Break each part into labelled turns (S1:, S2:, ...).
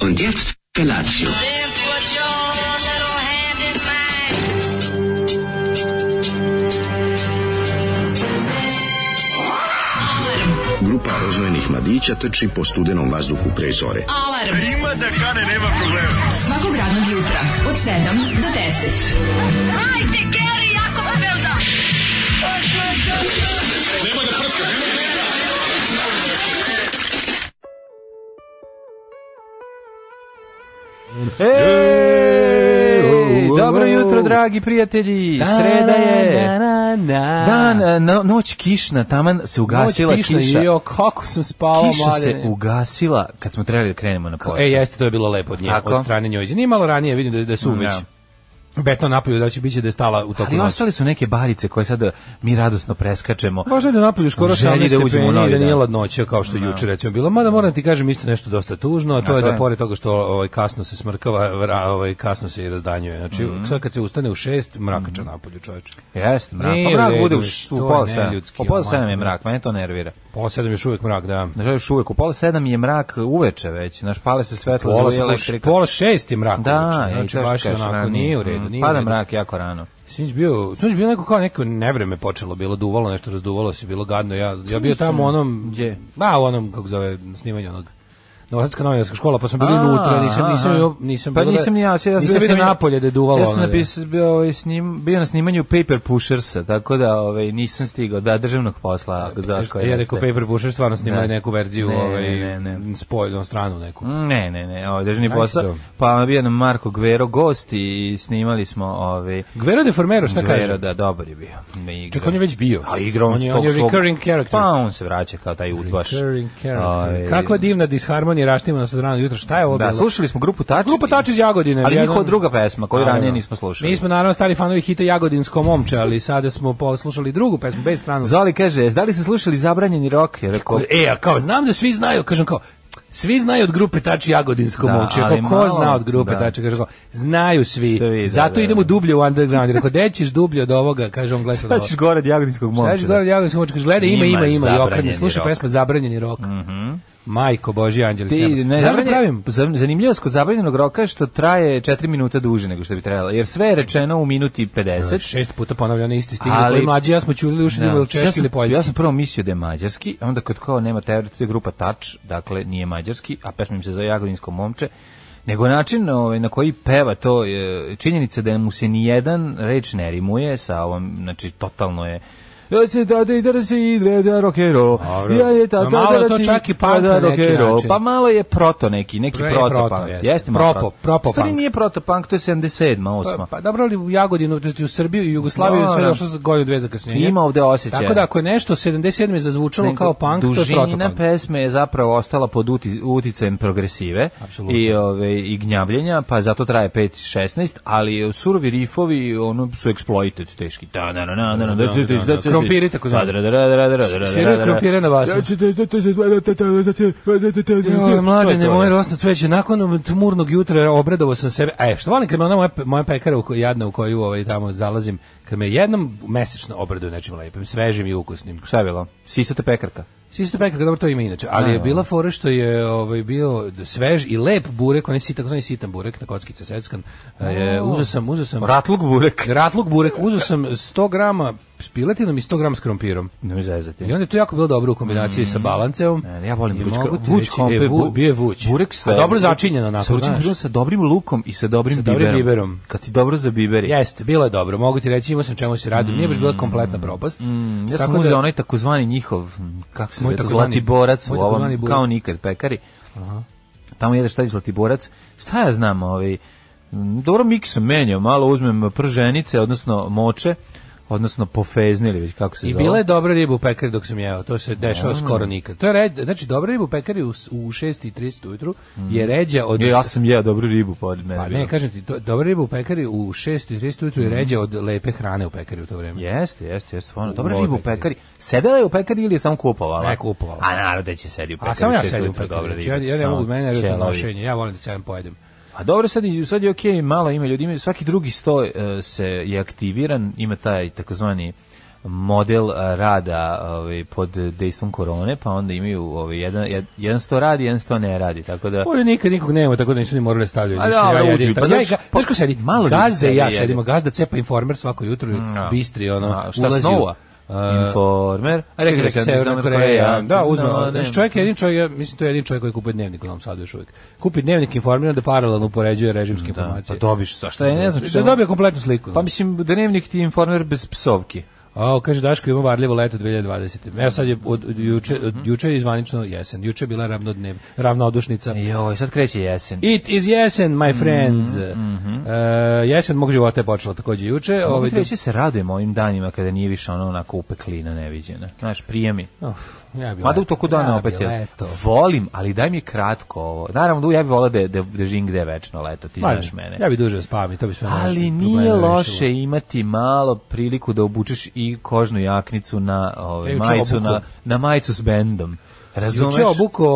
S1: Und jetzt Felatio.
S2: Then put your little hand in mine.
S3: Grupa roznojenih mladića trči po studenom vazduhu pre zore.
S4: Alarm. Ima da kane, nema problema. Svakog radnog jutra, od 7 do 10.
S5: Ej,
S6: u,
S5: dobro
S6: u,
S5: jutro,
S6: u.
S5: dragi prijatelji. Sreda je. Dan, e, no- noć kišna, taman se ugasila
S6: Noć pišna,
S5: kiša.
S6: Jo, kako sam spavao,
S5: Kiša se
S6: mladene.
S5: ugasila kad smo trebali da krenemo na posao.
S6: E, jeste, to je bilo lepo od nje,
S5: Tako.
S6: od strane njoj. Nije malo ranije, vidim da, da su
S5: Da.
S6: već betno napolju, da će biti da je stala u toku
S5: Ali
S6: noći.
S5: ostali su neke barice koje sada mi radosno preskačemo.
S6: Možda je da napolju skoro
S5: U želji
S6: 18
S5: da uđemo u
S6: stepeni
S5: novi
S6: i da nije
S5: dan.
S6: ladnoća kao što je juče recimo bilo. Mada moram ti kažem isto nešto dosta tužno, a to je
S5: to
S6: da
S5: je?
S6: pored toga što ovaj kasno se smrkava, vra- ovaj kasno se i razdanjuje. Znači, sad kad se ustane u 6, mrakača napolju, čoveče.
S5: Jeste, mrak.
S6: Nije
S5: Pa
S6: u
S5: mrak
S6: redu,
S5: bude u,
S6: što
S5: š- u
S6: je
S5: pola sedam.
S6: neljudski,
S5: U pola sedam je
S6: omladine.
S5: mrak, mene to nervira.
S6: Pola sedam još uvijek mrak, da.
S5: Znaš, još uvek, u pola sedam je mrak uveče već. Znaš, pale se svetlo,
S6: Pola,
S5: zuje elektrika.
S6: pola šest je mrak.
S5: Da,
S6: uveče,
S5: i
S6: znači
S5: to što
S6: baš je
S5: kažeš,
S6: onako,
S5: rano.
S6: nije u redu.
S5: Mm,
S6: Nije u
S5: Pada
S6: redu.
S5: mrak jako rano.
S6: Sinoć bio, sinoć bio neko kao neko nevreme počelo, bilo duvalo, nešto razduvalo se, bilo gadno. Ja, ja bio tamo u onom,
S5: Gdje?
S6: Ba, u onom, kako zove, snimanju onog. Novosadska novinarska škola, pa smo bili
S5: A,
S6: unutra, nisam, nisam,
S5: aha.
S6: imao- nisam
S5: pa
S6: bilo
S5: nisam ni ja, ja sam bio
S6: nisam vidio
S5: snimanju-
S6: napolje da je duvalo.
S5: Ja sam
S6: ono, da-
S5: napisao, bio, ovaj, snim, bio na snimanju Paper Pushersa, tako da ovaj, nisam stigao, da, državnog posla, za
S6: E, Ja
S5: koje
S6: rekao
S5: jeste.
S6: Paper Busher stvarno snimali
S5: Ne.
S6: neku verziju
S5: Ne, ne,
S6: ovaj,
S5: ne, ne.
S6: spoljnom stranu neku.
S5: Ne, ne, ne, ovaj državni
S6: Znaš
S5: posao.
S6: to.
S5: Pa bio nam Marko Gvero gost i i snimali smo ovaj
S6: Gvero de Formero, šta
S5: Gvero,
S6: kaže?
S5: da, dobar je bio. Ne igra.
S6: Čak on je već bio.
S5: A igra on,
S6: on je,
S5: tog
S6: on je
S5: svog-
S6: recurring character.
S5: Pa on se vraća kao taj udbaš.
S6: Recurring
S5: Ovaj,
S6: character. Kakva divna disharmonija raštimana od rana do jutra. Šta je ovo
S5: Da,
S6: bilo?
S5: slušali smo grupu Tači.
S6: Grupa Tači iz Jagodine.
S5: Znači, Ali
S6: jedan-
S5: njihova druga pesma, koju ranije
S6: Naravno.
S5: nismo slušali.
S6: Mi smo naravno stari fanovi hita Jagodinsko momče, ali sada smo poslušali drugu pesmu bez stranu.
S5: Mm. Zoli kaže, "Jes, da li ste slušali zabranjeni rok? Ja rekao,
S6: E, a kao, znam da svi znaju, kažem kao, svi znaju od grupe Tači Jagodinsko
S5: Da,
S6: momče. Ja
S5: ali
S6: Kao, ko
S5: malo-
S6: zna od grupe
S5: da.
S6: Tači? Kažem kao, znaju svi.
S5: Svi, da,
S6: Zato
S5: da,
S6: idemo
S5: da.
S6: dublje u underground. Rekao, gde ćeš dublje od ovoga? Kaže on, gleda sad
S5: Šta
S6: ovo.
S5: ćeš gore od Jagodinskog momča?
S6: Sad gore Jagodinsko momče, kaže, gledaj, ima,
S5: Ima
S6: ima, ima, i okreni.
S5: zabranjeni
S6: Slušaj
S5: rok. Mhm.
S6: pesmu Zabranjeni rok. Majko Boži, anđeli s
S5: Ti,
S6: neba.
S5: ne,
S6: Znaš šta
S5: zabranjen-
S6: pravim?
S5: zan- zanimljivost kod zabranjenog roka je što traje 4 minuta duže nego što bi trebalo, jer sve je rečeno u minuti i 50.
S6: Šest puta ponavljam isti stih,
S5: Ali-
S6: ali, koji mlađi ja smo čuli uši,
S5: Da.
S6: da. ili češki
S5: ja sam,
S6: ili poljski.
S5: Ja sam prvo mislio da je mađarski, a onda kod kao nema teorije, to je grupa Tač, dakle nije mađarski, a pesma im se zove Jagodinsko momče, nego način ovaj, na koji peva to, je, činjenica da mu se nijedan reč ne rimuje sa ovom, znači totalno je Ja se da da i da se ide da rokero.
S6: Dobro.
S5: Ja je ta
S6: Ma malo
S5: da
S6: je to
S5: si-
S6: čak i
S5: da
S6: punk na neki
S5: rockero.
S6: način.
S5: Pa malo je proto neki, neki
S6: Pre-
S5: proto,
S6: proto,
S5: punk.
S6: jeste.
S5: Jeste malo
S6: Propo-
S5: proto.
S6: propo
S5: U stvari
S6: punk.
S5: nije proto punk, to je 77. 8.
S6: Pa, pa dobro, ali u Jagodinu, to jest u Srbiju i Jugoslaviju je sve
S5: Dobro.
S6: došlo za godinu dve zakašnjenja.
S5: Ima ovde osjećaja.
S6: Tako da ako je nešto 77 je zazvučalo
S5: Nego
S6: kao punk, to je
S5: dužina
S6: protopunk.
S5: pesme je zapravo ostala pod uti, uticajem progresive
S6: Apsolutno.
S5: i ove i gnjavljenja, pa zato traje 5 16, ali surovi rifovi ono su exploited teški. Da, da, da, da, da, da, da, da, da, da,
S6: Krompiri, tako zvani.
S5: Da, da, da, da, da, da, da, da,
S6: Sviraju
S5: da,
S6: krompire na vas. Joj, mlade, ne moje rosno cveće, nakon tmurnog jutra obradovao sam sebe. E, što volim kad me ona moja, moja pekara u kojoj, jadna u koju ovaj, tamo zalazim, kad me jednom mesečno obraduje nečim lepim, svežim i ukusnim.
S5: Šta je bilo? Sisata pekarka.
S6: Sista pekara, dobro, to ima inače, ali je bila fora što je ovaj, bio svež i lep burek, onaj sitan, onaj sitan burek na kockice seckan. E, uzeo sam, uzeo sam...
S5: Ratluk burek.
S6: Ratluk burek, uzeo sam 100 grama s piletinom i 100 grama s krompirom.
S5: Ne mi zezati.
S6: I onda je to jako bilo dobro u kombinaciji sa balanceom.
S5: Mm. Ne, ja volim
S6: I
S5: vuć.
S6: mogu ti
S5: Vuć
S6: reći,
S5: kompir,
S6: e, vu-
S5: bu-
S6: bio je vuć.
S5: Burek sa
S6: A dobro začinjeno
S5: Sa
S6: onako,
S5: vućim
S6: znaš.
S5: pivom, sa dobrim lukom i sa dobrim
S6: Sa dobrim
S5: biberom.
S6: biberom.
S5: Kad ti dobro za biber. je.
S6: Jeste, bilo je dobro. Mogu ti reći, imao sam čemu se radi. Nije baš bila kompletna propast.
S5: Mm, Ja sam
S6: Tako da-
S5: uzeo onaj takozvani njihov, m, kako se zove,
S6: Moj takozvani-
S5: zlatiborac u
S6: moj takozvani
S5: ovom,
S6: burek.
S5: kao nikad pekari. Tamo jedeš taj zlatiborac. Šta ja znam, ovaj, m, dobro miksam, menjam, malo uzmem prženice, odnosno moče, odnosno pofezni ili već kako se
S6: I
S5: zove.
S6: bila je dobra riba u pekari dok sam jeo, to se dešava skoro nikad. To je red, znači dobra riba u pekari u, s- u 6.30 ujutru je ređa od...
S5: Mm. E, Ja, ja sam jeo dobru ribu pored mene.
S6: Pa
S5: bilo.
S6: ne, kažem ti, do, dobra riba u pekari u 6.30 ujutru
S5: Mm.
S6: je ređa od lepe hrane u pekari u to vreme.
S5: Jeste, jeste, jeste, stvarno.
S6: U
S5: Dobra
S6: ovoj
S5: riba u
S6: pekari.
S5: pekari. Sedela je u pekari ili je samo kupovala?
S6: Ne, kupovala.
S5: A naravno da će sedi u pekari.
S6: A samo ja
S5: šest
S6: sedim u
S5: ujutro, dobra
S6: pekari, znači, ja,
S5: riba,
S6: ja ne
S5: samo
S6: mogu, mene je to
S5: ćelavi.
S6: nošenje, ja volim da sedam pojedem.
S5: A dobro, sad, i- sad je okej, malo ima ljudi, ima, svaki drugi sto e, se je aktiviran, ima taj takozvani model a, rada ovaj, pod dejstvom korone, pa onda imaju ovaj, jedan, jed- jedan sto radi, jedan sto ne radi, tako da...
S6: Ovdje nikad nikog nema, tako da nisu ni morali stavljaju.
S5: A
S6: ništa,
S5: da, ali
S6: ja
S5: uđu,
S6: jedim.
S5: pa
S6: Pa,
S5: znaš,
S6: znaš,
S5: pa-
S6: znaš ko sedi?
S5: malo ljudi
S6: Gazda i
S5: sedi
S6: ja
S5: jede.
S6: sedimo, gazda cepa informer svako jutro,
S5: da.
S6: bistri, ono,
S5: A, šta
S6: ulazi u- E,
S5: snova?
S6: A,
S5: Informer.
S6: A rekli da Severna Koreja, da, uzme.
S5: Da,
S6: znači
S5: ne.
S6: čovjek je jedin čovjek, ja mislim to je jedin čovjek koji kupuje dnevnik u Novom Sadu još uvijek. Kupi dnevnik informiran da paralelno upoređuje režimske
S5: Da, pa
S6: informacije.
S5: dobiš sa šta je, ne znam
S6: Da
S5: šta-
S6: dobije kompletnu sliku.
S5: Pa mislim, dnevnik ti je informer bez psovki.
S6: A, kaže Daško ima varljivo leto 2020. Evo sad je od, od juče, od
S5: Mhm.
S6: juče je zvanično jesen. Juče je bila ravnodnev, ravnodušnica.
S5: Joj, sad kreće jesen.
S6: It is jesen, my friends.
S5: Mhm,
S6: E, jesen mog života je počela takođe juče.
S5: Ovaj
S6: Ovaj,
S5: treći se radujem ovim danima kada nije više ono onako upeklina neviđena. Znaš, prijemi.
S6: Uf, ja bi
S5: Mada
S6: leto,
S5: u toku dana
S6: ja bi
S5: opet je.
S6: leto.
S5: Volim, ali daj mi je kratko ovo. Naravno, ja bih volao da, da, da živim gde je večno leto, ti
S6: Ma,
S5: znaš mene.
S6: Ja bi duže spavam i to bi sve naše
S5: Ali
S6: probleme
S5: nije
S6: rešilo.
S5: loše imati malo priliku da obučeš i kožnu jaknicu na ovaj,
S6: Ja E, juče
S5: majicu,
S6: obuku.
S5: na, na majicu s bendom. Razumeš?
S6: Juče Znači, obuko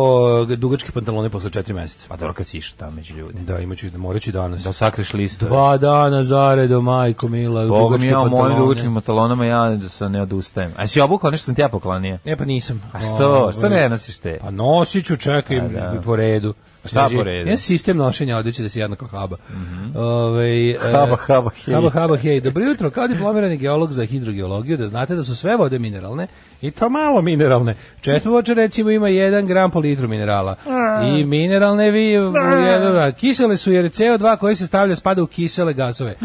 S6: e, dugačke pantalone posle 4 meseca.
S5: Pa dobro kad si išao tamo među ljudi.
S6: Da, imaću da moraću i danas.
S5: Da sakriš listove.
S6: Dva dana zaredo, majko mila,
S5: Boga mi
S6: dugačke
S5: ja u mojim
S6: pantalone.
S5: dugačkim pantalonama ja se ne odustajem. A si obukao nešto sam ti ja poklonio?
S6: E pa nisam.
S5: A što? Što
S6: Ovaj,
S5: ne nosiš te?
S6: Pa nosit ću, čekaj,
S5: A, Pa da.
S6: po redu.
S5: Šta
S6: Znači,
S5: po redu? Mhm.
S6: Ja sistem nošenja odjeće da si jednako haba. Ovaj, e,
S5: Haba, haba, hej.
S6: Haba, haba, hej. Dobro jutro, kao diplomirani geolog za hidrogeologiju, da znate da su sve vode mineralne, i to malo mineralne. Često voće recimo ima 1 gram po litru minerala. I mineralne vi, jedno- kisele su jer CO2 koji se stavlja spada u kisele gasove.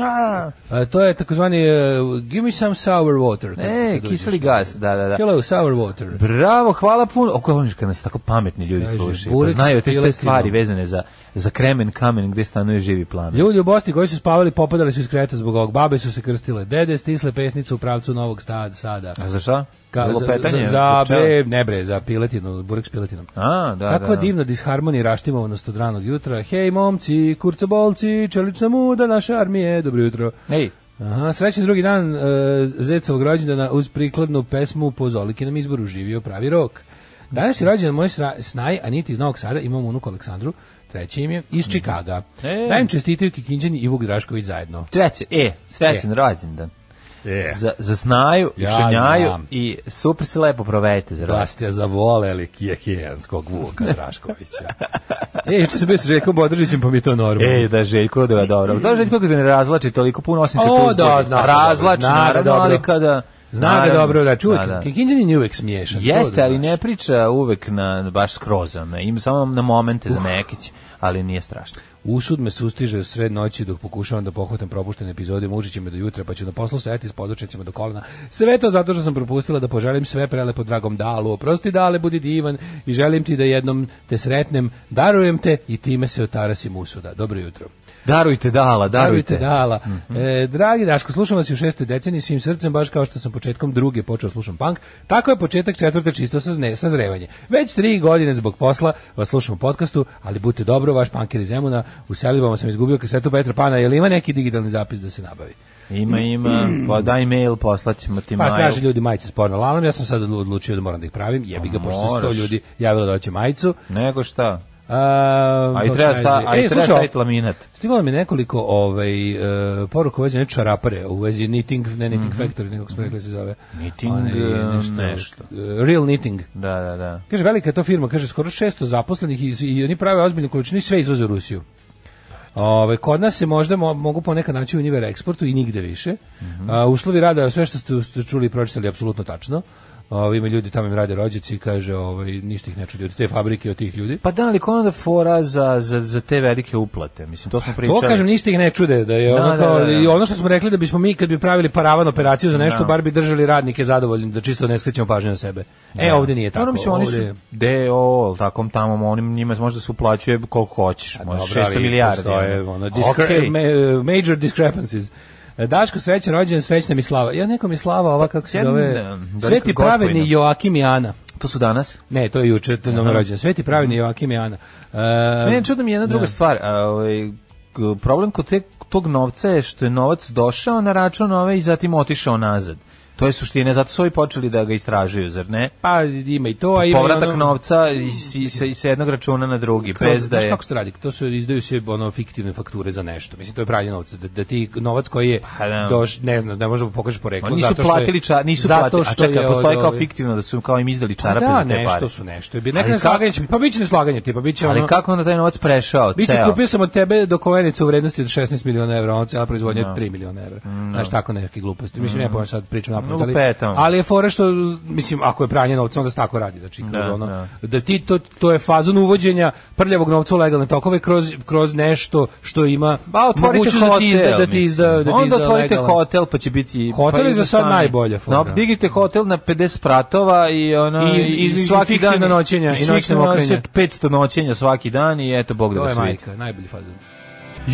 S6: E, to je takozvani e, give me some sour water. kad-
S5: E,
S6: kad dođeš.
S5: kiseli gas, da, da, da.
S6: Hello, sour water.
S5: Bravo, hvala puno. Oko voliš kad nas tako pametni ljudi
S6: Kaže,
S5: slušaju. Pa
S6: burek s
S5: znaju te sve
S6: piletima.
S5: stvari vezane za, za kremen, kamen, gde stanuje živi plamen.
S6: Ljudi u Bosni koji su spavali popadali su iz kreveta zbog ovog. Babe su se krstile, dede stisle pesnicu u pravcu Novog Sta- Sada.
S5: A za šta?
S6: Ka-
S5: za lopetanje?
S6: za, za,
S5: pčela?
S6: bre, ne bre, za piletinu, burek s piletinom.
S5: A, da,
S6: Kakva
S5: da, da.
S6: divna disharmonija i raštimovanost od ranog jutra. Hej momci, kurcobolci, čelična muda naše armije, dobro jutro.
S5: Ej,
S6: Aha, srećen drugi dan e, Zecovog rođendana uz prikladnu pesmu po Zolikinom izboru živio pravi rok. Danas je rođen moj sra- snaj, a niti iz Novog Sada, imam unuku Aleksandru, treći im je, iz Čikaga.
S5: Mhm. E.
S6: Dajem čestitaju Kikinđani i Vuk Drašković zajedno.
S5: treće, e, srećen rođendan. Za, za znaju, i
S6: E. Ja
S5: šenjaju,
S6: znam.
S5: i super se lepo provedite za
S6: Da
S5: rođendan.
S6: ste zavoleli kijekijanskog Vuka Draškovića. e, juče sam bio sa Željkom Bodržićem, pa mi je to normalno.
S5: E, da Željko, da, dobro. Da Željko kada ne razlači toliko puno, osim kad se
S6: O,
S5: uzbudi.
S6: da, zna ga
S5: Razlači,
S6: dobro, zna ga
S5: naravno,
S6: dobro.
S5: ali kada...
S6: Zna ga
S5: naravno,
S6: dobro, da, čuvek,
S5: da, da.
S6: Kikinđanin je uvek smiješan. to
S5: Jeste,
S6: da
S5: ali
S6: znaš.
S5: ne priča uvek na baš skrozan. Ima samo na momente za Mekić, ali nije strašno.
S6: Usud me sustiže u sred noći dok pokušavam da pohvatam propuštene epizode, mučiće me do jutra, pa ću na poslu seti s podočnicima do kolena. Sve to zato što sam propustila da poželim sve prelepo dragom Dalu. Oprosti Dale, budi divan i želim ti da jednom te sretnem, darujem te i time se otarasim usuda. Dobro jutro.
S5: Darujte dala, darujte.
S6: Darujte dala.
S5: Mhm.
S6: E, dragi Daško, slušam vas i u šestoj deceniji svim srcem, baš kao što sam početkom druge počeo slušam punk, tako je početak četvrte čisto sazne, sazrevanje. Već tri godine zbog posla vas slušam u podcastu, ali budite dobro, vaš punker iz Zemuna, u selibama sam izgubio kasetu Petra Pana, je li ima neki digitalni zapis da se nabavi?
S5: Ima, ima, pa daj mail, poslaćemo ti
S6: Pa
S5: mail.
S6: traže ljudi majice s porno lanom, ja sam sad odlu- odlučio da moram da ih pravim, jebi ga, pošto se sto
S5: Pa moraš.
S6: ljudi javilo da hoće majicu.
S5: Nego šta?
S6: A,
S5: A i treba, sta, a
S6: E,
S5: i treba staviti laminat.
S6: Stiglo nam je nekoliko ovaj, e, poruka u vezi nečega čarapare, u vezi knitting, ne knitting factory, nekako smo rekli da se zove.
S5: Mhm. Knitting,
S6: Onaj,
S5: e, nešto.
S6: e, Real knitting.
S5: Da, da, da.
S6: Kaže, velika je to firma, kaže, skoro 600 zaposlenih i, i oni prave ozbiljnu količinu i sve izvoze u Rusiju. Ove, kod nas se možda mo, mogu ponekad naći u njiver eksportu i nigde više.
S5: Mhm.
S6: A, uslovi rada, sve što ste, ste čuli i pročitali, je apsolutno tačno. Ove, ima ljudi tamo im rade rođaci, kaže, ovaj, ništa ih ne čudi od te fabrike, od tih ljudi.
S5: Pa da, ali koja je onda fora za, za, za te velike uplate? Mislim, to smo pričali.
S6: Pa To kažem ništa ih ne čude da je
S5: Da,
S6: ono
S5: da,
S6: kao
S5: da, da.
S6: i ono što smo rekli da bismo mi kad bi pravili paravan operaciju za nešto bar bi držali radnike zadovoljni da čisto ne skrećemo pažnju na sebe. E ovdje nije tako.
S5: Naravno, Ono, mislim, oni
S6: Ovdje-
S5: su DO, ili takom tamo, onim njima možda se uplaćuje koliko hoćeš,
S6: Pa Dobro,
S5: možda 600
S6: ali
S5: milijardi.
S6: postoje,
S5: ono.
S6: ono, discre-
S5: Okej.
S6: ma- major discrepancies. E, Daško srećan rođen, srećna mi slava. Ja nekom je slava ova kako se
S5: Jedna,
S6: zove.
S5: velika
S6: Sveti pravedni
S5: gospojina.
S6: Joakim i Ana.
S5: To su danas.
S6: Ne, to je juče, to je nam rođen. Sveti pravedni Joakim i Ana. E,
S5: Ne, čudno mi je jedna druga
S6: da.
S5: stvar. A, ovaj, g- problem kod te, tog novca je što je novac došao na račun ove i zatim otišao nazad. To je suština, zato su ovi počeli da ga istražuju, zar ne?
S6: Pa ima i to, a ima i
S5: Povratak
S6: ono-
S5: novca i- s- s- sa jednog računa na drugi, bez da
S6: Znaš
S5: je...
S6: kako se to radi? To su izdaju se ono fiktivne fakture za nešto. Mislim to je pranje novca da, da ti novac koji je
S5: Pa da.
S6: doš ne znam, ne možemo pokažeš poreklo
S5: Oni nisu
S6: zato što je-
S5: platili ča, nisu
S6: zato
S5: platili. A
S6: što
S5: čekaj,
S6: je
S5: postoji
S6: od
S5: kao
S6: ove-
S5: fiktivno da su kao im izdali čarape
S6: da,
S5: za te
S6: nešto
S5: pare.
S6: su nešto. Bi neka
S5: Ali kako-
S6: neslaganje, će biti, pa biće neslaganje, ti, pa biće ono.
S5: Ali kako je onda taj novac prešao?
S6: Biće
S5: ceo?
S6: kupio sam od tebe dokovenicu u vrednosti od 16 miliona evra, ono cijela proizvodnja od 3 miliona evra. Znaš, tako neke gluposti. Mislim,
S5: Mm.
S6: ja pojma sad pričam
S5: No,
S6: napravo. Ali,
S5: lupetam.
S6: ali je fora što, mislim, ako je pranje novca, onda se tako radi. Znači, kroz
S5: Da,
S6: ono,
S5: da.
S6: da. ti to, to je fazon uvođenja prljavog novca u legalne tokove kroz, kroz nešto što ima
S5: Ba, Pa otvorite
S6: mogućnost da ti izda,
S5: hotel,
S6: da ti izda, da ti
S5: mislim.
S6: izda
S5: Onda otvorite
S6: legalan.
S5: hotel, pa će biti...
S6: Hotel
S5: pa
S6: je za sad
S5: stani.
S6: najbolja fora.
S5: No, dignite hotel na 50 spratova i ono...
S6: I- i fiktivna noćenja i
S5: svih
S6: noćna
S5: noće-
S6: mokrenja.
S5: 500 noćenja svaki dan i eto, Bog da
S6: To
S5: vas
S6: je
S5: vidi.
S6: majka, najbolji fazon.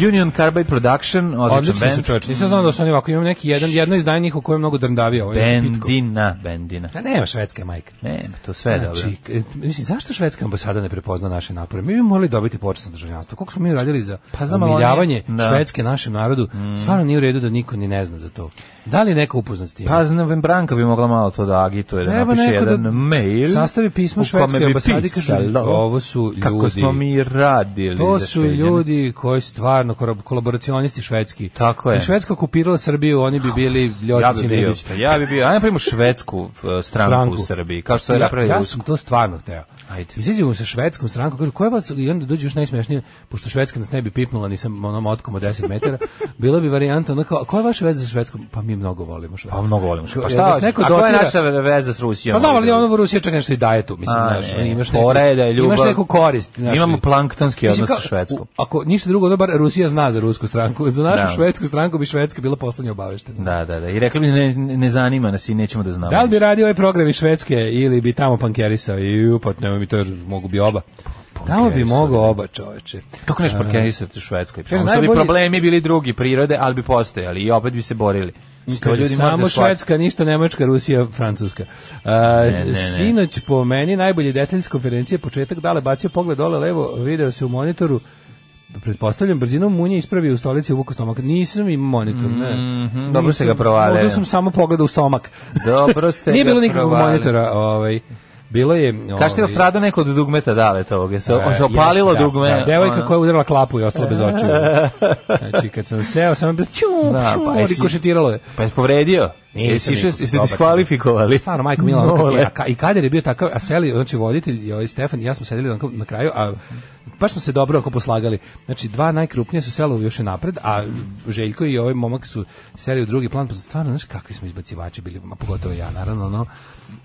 S5: Union Carbide Production, odličan
S6: Odlični su
S5: band.
S6: čovječ. Nisam znao da su oni ovako. Imam neki jedan, jedno izdanje njih u kojem je mnogo drndavija. Ovaj pitko.
S5: Bendina, bendina.
S6: A nema švedska je majka.
S5: Ne, to sve je dobro.
S6: Znači, k- mislim, zašto švedska ambasada ne prepozna naše napore? Mi bi morali dobiti počasno državljanstvo. Koliko smo mi radili za Mm.
S5: Pa
S6: pa,
S5: znam, ali
S6: umiljavanje
S5: oni- da.
S6: švedske našem narodu? Stvarno nije u redu da niko ni ne zna za to. Da li je neko upoznat s tim?
S5: Pa znam, Branka bi mogla malo to da agituje, da
S6: Treba
S5: napiše
S6: neko da
S5: jedan mail.
S6: sastavi pismo
S5: u kome
S6: švedskoj
S5: bi
S6: ambasadi, kaže,
S5: pisalo
S6: ovo su
S5: Kako
S6: ljudi.
S5: smo mi radili
S6: to
S5: za
S6: su
S5: Šveđane.
S6: ljudi koji stvarno korab- kolaboracionisti švedski.
S5: Tako je.
S6: Da Švedska okupirala Srbiju, oni Ah, bi bili
S5: Ja
S6: Ljotić
S5: bi
S6: i
S5: bio,
S6: Nedić.
S5: pa ja bi bio, ajde napravimo švedsku eh, stranku,
S6: stranku.
S5: u Srbiji, kao što je
S6: ja,
S5: napravio
S6: ja
S5: Rusku.
S6: sam to stvarno hteo.
S5: Ajde.
S6: Izađemo sa švedskom strankom, kažu, koja vas, i onda dođe još najsmešnije, pošto švedska nas ne bi pipnula, nisam onom otkom od 10 metara, bila bi varijanta, ono kao, koja je vaša veza sa švedskom? Pa mi mnogo volimo švedsku.
S5: Pa mnogo volim. Švedsku.
S6: Pa
S5: Pa
S6: šta,
S5: šta,
S6: vas neko
S5: a koja je
S6: dotira?
S5: naša veza s Rusijom?
S6: Pa znam, ali ono Rusija čak nešto i daje tu, mislim,
S5: A,
S6: znaš, ono,
S5: ne,
S6: imaš,
S5: fora je da je ljubav-
S6: imaš neku korist. Znaš,
S5: Imamo planktonski
S6: Mislim,
S5: odnos sa
S6: kao,
S5: Švedskom.
S6: u- Ako ništa drugo, dobar, Rusija zna za rusku stranku. Za našu
S5: Da.
S6: švedsku stranku bi Švedska bila poslednja obaveštena.
S5: Da, da, da. I rekli bi, ne, ne ne zanima nas i nećemo da znamo.
S6: Da li bi radio ovaj program iz Švedske ili bi tamo pankerisao i upat, nema mi to jer mogu bi oba. Tamo bi
S5: Pankerisao,
S6: mogu oba, čoveče.
S5: Kako neš parkerisati u Švedskoj? Samo što bi
S6: najbolji-
S5: problemi bili drugi prirode, ali bi postojali i opet bi se borili. To
S6: Kaže,
S5: ljudi morate
S6: samo
S5: shvatiti.
S6: Švedska, ništa Nemačka, Rusija, Francuska. A,
S5: ne.
S6: Sinoć po meni najbolji detalj s konferencije početak dale bacio pogled dole levo, video se u monitoru pretpostavljam brzinom munje ispravio u stolici u vuku stomak. Nisam im monitor, ne.
S5: Mhm, dobro
S6: Nisam-
S5: ste ga provalili.
S6: Možda sam samo pogledao u stomak.
S5: Dobro ste
S6: Nije
S5: ga
S6: bilo nikakvog
S5: provalili.
S6: monitora, ovaj. Bilo je...
S5: Kažete je
S6: ovaj,
S5: stradao neko od dugmeta dale toga, se, on se
S6: E,
S5: opalilo
S6: jeste, da,
S5: dugme.
S6: Da, devojka
S5: ono.
S6: koja je udarila klapu i ostala bez očiju. Znači, kad sam seo, sam je bilo ću,
S5: Da,
S6: da,
S5: pa
S6: pa
S5: jesi-
S6: rikošetiralo je.
S5: Pa jesi povredio?
S6: Nisam
S5: Jesi išao-
S6: nikog,
S5: jeste
S6: dobar sam.
S5: diskvalifikovali?
S6: Stvarno, majko Mila, ono kako
S5: Mole.
S6: je, a ka- i kader je bio takav, a Seli, znači voditelj i ovaj Stefan i ja smo sedeli onako na kraju, a baš smo se dobro ako poslagali. Znači, dva najkrupnije su selovi još i napred, a Željko i ovaj momak su seli u drugi plan, pa stvarno, znaš kakvi smo izbacivači bili, ma pogotovo ja, naravno, ono,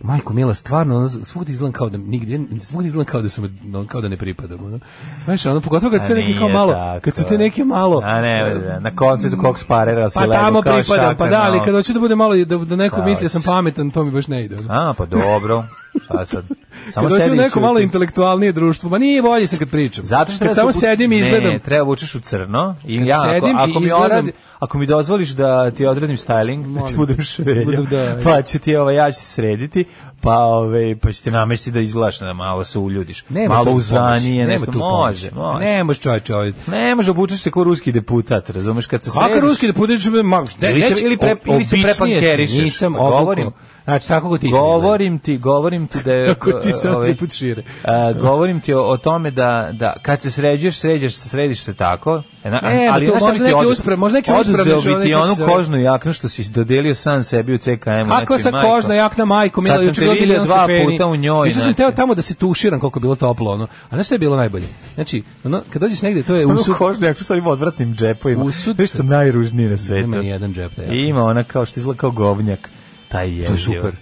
S6: Majko Mila, stvarno, ono, svugdje izgledam kao da nigdje, svugdje izgledam kao da su me, ono, kao da ne pripadam, ono. Znaš, ono, pogotovo kad su te
S5: A
S6: neki kao
S5: Pa nije
S6: malo,
S5: tako.
S6: kad su te neki malo, eh,
S5: A ne, da, na koncertu kog sparera se
S6: pa
S5: lego
S6: tamo
S5: kao
S6: pripadam, pa
S5: šaka
S6: da,
S5: na ono.
S6: ali
S5: ovo.
S6: kad hoću da bude malo, i da, da neko
S5: Da,
S6: misli da sam
S5: hoćeš.
S6: pametan, to mi baš ne ide. ono.
S5: A, pa dobro. Pa sad, samo
S6: Kad dođem
S5: sedi
S6: u
S5: i
S6: neko
S5: ćuti.
S6: malo intelektualnije društvo, ma nije bolje se kad pričam.
S5: Zato što
S6: kad
S5: treba
S6: samo
S5: se obučeš-
S6: sedim i izgledam.
S5: Ne, treba vučeš u crno. I
S6: Kad
S5: ja, ako,
S6: sedim i
S5: ako, mi
S6: izgledam-
S5: oradi, ako mi dozvoliš da ti odredim styling, da ti budem švelja,
S6: Budem, da.
S5: pa ću ti, ovaj, ja ću se srediti, pa, ovaj, pa ću ti namesti da izgledaš da malo se uljudiš.
S6: Nema
S5: malo
S6: tu
S5: uzanije,
S6: pomoći, nema
S5: nešto.
S6: tu
S5: Može,
S6: pomoći.
S5: može.
S6: Ne može čovječe ovaj.
S5: Ne može, obučeš se kao ruski deputat, razumeš, kad se
S6: Kako
S5: sediš-
S6: ruski da pudeš me ma, ne,
S5: Ili se-
S6: neće-
S5: ili pre-
S6: o-
S5: ili se
S6: običnije
S5: prepankerišeš.
S6: si, Nisam
S5: Pa
S6: obuko.
S5: govorim.
S6: Znači tako kako ti si izgledao.
S5: Govorim ti, govorim ti da je...
S6: Kako ti sad
S5: ovaj,
S6: tri put šire.
S5: a, govorim ti o, o tome da, da kad se sređuješ, sređaš se, središ se tako. E, na-
S6: Ne,
S5: ali
S6: to
S5: znaš šta
S6: možda
S5: bi ti
S6: neki
S5: oduzeo?
S6: uspre- možda neki
S5: Oduzeo
S6: uspravni
S5: bi ti
S6: čovjek,
S5: onu
S6: kako se zove.
S5: kožnu jaknu što si dodelio sam sebi u CKM-u.
S6: Kako sa kožna jakna majko Mila
S5: znači, Kad sam te
S6: juče bilo
S5: vidio
S6: 11
S5: dva
S6: stepeni.
S5: puta u njoj,
S6: Juče sam
S5: znači.
S6: teo tamo da se tuširam koliko je bilo toplo ono. A znaš šta je bilo najbolje? Znači, ono, kad dođeš negde, to je usud.
S5: kožnu jaknu sa ovim odvratnim džepovima.
S6: Usud-
S5: Nešto najružnije na svetu.
S6: Nema ni jedan džep da
S5: I ima ona kao što izgleda kao govnjak. Taj je.
S6: super.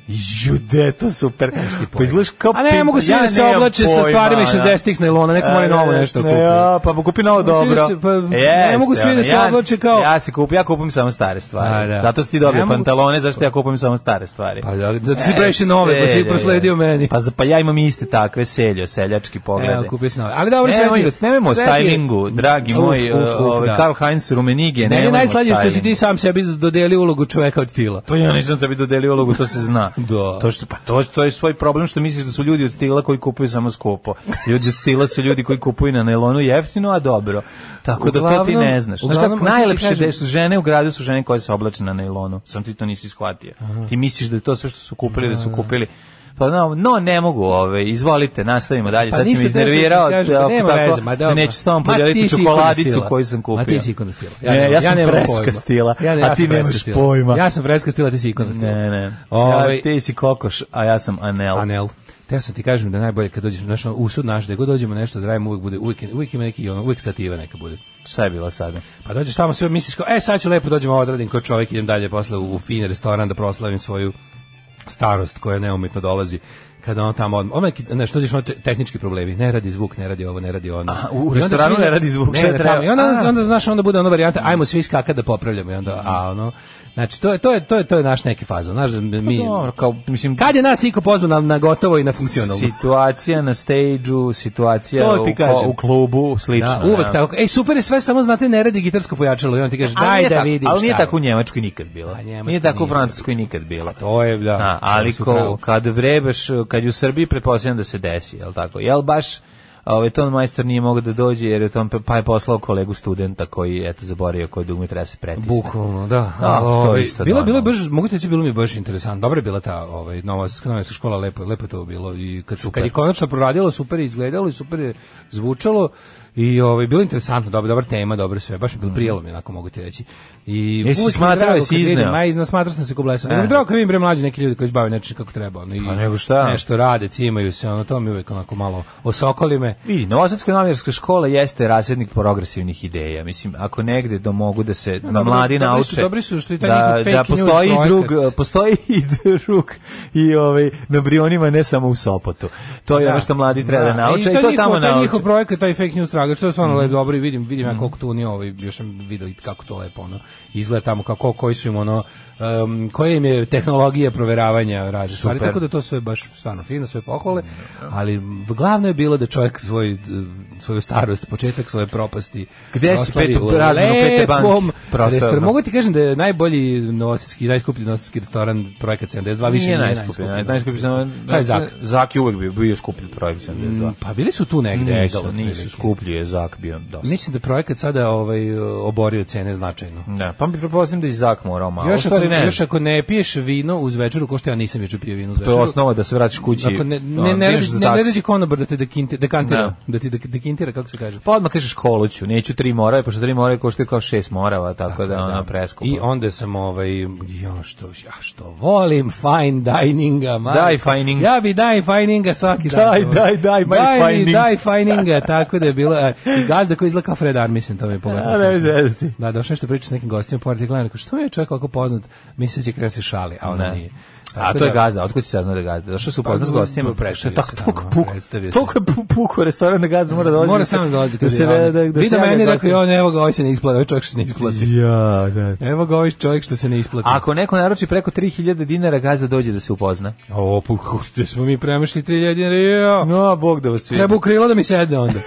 S5: Jude, to super. Pa izgledaš kao
S6: A ne,
S5: pimp-
S6: mogu se
S5: Ja
S6: da se
S5: nemam
S6: oblače sa
S5: pojma,
S6: stvarima iz
S5: da.
S6: 60-ih nailona, neko mora
S5: E,
S6: novo nešto
S5: ne,
S6: kupiti.
S5: ja, pa kupi novo
S6: Pa svi da
S5: dobro.
S6: se- pa, ne mogu svi da
S5: ono,
S6: se oblače kao-
S5: Ja se kup, ja kupim samo stare stvari.
S6: A, da.
S5: Zato si ti dobio
S6: Ne mogu-
S5: pantalone, zašto ja kupim samo stare stvari.
S6: Pa da, da
S5: E,
S6: si preši nove, pa si
S5: selja,
S6: ih prosledio
S5: je.
S6: meni.
S5: Pa, za- pa ja imam iste takve seljo, seljački poglede.
S6: Evo, kupio si nove. Ali dobro,
S5: Nemoj-
S6: sve
S5: Nemojmo o stylingu, dragi moj, ovaj, Karl Heinz Rumenige,
S6: Meni
S5: nemojmo
S6: je najslađe što si
S5: stylingu.
S6: ti sam sebi dodeli ulogu čoveka od stila.
S5: Pa ja nisam da bi imali ulogu, to se zna.
S6: Da.
S5: To što pa to to je svoj problem što misliš da su ljudi od stila koji kupuju samo skupo. Ljudi od stila su ljudi koji kupuju na nelonu jeftino, a dobro. Tako da to ti
S6: Uglavnom-
S5: ne znaš. Znaš
S6: uglavnom,
S5: kako
S6: hoću ti
S5: najlepše
S6: kažem-
S5: da su žene u gradu su žene koje se oblače na nelonu. Sam ti to nisi shvatio. Ti misliš da je to sve što su kupili, da su kupili Pa no, no, ne mogu, ove, izvolite, nastavimo dalje, sad si
S6: nisam
S5: me
S6: teo Pa sam ti
S5: iznervirao,
S6: kažem,
S5: da,
S6: pa nema
S5: tako,
S6: veze, ma dobro.
S5: neću s tobom
S6: Ma, ti
S5: podijeliti
S6: si ikona
S5: čokoladicu
S6: stila.
S5: koju sam kupio.
S6: Ma ti si ikona stila.
S5: Ne, ja sam
S6: nemam
S5: freska
S6: pojma.
S5: stila,
S6: Ja, ne,
S5: a
S6: ja
S5: ti
S6: sam freska
S5: nemaš
S6: stila.
S5: pojma.
S6: Ja sam freska stila, ti si ikona stila.
S5: Ne, ne.
S6: Ovaj-
S5: ja, ti si kokoš, a ja sam anel.
S6: Anel. Teo sam ti kažem da je najbolje kad dođeš naš usud naš, da god dođemo nešto da radimo, uvek bude uvek, uvek ima neki ono, uvek stativa neka bude.
S5: Šta je bilo sada?
S6: Pa dođeš tamo sve misliš kao, e sad ću lepo dođem ovo odradim kao čovjek, idem dalje posle u, u fin restoran da proslavim svoju starost koja neumitno dolazi kada on tamo odmah, ono neki, znaš, dođeš ono te- tehnički problemi, ne radi zvuk, ne radi ovo, ne radi ono.
S5: Aha, u
S6: I onda
S5: restoranu
S6: svi-
S5: ne radi zvuk,
S6: ne
S5: šta je
S6: radi
S5: treba?
S6: tamo. I onda,
S5: A.
S6: onda, znaš, onda bude ona varijanta, ajmo svi skakati da popravljamo i onda, a ono, znači, to je, to je, to je, to je naš neki fazo, znaš, da mi,
S5: Pa Dobro, kao, mislim,
S6: kad je nas iko pozvao na, na gotovo i na funkcionalno?
S5: situacija na stage-u, situacija
S6: ono- To
S5: u,
S6: ti kažem.
S5: u klubu, slično.
S6: Da, uvek
S5: da.
S6: tako. Ej, super je sve, samo znate, ne radi gitarsko pojačalo i on ti kaže,
S5: Ali
S6: daj
S5: nije
S6: da
S5: tako-
S6: vidim
S5: Ali nije
S6: šta Pa, je.
S5: tako u Njemačkoj nikad bilo.
S6: A Njemačka
S5: Nije tako u
S6: nije.
S5: Francuskoj nikad bilo.
S6: Pa, To je, da.
S5: Da, ali
S6: to su
S5: ko,
S6: pravo.
S5: kad vrebeš, kad je u Srbiji, pretpostavljam da se desi, jel tako? Jel baš ovaj ton majstor nije mogao da dođe jer je tom pa je poslao kolegu studenta koji eto zaboravio koji dugme treba se pretisne.
S6: Bukvalno, da.
S5: Da,
S6: Ali,
S5: to je
S6: ovaj,
S5: isto
S6: Bilo, bilo
S5: normalno.
S6: je baš, mogu ti reći, bilo mi je baš interesantno. Dobra je bila ta ovaj, novosadska novinska škola, lepo, lepo je to bilo. I kad, su, kad je konačno proradilo, super je izgledalo i super je zvučalo. I ovaj bilo je interesantno, dobra, dobra tema, dobro sve. Baš mi je bilo prijelo mi, je, onako mogu ti reći. I
S5: Mhm. Jesi
S6: uvijek mi je
S5: smatrao,
S6: drago
S5: jesi
S6: kad vidim,
S5: izneo?
S6: Ma izna smatrao sam se ko blesan. Nego mi
S5: E.
S6: je drago kad vidim bre mlađi neki ljudi koji se bave nečim kako treba, ono, i
S5: Pa nego šta?
S6: Nešto rade, cimaju se, ono to mi uvek onako malo osokoli me.
S5: Vidi, Novosadska novinarska škola jeste rasjednik progresivnih ideja. Mislim, ako negde da mogu da se da
S6: dobro,
S5: mladi
S6: dobri su-
S5: nauče
S6: dobri su što i taj
S5: da,
S6: njihov fake
S5: da
S6: news
S5: postoji i drug,
S6: projekat.
S5: postoji i drug i ovaj na Brionima ne samo u Sopotu. To je ono što mladi treba da, nauče i to,
S6: E, njihov-
S5: tamo
S6: Taj
S5: nauče. Mhm.
S6: njihov projekat, taj fake news tragač, to je stvarno lepo dobro i vidim, vidim ja koliko tu nije ovaj, još sam video i kako to lepo ono, izgleda tamo, kako, koji su im ono, um, koje im je tehnologije proveravanja razne
S5: Super.
S6: stvari,
S5: Mhm.
S6: tako da to sve baš stvarno fino, sve pohvale, ali glavno je bilo da čovjek svoj, eh, svoju starost, početak svoje propasti
S5: Gde si
S6: proslavi
S5: petu-
S6: u
S5: razmenu pete banke ono.
S6: lepom
S5: proslavio?
S6: restoran. Mogu ti kažem da je najbolji novosadski, najskuplji novosadski restoran projekat 72, više
S5: nije
S6: nije
S5: najskuplji. naj- Najskuplji znači, sam...
S6: Sad je Zak.
S5: Zak je uvek bio, bio skuplji projekt 72.
S6: Pa bili su tu negde,
S5: Nisu,
S6: Egalo,
S5: Mm, nisu
S6: otprilike.
S5: skuplji je Zak bio dosta.
S6: Mislim da je projekat sada ovaj oborio cene značajno.
S5: Da, pa mi prepostavljam da je Zak morao malo. Još,
S6: Još ako,
S5: ne, Pa
S6: još ako ne piješ vino uz večeru, ko što ja nisam juče pio vino uz
S5: to
S6: večeru.
S5: je osnova da se vraćaš kući.
S6: Ako ne,
S5: ono,
S6: ne, ne,
S5: ideš
S6: radi,
S5: za
S6: ne, ne
S5: taksi.
S6: radi konobar da te dekinte- dekantira,
S5: Da.
S6: da. ti dek- dekintira, kako se kaže.
S5: Pa odmah kažeš koluću, neću tri morave, pošto tri morave koštaju kao šest morava, tako, Pa da ono, ona preskupa.
S6: I onda sam ovaj, ja što, ja što volim fine dininga, majko.
S5: Daj fining.
S6: Ja bi daj fininga svaki dan. ovaj.
S5: Daj, daj, daj, my
S6: daj, mi
S5: fining.
S6: Daj fininga, tako da je bilo. e, I gazda koji izgleda kao Fred Armisen, to mi je pogotovo.
S5: A, nemoj
S6: smiješno.
S5: zezati.
S6: Da, došao nešto priča s nekim gostima, pored i gledam, rekao, što mi je čovjek ovako poznat? Mislim da će krenuti se šali, a ona
S5: Ne.
S6: nije.
S5: A
S6: Tako
S5: to je
S6: da-
S5: gazda, otkud si saznao da je gazda? Došao se upoznat s
S6: Pa,
S5: gostima,
S6: predstavio
S5: Što je
S6: se
S5: tako toliko
S6: tamo,
S5: puko,
S6: predstavio se.
S5: toliko je pu- puko restoran da gazda mora da dolazi.
S6: Mora
S5: da se-
S6: sam dolaziti
S5: da
S6: kad
S5: se
S6: je
S5: da,
S6: javlja.
S5: da, da
S6: Vidio
S5: se javlja
S6: meni,
S5: gostima.
S6: rekao, on, evo ga, ovaj se ne isplati, ovaj čovjek što se ne isplati.
S5: Ja, da.
S6: Evo ga, ovaj čovjek što se ne isplati.
S5: Ako neko naruči preko 3000 dinara, gazda dođe da se upozna.
S6: O, pa, kako gde smo mi premašli 3000 dinara, jao.
S5: No, Bog da vas vidi.
S6: Pa- Treba u krilo da mi sedne onda.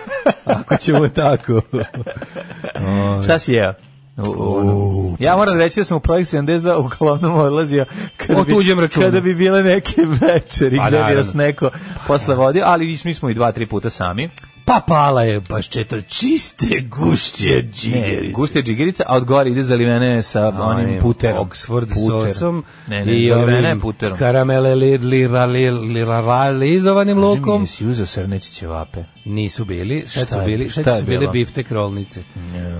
S6: Ako ćemo tako.
S5: Šta si jeo? U- u- ono.
S6: pa
S5: ja moram reći da sam u projekt 72 uglavnom odlazio kada
S6: O tuđem
S5: bi,
S6: računu.
S5: kada bi bile neke večeri
S6: Pa
S5: gde bi
S6: naravno.
S5: nas neko posle vodio, ali iš- mi smo i dva, tri puta sami.
S6: Pa pala je baš četvr čiste gušće
S5: Ne, guste džigerica, a od gore ide zalivene sa onim puterom.
S6: Oxford
S5: Puter.
S6: sosom
S5: Ne, ne, zalivene je puterom.
S6: karamele li, li, ra, li, li, ra, ra, lizovanim
S5: Kaži mi,
S6: lukom.
S5: Jesi uzeo srneći ćevape?
S6: Nisu bili, sad
S5: Šta
S6: su
S5: je-
S6: bili, sad
S5: šta je
S6: su bili
S5: bilo?
S6: biftek rolnice.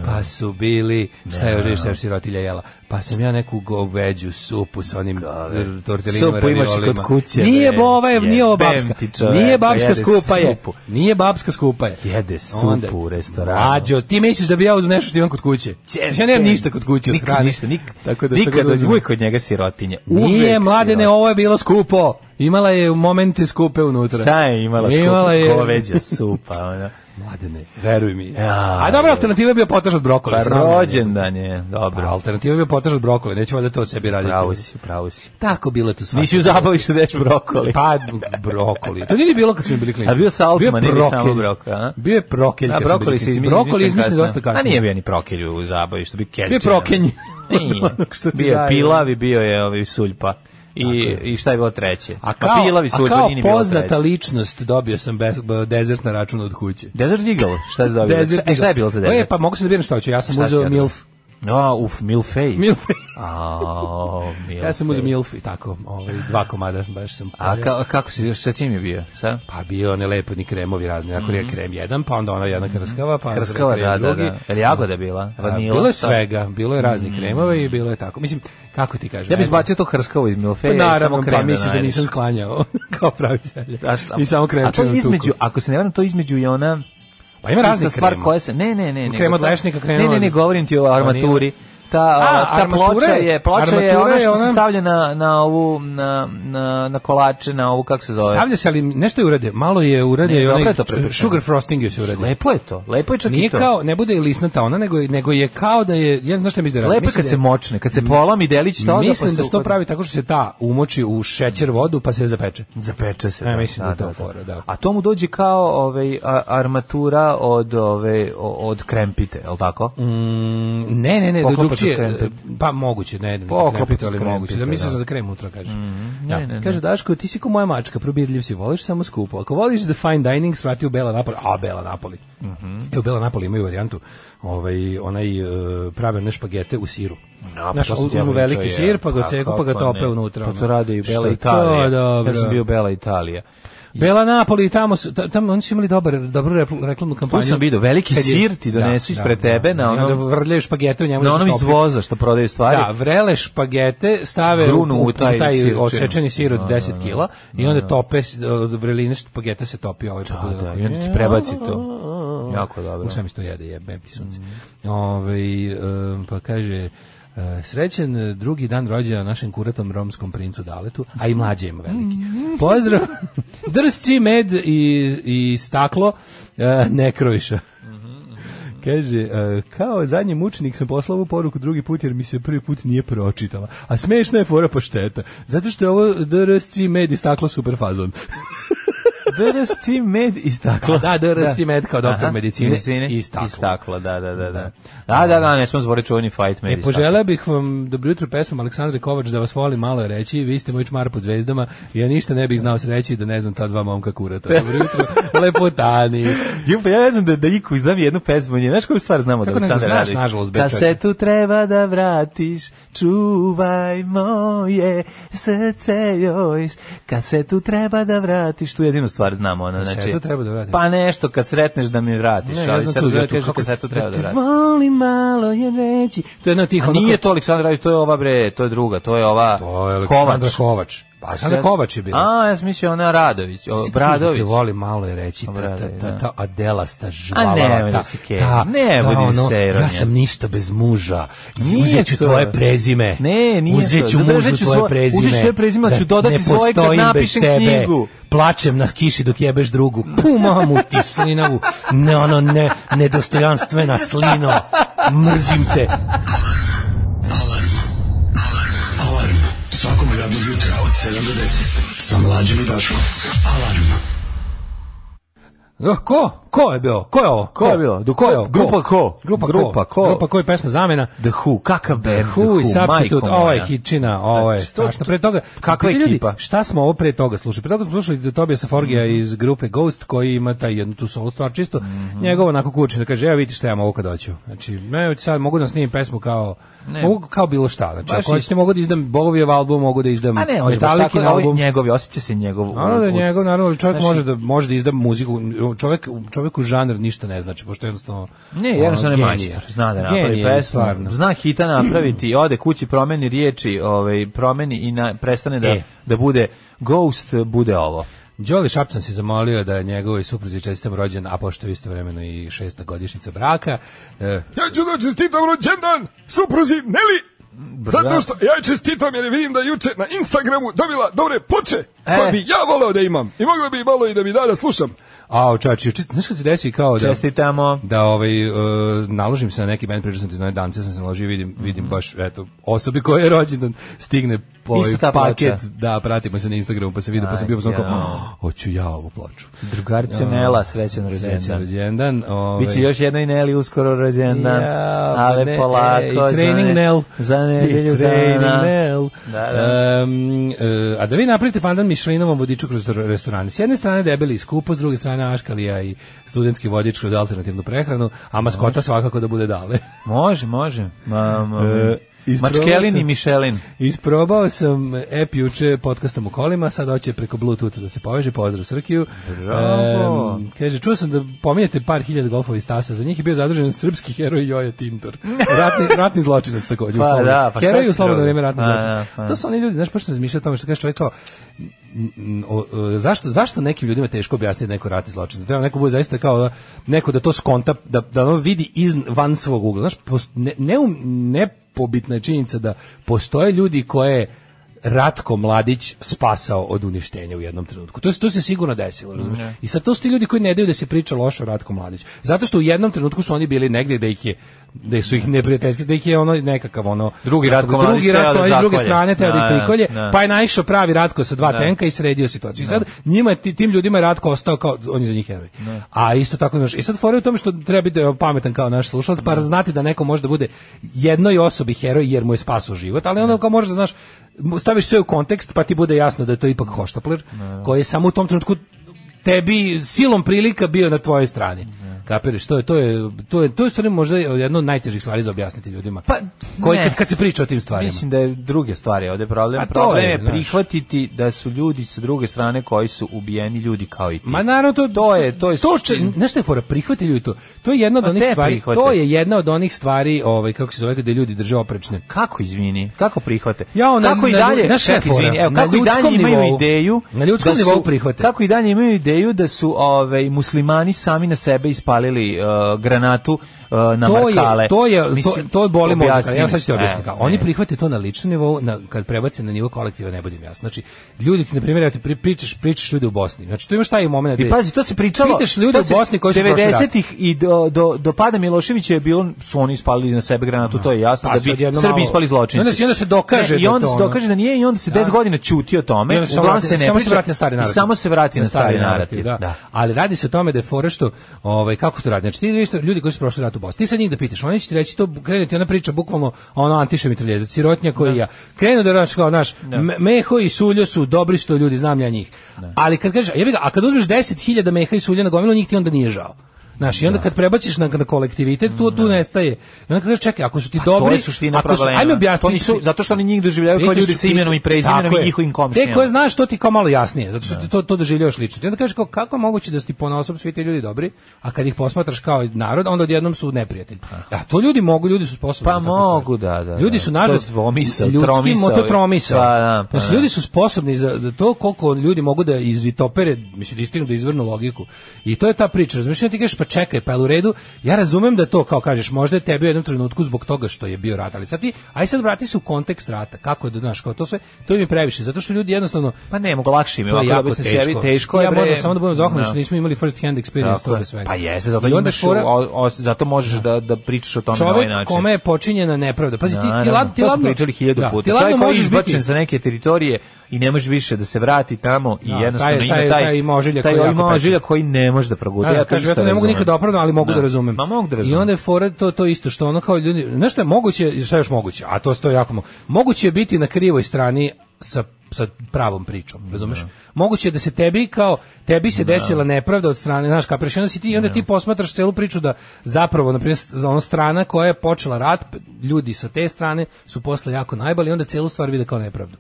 S6: Pa su bili, šta je još šta je još sirotilja jela? Pa sam ja neku goveđu supu sa onim r- tortellinama,
S5: Supu imaš i
S6: raviolima.
S5: kod kuće,
S6: Nije
S5: bre.
S6: bova, je, nije ovo
S5: Jebem
S6: babska.
S5: ti, čoveče,
S6: Nije babska
S5: jede
S6: skupa je.
S5: supu.
S6: Nije babska skupa je.
S5: Jede supu
S6: Onda-
S5: u restoranu.
S6: Mlađo, ti misliš da bi ja uzeo nešto što imam kod kuće? Ja nemam ništa kod kuće od
S5: nikad,
S6: hrane.
S5: Ništa, nikad,
S6: Tako da šta
S5: nikad,
S6: god uzmem.
S5: uvijek kod njega sirotinje.
S6: Nije,
S5: Uvek ono-
S6: mladene,
S5: sirotinje.
S6: ovo je bilo skupo. Imala je momente skupe unutra.
S5: Šta je imala skupa?
S6: Imala je-
S5: Goveđa supa. Ono.
S6: Mladene, veruj mi.
S5: Ja.
S6: A dobra alternativa je bio potaž od brokola.
S5: Pa
S6: znam ja.
S5: rođendan je,
S6: Pa,
S5: dobro.
S6: alternativa je bio potaž od brokola, neću valjda to sebi raditi.
S5: Pravo si, pravo si. Pa
S6: Tako bilo je tu svašta.
S5: Nisi u zabavi što deš brokoli.
S6: Pa, brokoli. To nije ni bilo kad smo bili klinci.
S5: A bio salcman ili
S6: prokelj.
S5: samo brokoli, a?
S6: Bio je prokelj.
S5: Da,
S6: kad smo bili
S5: brokoli se
S6: klinci.
S5: izmišljen.
S6: Brokoli je izmišljen dosta kasnije.
S5: A nije bio ni prokelj u zabavi, što bi keljčina.
S6: Bio je prokenj.
S5: ono. Nije.
S6: Što ti
S5: Bio je
S6: daje.
S5: pilav i bio je ovaj suljpa. i, i šta je bilo treće.
S6: A
S5: Pa
S6: kao,
S5: pilavi su
S6: a
S5: u
S6: kao
S5: Udbanini bilo
S6: poznata
S5: treće.
S6: ličnost dobio sam bez, b- dezert na račun od kuće.
S5: Desert Eagle, šta je dobio?
S6: Desert
S5: Desert, e, šta je bilo za
S6: Eagle.
S5: desert?
S6: E, pa mogu se da biram što hoću, ja sam
S5: Šta si
S6: uzeo
S5: jedno?
S6: milf.
S5: No, uf, Milfej.
S6: Milf.
S5: Au, Milfej.
S6: ja sam uzeo milf i tako, ovaj, dva komada, baš sam.
S5: A ka, kako si, sa čim je bio? Sa?
S6: Pa bio one lepo ni kremovi razni, ako je krem jedan, pa onda ona jedna krskava, pa onda
S5: Mhm. Krskava,
S6: krem
S5: da, da,
S6: drugi.
S5: da. Jel jagoda bila?
S6: A,
S5: Vanila?
S6: bilo je
S5: šta?
S6: svega, bilo je raznih kremova i bilo je tako. Mislim, kako ti kažem?
S5: Ja bih
S6: eto.
S5: izbacio to hrskavo iz
S6: Pa
S5: Milfeja. i
S6: naravno,
S5: samo krem
S6: pa misliš da
S5: najdeš.
S6: nisam sklanjao kao pravi selje.
S5: A šta-
S6: I samo krem
S5: A to je
S6: čujem tuku.
S5: između, ako se ne varam, to je između i ona...
S6: Pa ima raznih
S5: ista stvar
S6: krema.
S5: koja se... Ne, ne, ne.
S6: Krem
S5: nego-
S6: od lešnika, krem
S5: Ne, ne,
S6: od-
S5: ne, govorim ti o armaturi. Ta,
S6: A,
S5: a, ta
S6: armatura
S5: ploča
S6: je-
S5: je, ploča je
S6: armatura
S5: ona
S6: je
S5: što se
S6: ona-
S5: stavlja na, na ovu, na, na, na kolače, na ovu, kako se zove?
S6: Stavlja se, ali nešto je urade. Malo je urade
S5: Ne,
S6: i
S5: dobro
S6: onaj
S5: je to prepričano.
S6: sugar frosting je se urade.
S5: Lepo je to, lepo je čak
S6: Nije
S5: i to.
S6: kao, ne bude i lisnata ona, nego, nego je kao da je, ja znam šta mislim da radi.
S5: Lepo je
S6: Mislim
S5: kad
S6: da
S5: se
S6: je-
S5: močne, kad se polami delić toga,
S6: Mislim
S5: pa
S6: da se to
S5: uhvati.
S6: pravi tako što se ta umoči u šećer vodu pa se zapeče.
S5: Zapeče se.
S6: E, mislim da je to fora, da.
S5: A to mu dođe kao ovaj, a- armatura od, ove, o- od krempite, je li tako?
S6: Mm, ne, ne, ne,
S5: Poklopac od
S6: drugčije,
S5: krempit.
S6: pa moguće, ne, ne,
S5: Poklopac
S6: ne,
S5: od
S6: ali
S5: krempita,
S6: moguće. Da mislim
S5: da. Mhm,
S6: za krem utra kažeš.
S5: ne, ne, ne.
S6: Kaže Daško, ti si kao moja mačka, probirljiv si, voliš samo skupo. Ako voliš the fine dining, svrati u Bela Napoli. A Bela Napoli.
S5: Mhm.
S6: E, u Bela Napoli imaju varijantu, ovaj onaj e, prave one špagete u siru.
S5: Da,
S6: Znaš,
S5: pa to su
S6: uzmu
S5: djelovi, to
S6: veliki
S5: je,
S6: sir, pa ga
S5: a
S6: ceku, pa ga
S5: kako
S6: tope
S5: ne.
S6: unutra.
S5: Pa
S6: ono.
S5: to radi i
S6: Što
S5: Bela
S6: je
S5: Italija.
S6: To, dobro.
S5: Ja sam bio Bela Italija.
S6: Bela Napoli i tamo su, ta- tamo oni su imali dobar, dobru repl- reklamnu kampanju.
S5: sam vidio, veliki
S6: Kad je-
S5: sir ti donesu ispred tebe na
S6: I onda
S5: onom-
S6: vrljaju špagete u njemu. da
S5: Na
S6: se
S5: onom iz
S6: topi.
S5: voza što prodaju stvari.
S6: Da, vrele špagete stave
S5: Grunu
S6: u, u,
S5: u
S6: u
S5: taj
S6: taj, taj
S5: sirčin.
S6: odsečeni sir od 10 kila i onda tope, s- od vreline špageta se topi ovaj E,
S5: Da, da, i onda ti prebaci to. Jako dobro. Mm.
S6: U sam isto jede, jebe Oh. mi sunce. Ovaj, em, pa kaže, e, srećen e, drugi dan rođena našem kuratom romskom princu Daletu, a i mlađe ima veliki.
S5: Mm.
S6: Pozdrav, drsci med i, i staklo, e, ne krojša.
S5: Mhm,
S6: Kaže, e, kao zadnji mučenik sam poslao ovu poruku drugi put jer mi se prvi put nije pročitala. A smešna je fora pošteta. Zato što je ovo drsci med i staklo super fazon.
S5: DRSC med i staklo.
S6: Da, DRSC med kao doktor medicine i
S5: i
S6: staklo.
S5: staklo. I staklo, da, da, da. Da, da, da, da ne smo zbori čuveni fight med i
S6: E,
S5: staklo.
S6: poželeo bih vam dobro jutro pesmom Aleksandre Kovač da vas volim malo je reći, vi ste moj čmar pod zvezdama, ja ništa ne bih znao sreći da ne znam ta dva momka kurata. Dobro jutro, lepotani.
S5: Ju, pa ja ne znam da, da iku znam jednu pesmu nje. Znaš koju stvar znamo da
S6: Kako ne
S5: Aleksandar
S6: znaš,
S5: Radić?
S6: nažalost, Bečar.
S5: Kasetu treba da vratiš, čuvaj moje srce jojš. Kasetu treba da vratiš, tu jedinu stvar znamo. Ona, znači,
S6: Kasetu treba da vratiš?
S5: Pa nešto kad sretneš da mi vratiš.
S6: Ne,
S5: Ne,
S6: ja
S5: ali
S6: znam
S5: sad
S6: tu,
S5: uzeo
S6: ja tu,
S5: kaže
S6: kako-
S5: kasetu treba da
S6: te
S5: vratiš.
S6: volim malo je reći. To je jedna od tih
S5: A
S6: onako-
S5: nije to Aleksandar Radić, to je ova bre, to je druga, to je ova
S6: To je Aleksandra
S5: Kovač.
S6: Kovač. Kovač. Pa Aleksandra Kovač je bila.
S5: A, ja sam mislio ona Radović, o,
S6: Mislim, čuš da
S5: Bradović.
S6: Te volim malo je reći, ta, ta,
S5: Obradović,
S6: ta,
S5: da.
S6: ta adelasta žvala.
S5: A nemoj da si Keri, nemoj da si sejronja.
S6: ono, Ja sam ništa bez muža.
S5: Nije
S6: Uzet ću
S5: to.
S6: tvoje prezime.
S5: Ne, nije
S6: Uzet
S5: to.
S6: ću
S5: Zadržat
S6: mužu
S5: ću
S6: tvoje
S5: svoje-
S6: prezime.
S5: uzet ću svoje prezime, ali
S6: Da
S5: ću dodati
S6: ne
S5: svoje kad
S6: postojim bez
S5: napišem
S6: tebe.
S5: knjigu.
S6: Plačem na kiši dok jebeš drugu. Pumam u ti slinavu. Ne, ono, ne, nedostojanstvena slino. Mrzim te.
S1: Svakog radnog jutra od 7 do 10. Sa mlađim i Daškom. Alarm.
S6: No, Eh, ko? Ko je bio? Ko je ovo? Ko,
S5: je bio? Do-
S6: Ko je ovo?
S5: Grupa Ko?
S6: Grupa Ko?
S5: Grupa Ko?
S6: Grupa Ko je pesma zamena.
S5: The Who, kakav band, The
S6: Who i Substitute, Ovaj
S5: majko moja.
S6: ovo je hitčina, ovo je
S5: Znači, to-
S6: strašno. Pre toga,
S5: Kakva
S6: ljudi,
S5: ekipa? Mhm.
S6: Šta smo ovo pre toga slušali? Pre toga smo slušali Tobiasa Forgija iz grupe Ghost koji ima taj jednu tu solo stvar čisto.
S5: Mhm.
S6: Njegovo onako kurčin da kaže, evo vidi šta ja mogu kad hoću. Znači, ne, sad mogu da snimim pesmu kao
S5: Ne.
S6: Mogu kao bilo šta, znači
S5: Baš
S6: ako hoćete
S5: isto.
S6: mogu da izdam Bogovijev album, mogu da izdam
S5: A ne, on je baš
S6: Metallikin
S5: tako, ovo je
S6: album.
S5: njegov, osjeća se njegov.
S6: Naravno da je
S5: utjecaj.
S6: njegov, naravno, ali čovjek
S5: Znaš,
S6: može da može da izda muziku, čovjek čovjeku žanr ništa ne znači, pošto jednostavno
S5: Ne,
S6: ono,
S5: jednostavno je
S6: genije.
S5: majstor, zna da napravi
S6: Genije,
S5: pesmu,
S6: stvarno.
S5: zna hita napraviti, ode kući, promeni riječi, ovaj, promeni i na, prestane da,
S6: E.
S5: da bude ghost, bude ovo.
S6: Đoli Šapsan se zamolio da njegovoj supruzi čestitam rođen, a pošto je istovremeno i šesta godišnjica braka. E,
S7: Ja ću da čestitam rođendan supruzi Neli. Zato što ja joj čestitam jer vidim da je juče na Instagramu dobila dobre ploče koje
S5: E.
S7: bi ja volao da imam i mogla bi malo i da mi da da slušam.
S6: a, čači, čit- znaš kad se desi kao da...
S5: Čestitamo.
S6: da ovaj e, naložim se na neki band pričao sam ti na dance sam se naložio vidim vidim baš eto osobi koja je rođendan stigne ovaj
S5: Mhm. Ista ta
S6: paket,
S5: ploča.
S6: da, pratimo se na Instagramu, pa se vidi, pa sam bio
S5: Aj,
S6: sam kao,
S5: jao.
S6: "Oh, hoću ja ovu ploču.
S5: Drugarice Nela, srećan
S6: Srećan
S5: rođendan.
S6: rođendan. Ovaj,
S5: Biće još jedna i Neli uskoro rođendan.
S6: Ja, pa
S5: ali
S6: ne,
S5: polako.
S6: e,
S5: za
S6: I training
S5: ne-
S6: Nel.
S5: Za
S6: I
S5: nedelju
S6: training
S5: dana.
S6: Nel.
S5: Da, da.
S6: Um, e, a da vi napravite pandan Mišlinovom vodiču kroz r- restoran. S jedne strane debeli i skupo, s druge strane Aškalija i studentski vodič kroz alternativnu prehranu, a maskota svakako da bude dale.
S5: Može, može. Ma, ma,
S6: E, isprobao
S5: Mačkelin i
S6: sam-
S5: Mišelin.
S6: Isprobao sam app juče podcastom u kolima, sad hoće preko Bluetootha da se poveže, pozdrav Srkiju.
S5: Bravo.
S6: Em, kaže, čuo sam da pominjate par hiljada golfovi stasa, za njih je bio zadržen srpski heroj Joja Tintor. Ratni, ratni zločinac takođe. u
S5: Pa
S6: slobodno-
S5: da, pa šta
S6: heroj
S5: si
S6: u slobodno
S5: drugo?
S6: vreme ratni
S5: Pa da,
S6: zločinac.
S5: pa.
S6: To su oni ljudi, znaš, pa što razmišljao o tome što kaže čovjek kao, n- n- o, o, zašto, zašto nekim ljudima je teško objasniti neko ratni zločin? Treba neko bude zaista kao da- neko da to skonta, da, da ono vidi iz, van svog ugla. Znaš, pos- ne, neum- nepobitna je činjenica da postoje ljudi koje je Ratko Mladić spasao od uništenja u jednom trenutku. To se, to se sigurno desilo,
S5: Mm,
S6: razumiješ? I sad to su ti ljudi koji ne daju da se priča loše o Ratku Mladiću. Zato što u jednom trenutku su oni bili negdje da ih je da su ih neprijateljski, da ih je ono nekakav ono
S5: Drugi Ratko
S6: kako bi-
S5: Mladić
S6: drugi
S5: teo
S6: Ratko
S5: da
S6: Mladić s druge
S5: zakolje.
S6: strane teo da
S5: Da,
S6: ih
S5: da,
S6: prikolje,
S5: da.
S6: pa je naišao pravi Ratko sa dva tenka i sredio situaciju. I sad njima je ti- tim ljudima je Ratko ostao kao on je za njih heroj. A isto tako znaš, i sad fora je u tome što treba biti evo, pametan kao naš slušalac, pa znati da neko može da bude jednoj osobi heroj jer mu je spasao život, ali onda kao možeš da znaš staviš sve u kontekst pa ti bude jasno da je to ipak hoštapler koji je samo u tom trenutku tebi silom prilika bio na tvojoj strani. Kapiraš, to je to je to je to je u stvari možda jedno od najtežih stvari za objasniti ljudima.
S5: Pa,
S6: koji
S5: ne.
S6: kad, kad se priča o tim stvarima.
S5: Mislim da je druge stvari ovde problem.
S6: A to
S5: problem
S6: je,
S5: je,
S6: znaš.
S5: prihvatiti da su ljudi sa druge strane koji su ubijeni ljudi kao i ti.
S6: Ma naravno to
S5: To je- to je
S6: to če,
S5: suština.
S6: nešto je fora prihvati ljudi to. To je jedna od
S5: Ma
S6: onih
S5: te
S6: stvari.
S5: prihvate.
S6: To je jedna od onih stvari, ovaj kako se zove kada ljudi drže oprečne.
S5: Kako izvini? Kako prihvate?
S6: Jao, na-
S5: kako i
S6: na
S5: dalje?
S6: lju- znaš šta je
S5: Čekaj, izvini,
S6: fora?
S5: evo,
S6: Na
S5: kako i dalje
S6: ljudskom
S5: imaju
S6: nivou-
S5: ideju?
S6: na ljudskom
S5: da su-
S6: nivou prihvate.
S5: Kako i dalje imaju ideju da su ovaj muslimani sami na sebe ispalili uh, granatu uh, na
S6: to
S5: markale?
S6: je to je
S5: Mislim,
S6: to, to boli mozak.
S5: objasni
S6: Ja
S5: mi.
S6: sad ću ti objasniti
S5: E,
S6: kako. Oni
S5: e.
S6: prihvate to na ličnom nivou, na kad prebace na nivo kolektiva ne budem jasno. Znači, ljudi ti na primjer ja ti pri- pričaš pričaš ljudi u Bosni. Znači, tu imaš taj momenat.
S5: I
S6: gde-
S5: pazi, to se pričalo.
S6: Pitaš ljude
S5: to
S6: u
S5: se
S6: Bosni koji su prošli rat.
S5: 90-ih i do, do, do pada Miloševića je bilo, su oni ispalili na sebe granatu, to je jasno,
S6: Pa
S5: da
S6: sad
S5: bi
S6: jedno
S5: Srbi
S6: malo-
S5: ispali zločinci.
S6: I onda se- i onda se dokaže
S5: Ne, I
S6: da
S5: onda
S6: to
S5: se
S6: ono-
S5: dokaže da nije i onda se 10 godina ćuti o
S6: I
S5: tome,
S6: onda se samo
S5: uglavnom
S6: vrati-
S5: se ne
S6: samo se
S5: priča.
S6: vrati na stari narativ.
S5: I samo se vrati na stari narativ.
S6: Da.
S5: Da.
S6: Ali radi se o tome da je fora što, ovaj, kako to radi. Znači, ti vidiš ljudi koji su prošli rat u Bosni, ti sad njih da pitaš, oni će ti reći, to krenuti, ona priča bukvalno ono antiša mitraljezac, sirotnja koji ja. Krenu da radiš kao, znaš, me- meho i suljo su dobri sto ljudi, znam ja njih. Ali kad kažeš, jebi ga, a kad uzmeš 10.000 meha i sulja na gomilu, njih ti onda nije žao. Znaš, i onda kad prebaciš na, na kolektivitet, tu, tu nestaje. I onda kad kažeš, čekaj, ako su ti
S5: Pa To
S6: dobri...
S5: je suština
S6: ako su,
S5: problema.
S6: ajme
S5: To
S6: objasni,
S5: nisu, zato što oni njih doživljavaju kao
S6: Vidiš,
S5: ljudi sa imenom i
S6: Tako
S5: prezimenom
S6: je.
S5: i njihovim
S6: Te koje
S5: komšijama.
S6: znaš, to ti kao malo jasnije, zato što ti to, to doživljavaš lično. Ti onda kažeš kao, kako je moguće da su ti ponosom svi ti ljudi dobri, a kad ih posmatraš kao narod, onda odjednom su neprijatelji. A to ljudi mogu, ljudi su sposobni.
S5: Pa
S6: za takve stvari.
S5: mogu, da, da,
S6: Ljudi
S5: da.
S6: su nažalost
S5: To je dvomisao,
S6: ljudski
S5: tromisao.
S6: moto tromisao.
S5: Pa, da, pa,
S6: Znači,
S5: da.
S6: ljudi su sposobni za, za to koliko ljudi mogu da izvitopere, mislim, da istignu da izvrnu logiku. I to je ta priča. Razumiješ, ti kažeš, pa čekaj, pa je u redu, ja razumem da to, kao kažeš, možda je tebi u jednom trenutku zbog toga što je bio rat, ali sad ti, aj sad vrati se u kontekst rata, kako je, da, znaš, kao to sve, to im je previše, zato što ljudi jednostavno,
S5: Pa ne, mogu lakše im je
S6: to je
S5: ovako da
S6: jako
S5: bi se sebi
S6: teško.
S5: teško. je,
S6: ja
S5: bre.
S6: moram samo da budem zahvalan
S5: Da.
S6: što nismo imali first hand experience
S5: Tako je.
S6: toga svega.
S5: Pa jeste, zato
S6: I onda
S5: imaš,
S6: fora-
S5: o- o- zato možeš da, da pričaš o tome na ovaj način.
S6: čovjek kome je počinjena nepravda. Pazi, ti, ti,
S5: Naravno,
S6: lad, ti
S5: to smo
S6: ladno-
S5: pričali hiljadu
S6: da,
S5: puta.
S6: Ti ladno
S5: Čovjek koji je
S6: možeš biti
S5: izbačen sa neke teritorije i ne može više da se vrati tamo i
S6: Da,
S5: jednostavno
S6: taj-
S5: ima
S6: taj-
S5: taj,
S6: taj možilja
S5: taj
S6: koji
S5: ovaj
S6: jako
S5: možilja koji ne može da progodi.
S6: Da, da,
S5: ja to
S6: kažem,
S5: isto
S6: ja to ne mogu
S5: razumem.
S6: nikad opravdam, ali mogu da,
S5: Da.
S6: razumem.
S5: Ma mogu da razumem.
S6: I onda je fora to, to isto, što ono kao ljudi, znaš šta je moguće, šta je još moguće, a to stoji jako moguće, moguće je biti na krivoj strani sa sa pravom pričom, razumeš? Moguće je da se tebi kao tebi se desila nepravda od strane, znaš, kao prešeno si ti i onda ti posmatraš celu priču da zapravo na primjer ona strana koja je počela rat, ljudi sa te strane su posle jako najbali i onda celu stvar vide kao nepravdu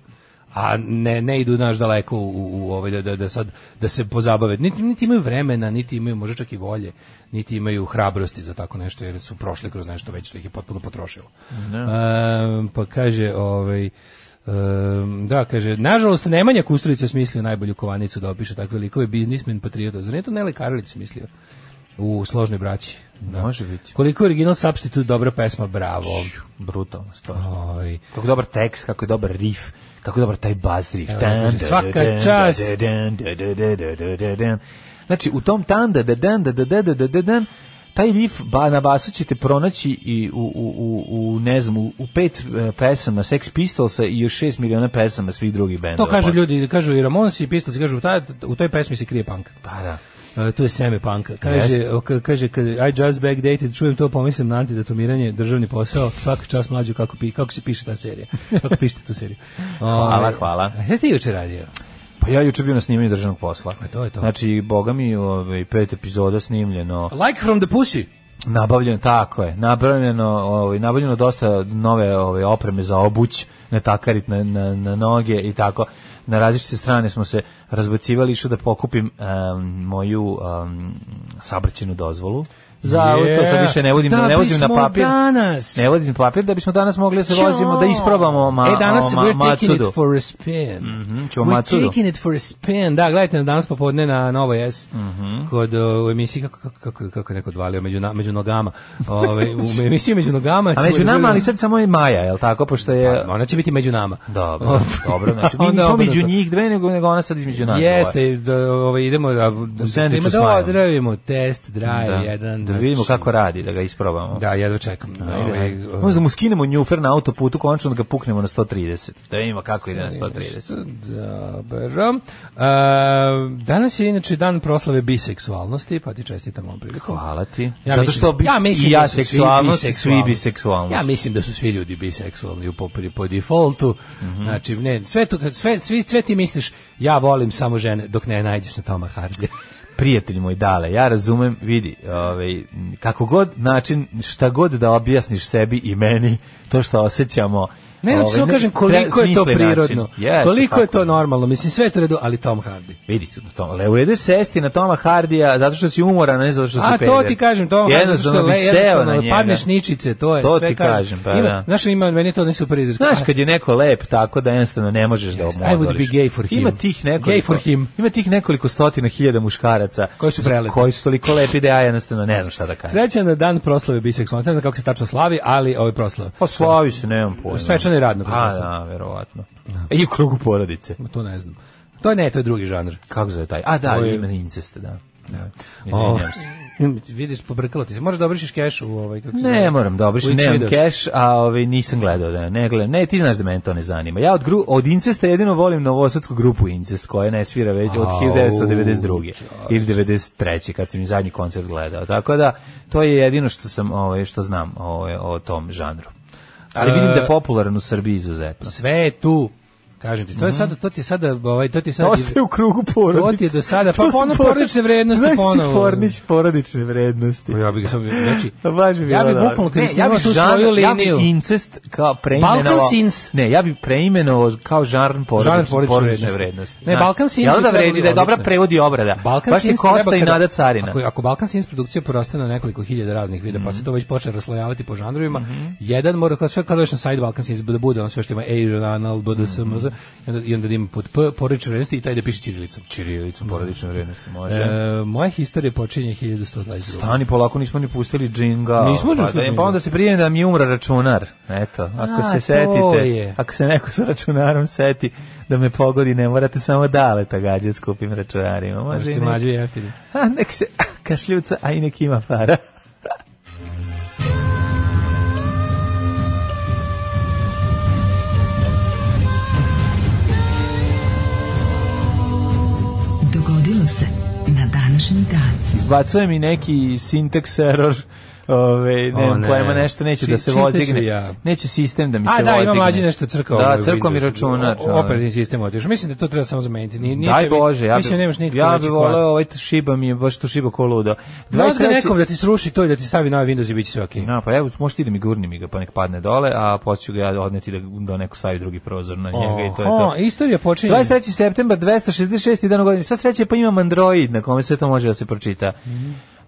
S6: a ne, ne idu naš daleko u, u, u ovaj da, da, da sad da se pozabave niti, niti imaju vremena niti imaju možda čak i volje niti imaju hrabrosti za tako nešto jer su prošli kroz nešto već što ih je potpuno potrošilo Ehm, pa kaže ovaj ehm, da, kaže, nažalost Nemanja Kusturica smislio najbolju kovanicu da opiše takve likove, biznismen, patriota, zar nije to Nele Karlić smislio u Složnoj braći? Da.
S5: Može biti.
S6: Koliko je original Substitute dobra pesma, bravo.
S5: Brutalno stvar.
S6: Oj.
S5: Kako dobar tekst, kako je dobar riff, kako je dobar taj bas riff.
S6: Evo,
S5: Dan,
S6: kaže,
S5: da,
S6: svaka
S5: da, dan,
S6: čast.
S5: da, dan, da, da, da, da, da, da, dan. Znači, u tom tan, da, da, dan, da, da, da, da, da, dan, taj riff ba, na basu ćete pronaći i u, u, u, u ne znam, u, u pet e, pesama Sex Pistolsa i još šest miliona pesama svih drugih bendova.
S6: To kažu
S5: posle.
S6: ljudi, kažu i Ramonsi i Pistolci, kažu ta, u toj pesmi se krije punk.
S5: Pa da.
S6: E, tu je seme panka. Kaže,
S5: Jeste.
S6: o, ka- kaže, kad I just backdated, čujem to, pomislim na antidatomiranje, državni posao, svaka čast mlađu kako, pi, kako se piše ta serija. Kako pišete tu seriju.
S5: Hvala,
S6: Ovaj,
S5: hvala.
S6: a Šta ste juče radio?
S5: Pa ja juče bio na snimanju državnog posla.
S6: A E, to je to.
S5: Znači, boga mi, ovaj, pet epizoda snimljeno,
S6: Like from the pussy.
S5: nabavljeno, tako je, nabavljeno, ovaj, nabavljeno dosta nove ovaj, opreme za obuć, na takarit, na, na, na noge i tako. Na različite strane smo se razbacivali, išao da pokupim em, moju um, sabraćenu dozvolu. Za
S6: Yeah.
S5: auto, sad više ne vodim,
S6: Da
S5: ne vodim na
S6: bismo
S5: papir.
S6: danas.
S5: Ne vodim papir da bismo danas mogli da se vozimo, da isprobamo ma,
S6: e, danas
S5: o, ma,
S6: we're taking
S5: macudu.
S6: it for a spin.
S5: ćemo
S6: we're
S5: macudu.
S6: taking it for a spin. Da, gledajte na danas popodne na Novoj S.
S5: Mhm.
S6: Kod o, u emisiji, kako, kako, kako, kako je neko odvalio, među, na, među nogama. Ove, u emisiji među nogama.
S5: A
S6: ćemo
S5: među
S6: da
S5: nama,
S6: budemo-
S5: ali sad samo je Maja, je li tako? Pošto je...
S6: Ona će biti među nama.
S5: Dobro, dobro. Znači, mi
S6: Pa, Onda
S5: nismo
S6: obrnuto.
S5: među njih dve, nego, nego ona sad između nas. dvoje.
S6: Jeste, da, ovaj, idemo da, da,
S5: sendviču
S6: da,
S5: s Majom.
S6: odravimo test, drive,
S5: Da.
S6: jedan.
S5: da vidimo
S6: znači,
S5: kako radi, da ga isprobamo.
S6: Da, jedva čekam. Ovaj,
S5: Ajde, da. Možda mu skinemo njufer na autoputu, konačno da ga puknemo na 130. Da vidimo kako ide na 130.
S6: Dobro. E, danas je inače dan proslave biseksualnosti, pa ti čestitam ovom priliku.
S5: Hvala ti.
S6: Ja
S5: Zato
S6: mislim-
S5: što bi
S6: ja mislim
S5: i ja
S6: da su svi
S5: seksualnost, i svi
S6: biseksualni.
S5: biseksualnost.
S6: Ja mislim da su svi ljudi biseksualni u po, po defaultu.
S5: Mhm.
S6: Znači, ne, sve, to, sve, svi, sve ti misliš, ja volim samo žene, dok ne nađeš na Toma Hardija.
S5: Prijatelj moj, dale, ja razumem, vidi, ovaj, kako god način, šta god da objasniš sebi i meni, to što osjećamo,
S6: Ne, hoću samo kažem koliko je to
S5: smislen način.
S6: prirodno,
S5: Jeste,
S6: koliko je
S5: tako
S6: to normalno, mislim sve je to u redu, ali Tom Hardy.
S5: Vidi se na tom. Le u redu je sesti na Toma Hardija zato što si umoran, a ne zato što si
S6: A
S5: peder.
S6: to ti kažem, to
S5: Jednostavno bi seo na njega.
S6: Padneš ničice, to je
S5: To
S6: sve
S5: ti kažem, pa
S6: ima,
S5: da.
S6: Znaš, ima, meni je to ne super izraz.
S5: Znaš, kad je neko lep, tako da jednostavno ne možeš da
S6: Yes, I would
S5: omodoliš.
S6: be gay for him.
S5: Ima tih nekoliko,
S6: Gay for him.
S5: Ima tih nekoliko stotina hiljada muškaraca
S6: Koji su prelepi.
S5: Koji su toliko lepi da ja jednostavno ne znam šta da kažem.
S6: Srećan na dan proslave biseksualnosti, ne znam kako se tačno slavi, ali ovaj, ovo je proslava.
S5: Pa slavi se, nemam pojma.
S6: Svečano i
S5: A,
S6: radno, pretpostavljam.
S5: da, verovatno. I u krugu porodice.
S6: Ma, To ne znam. To je ne, to je drugi žanr.
S5: Kako zove taj? A, da,
S6: To je-
S5: ima inceste, da. da.
S6: O,
S5: Izvinjavam se.
S6: vidiš, pobrkalo ti se. Možeš da obrišiš keš u ovaj... Kako se
S5: Ne,
S6: zove?
S5: moram da
S6: U
S5: obrišem,
S6: X
S5: nemam
S6: videos.
S5: keš, a ovaj, nisam gledao da ne gledam. Ne, ti znaš da mene to ne zanima. Ja od, gru, od Incesta jedino volim novosadsku grupu Incest, koja ne svira već od
S6: Au,
S5: 1992. ili 93. kad sam i zadnji koncert gledao. Tako da, to je jedino što sam ovaj, što znam ovaj, o tom žanru. E, Ali vidim da je popularan u Srbiji izuzetno.
S6: Sve je tu. Kažem ti, to
S5: Mhm.
S6: je sada, to ti je sada, ovaj, to ti je sada...
S5: Ostaje u krugu porodice.
S6: To ti je do sada, pa
S5: To su
S6: ono
S5: poro-
S6: porodične vrednosti
S5: Znaš si
S6: ponovo.
S5: Fornić, porodične vrednosti.
S6: Ja bih ga sam, znači,
S5: Pa baš bi bilo
S6: ja bih
S5: dobro.
S6: bukvalno
S5: Ne,
S6: kad ja tu svoju
S5: žanr- Ja
S6: liniju.
S5: bih incest kao preimenovao.
S6: Balkan sins.
S5: Ne, ja bih preimenovao kao žanr porodične,
S6: Žanr porodične
S5: porodične
S6: vrednosti.
S5: vrednosti.
S6: Ne,
S5: Znaš,
S6: Balkan sins
S5: Jel
S6: bi
S5: da
S6: trebalo
S5: vredi, da je dobra
S6: odlično.
S5: prevodi obrada.
S6: Balkan
S5: baš ti
S6: Sins
S5: Kosta
S6: treba
S5: i
S6: kada-
S5: Nada Carina. Mhm.
S6: Ako, ako Balkan Sins produkcija poraste na nekoliko hiljada raznih videa, pa se to već počne raslojavati po žanrovima, jedan mora kao sve kada još na sajt Balkan Sins da bude, on sve što ima Asian, Anal, BDSM, mm
S5: Mhm.
S6: -hmm. i, onda, i onda da ima pod P, porodične vrednosti i taj da piše Čirilicom.
S5: Čirilicu porodične vrednosti, može.
S6: E, moja historija počinje 1122.
S5: Stani, polako nismo ni pustili džinga.
S6: Nismo
S5: pa,
S6: pustili
S5: da, pa
S6: džinga.
S5: onda se prije da mi umra računar. Eto, ako
S6: A,
S5: se
S6: to
S5: setite,
S6: je.
S5: ako se neko sa računarom seti da me pogodi, ne morate samo dale tagađe s kupim računarima. Može
S6: Možete
S5: i neki-
S6: mlađe jeftine.
S5: A nek se kašljuca, a i nek ima para.
S4: Dogodilo se na današnji dan.
S5: Izbacuje mi neki syntax error. Ove, ne,
S6: O,
S5: znam
S6: ne.
S5: pojma nešto neće
S6: Či-
S5: da se
S6: čitaću
S5: vodigne.
S6: ja.
S5: Neće sistem da mi se
S6: A
S5: vodigne.
S6: da, ima mlađi nešto crkao.
S5: Da,
S6: ovaj,
S5: crkao mi
S6: Windows.
S5: računar.
S6: O- Operativni sistem otišao. Mislim da to treba samo zameniti. Nije, nije
S5: Daj
S6: tebi-
S5: Bože, ja
S6: mislim, da nemaš
S5: bih
S6: nikakav
S5: ja
S6: veći
S5: bih
S6: plan.
S5: voleo znači- ovaj šiba mi je baš to šiba ko ludo.
S6: Znaš da
S5: 23.
S6: nekom da ti sruši to i da ti stavi novi Windows i bit će sve okej.
S5: Na, pa evo, možeš ti da mi gurni mi ga, pa nek padne dole, a poslije ću ga ja odneti da, da neko stavi drugi prozor na njega i to je to.
S6: Oho, Istorija počinje...
S5: 23. septembar 266. dan u godini. Sva sreće pa imam Android na kome sve to može da se pročita.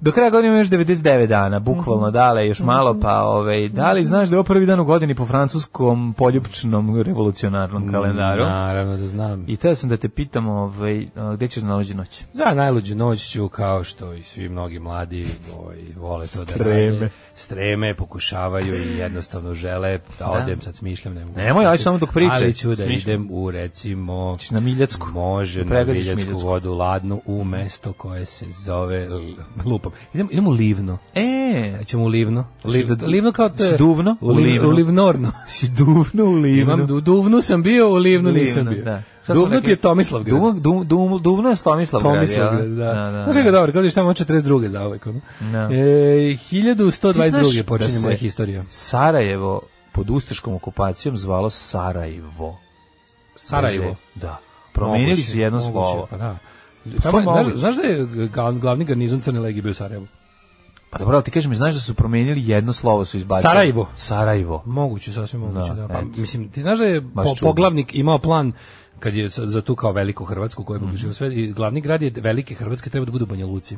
S5: Do kraja godine ima još 99 dana, bukvalno dale, još malo, pa ovaj, da li znaš da je ovo prvi dan u godini po francuskom poljupčnom revolucionarnom kalendaru?
S6: Naravno Mhm. da znam.
S5: I teo sam da te pitam, ovaj, a, gde ćeš na lođu noć?
S6: Za najluđu noć ću, kao što i svi mnogi mladi ovaj, vole to da
S5: Streme.
S6: rade. Streme, pokušavaju i jednostavno žele da odem, sad smišljam. Ne mogu
S5: Nemoj,
S6: sad-
S5: aj samo dok pričaj.
S6: Ali ću da
S5: Smišljam.
S6: idem u, recimo...
S5: Ćeš na Miljacku.
S6: Može, na
S5: Pregaziš
S6: Miljacku
S5: Miljacku.
S6: vodu ladnu u mesto koje se zove L- Lupa Srpskom. Idemo, idemo u Livno.
S5: E,
S6: E, ćemo u Livno. Liv,
S5: da-
S6: livno kao to je...
S5: Siduvno?
S6: U, liv,
S5: Livno.
S6: u Livnorno.
S5: si duvno u livnu.
S6: Imam, du, duvnu sam bio, u Livnu, nisam bio.
S5: Da. Šta smo
S6: Duvno
S5: rekli?
S6: ti je Tomislav grad.
S5: Duvno, dum, dum, duvno je Tomislav grad.
S6: Tomislav grad, da.
S5: da, da,
S6: Znaš kako je dobro, kao da je šta 42. za uvek. ono.
S5: Da.
S6: E, 1122. počinje
S5: da
S6: moja
S5: se
S6: historija.
S5: Sarajevo pod ustaškom okupacijom zvalo Sarajevo.
S6: Sarajevo.
S5: Da. Promenili
S6: Moguće,
S5: su jedno
S6: moguće,
S5: slovo.
S6: Pa da.
S5: To
S6: Tamo,
S5: je
S6: je- znaš,
S5: moguće.
S6: znaš da je ga- glavni garnizon Crne legije bio u Sarajevu?
S5: Pa dobro, ali ti kažeš mi, znaš da su promenili jedno slovo su izbacili.
S6: Sarajevo.
S5: Sarajevo.
S6: Moguće, sasvim
S5: Da,
S6: moguće. Da, Pa,
S5: eto.
S6: mislim, ti znaš da je po,
S5: čudno.
S6: poglavnik imao plan kad je za za tu kao veliku Hrvatsku
S5: Mhm.
S6: koja je uključila sve i glavni grad je velike Hrvatske treba da budu Banja Luci.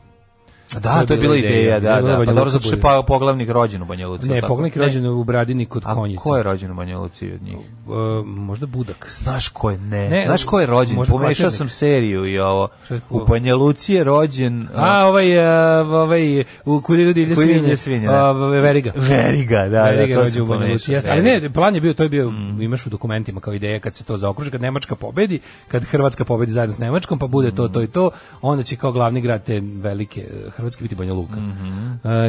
S5: Da, to je bila ideja, da,
S6: bila
S5: da.
S6: Banja
S5: Pa dobro,
S6: Luka
S5: zato što je
S6: bude.
S5: pa- poglavnik rođen u Banja Luci. je li
S6: Ne,
S5: tako? E,
S6: poglavnik je rođen u Bradini kod
S5: A
S6: Konjica.
S5: ko je rođen u Banja Luci od njih? Eh,
S6: E, možda Budak.
S5: Znaš ko je ne?
S6: Ne,
S5: Znaš ko je rođen?
S6: možda
S5: Pomešao
S6: Kvaternik.
S5: sam seriju i ovo.
S6: Šta je ko?
S5: U Banja Luci je rođen...
S6: A, ovaj, e, ovaj, u Kuljeru divlje
S5: Kuljeru
S6: svinje.
S5: divlje svinje, da.
S6: A, Veriga.
S5: Veriga, da,
S6: Veriga
S5: da, Mm. to
S6: rođe
S5: sam
S6: u Banja
S5: pomešao,
S6: Luci, jeste. Ali
S5: Veriga.
S6: ne, plan je bio, to je bio, imaš u dokumentima kao ideja kad se to zaokruži, kad Nemačka pobedi, kad Hrvatska pobedi zajedno s Nemačkom, pa bude to, to i to, onda će kao glavni grad te velike e, Hrvatske biti Banja Luka. Mm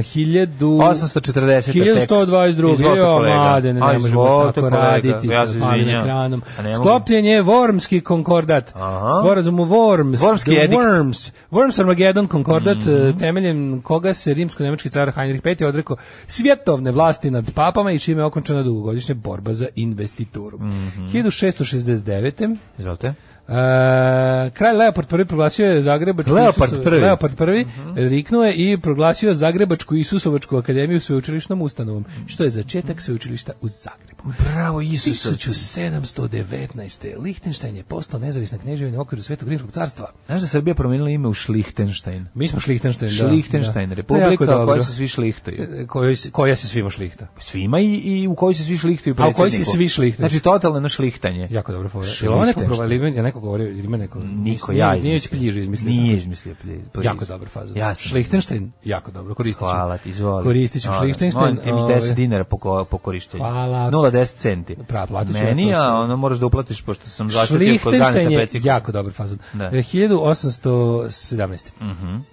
S6: hiljadu...
S5: 840. Mhm. tek.
S6: 1122.
S5: Izvolite,
S6: Jo,
S5: kolega.
S6: mlade, ne,
S5: A,
S6: ne možemo
S5: izvolite,
S6: tako
S5: kolega.
S6: raditi
S5: Ja se
S6: sa palim
S5: izvinjam.
S6: ekranom.
S5: A ne mogu.
S6: Sklopljen je Wormski konkordat.
S5: Aha.
S6: Sporazum u Worms.
S5: Wormski
S6: The
S5: edikt.
S6: Worms. Worms Armageddon konkordat,
S5: Mhm.
S6: eh, temeljem koga se rimsko-nemački car Heinrich V. odrekao svjetovne vlasti nad papama i čime je okončana dugogodišnja borba za investituru.
S5: Mhm.
S6: 1669.
S5: Izvolite.
S6: E, eh, kralj Leopard prvi proglasio je Zagrebačku
S5: Leopard
S6: Isusovu-
S5: prvi. Mhm.
S6: Leopard prvi eh, riknuo je i proglasio Zagrebačku Isusovačku akademiju sveučilišnom ustanovom,
S5: Mhm.
S6: što je začetak sveučilišta u Zagrebu.
S5: Bravo, Isusovci.
S6: 1719. Lichtenstein je postao nezavisna knježevina u okviru Svetog Rimskog carstva.
S5: Znaš da je Srbija promijenila ime u Šlihtenštajn?
S6: Mi smo Šlihtenštajn, da.
S5: Šlihtenštajn,
S6: da. To je
S5: republika
S6: jako
S5: u kojoj
S6: dobro.
S5: se svi šlihtaju.
S6: E, kojoj se- koja se svima šlihta.
S5: Svima i, i u kojoj se svi šlihtaju
S6: A u
S5: predsjedniku.
S6: kojoj se svi šlihtaju?
S5: Znači, totalno na šlihtanje.
S6: Jako dobro fora. Jel ovo neko
S5: Šlihtenštajn.
S6: provali, je neko govorio, ili ima neko...
S5: Niko,
S6: Nije-
S5: ja
S6: nije
S5: izmislio.
S6: Pljiž izmislio.
S5: Nije izmislio Pljiž. Pljiž.
S6: Jako dobra faza.
S5: Ja sam.
S6: Schlichtenstein, jako dobro, koristit ću.
S5: Hvala ti, izvoli.
S6: Koristit ću
S5: Ono,
S6: Schlichtenstein.
S5: Molim ti mi
S6: ovaj,
S5: 10 dinara po, ko- po korištenju.
S6: Hvala.
S5: 0,10 centi.
S6: Pra, platit ću
S5: Meni,
S6: ja to.
S5: a ono moraš da uplatiš, pošto sam zaštitio kod
S6: Schlichtenstein
S5: Ganeta
S6: je
S5: Pecika.
S6: jako dobar fazon.
S5: Da. Mhm.
S6: E, 1817.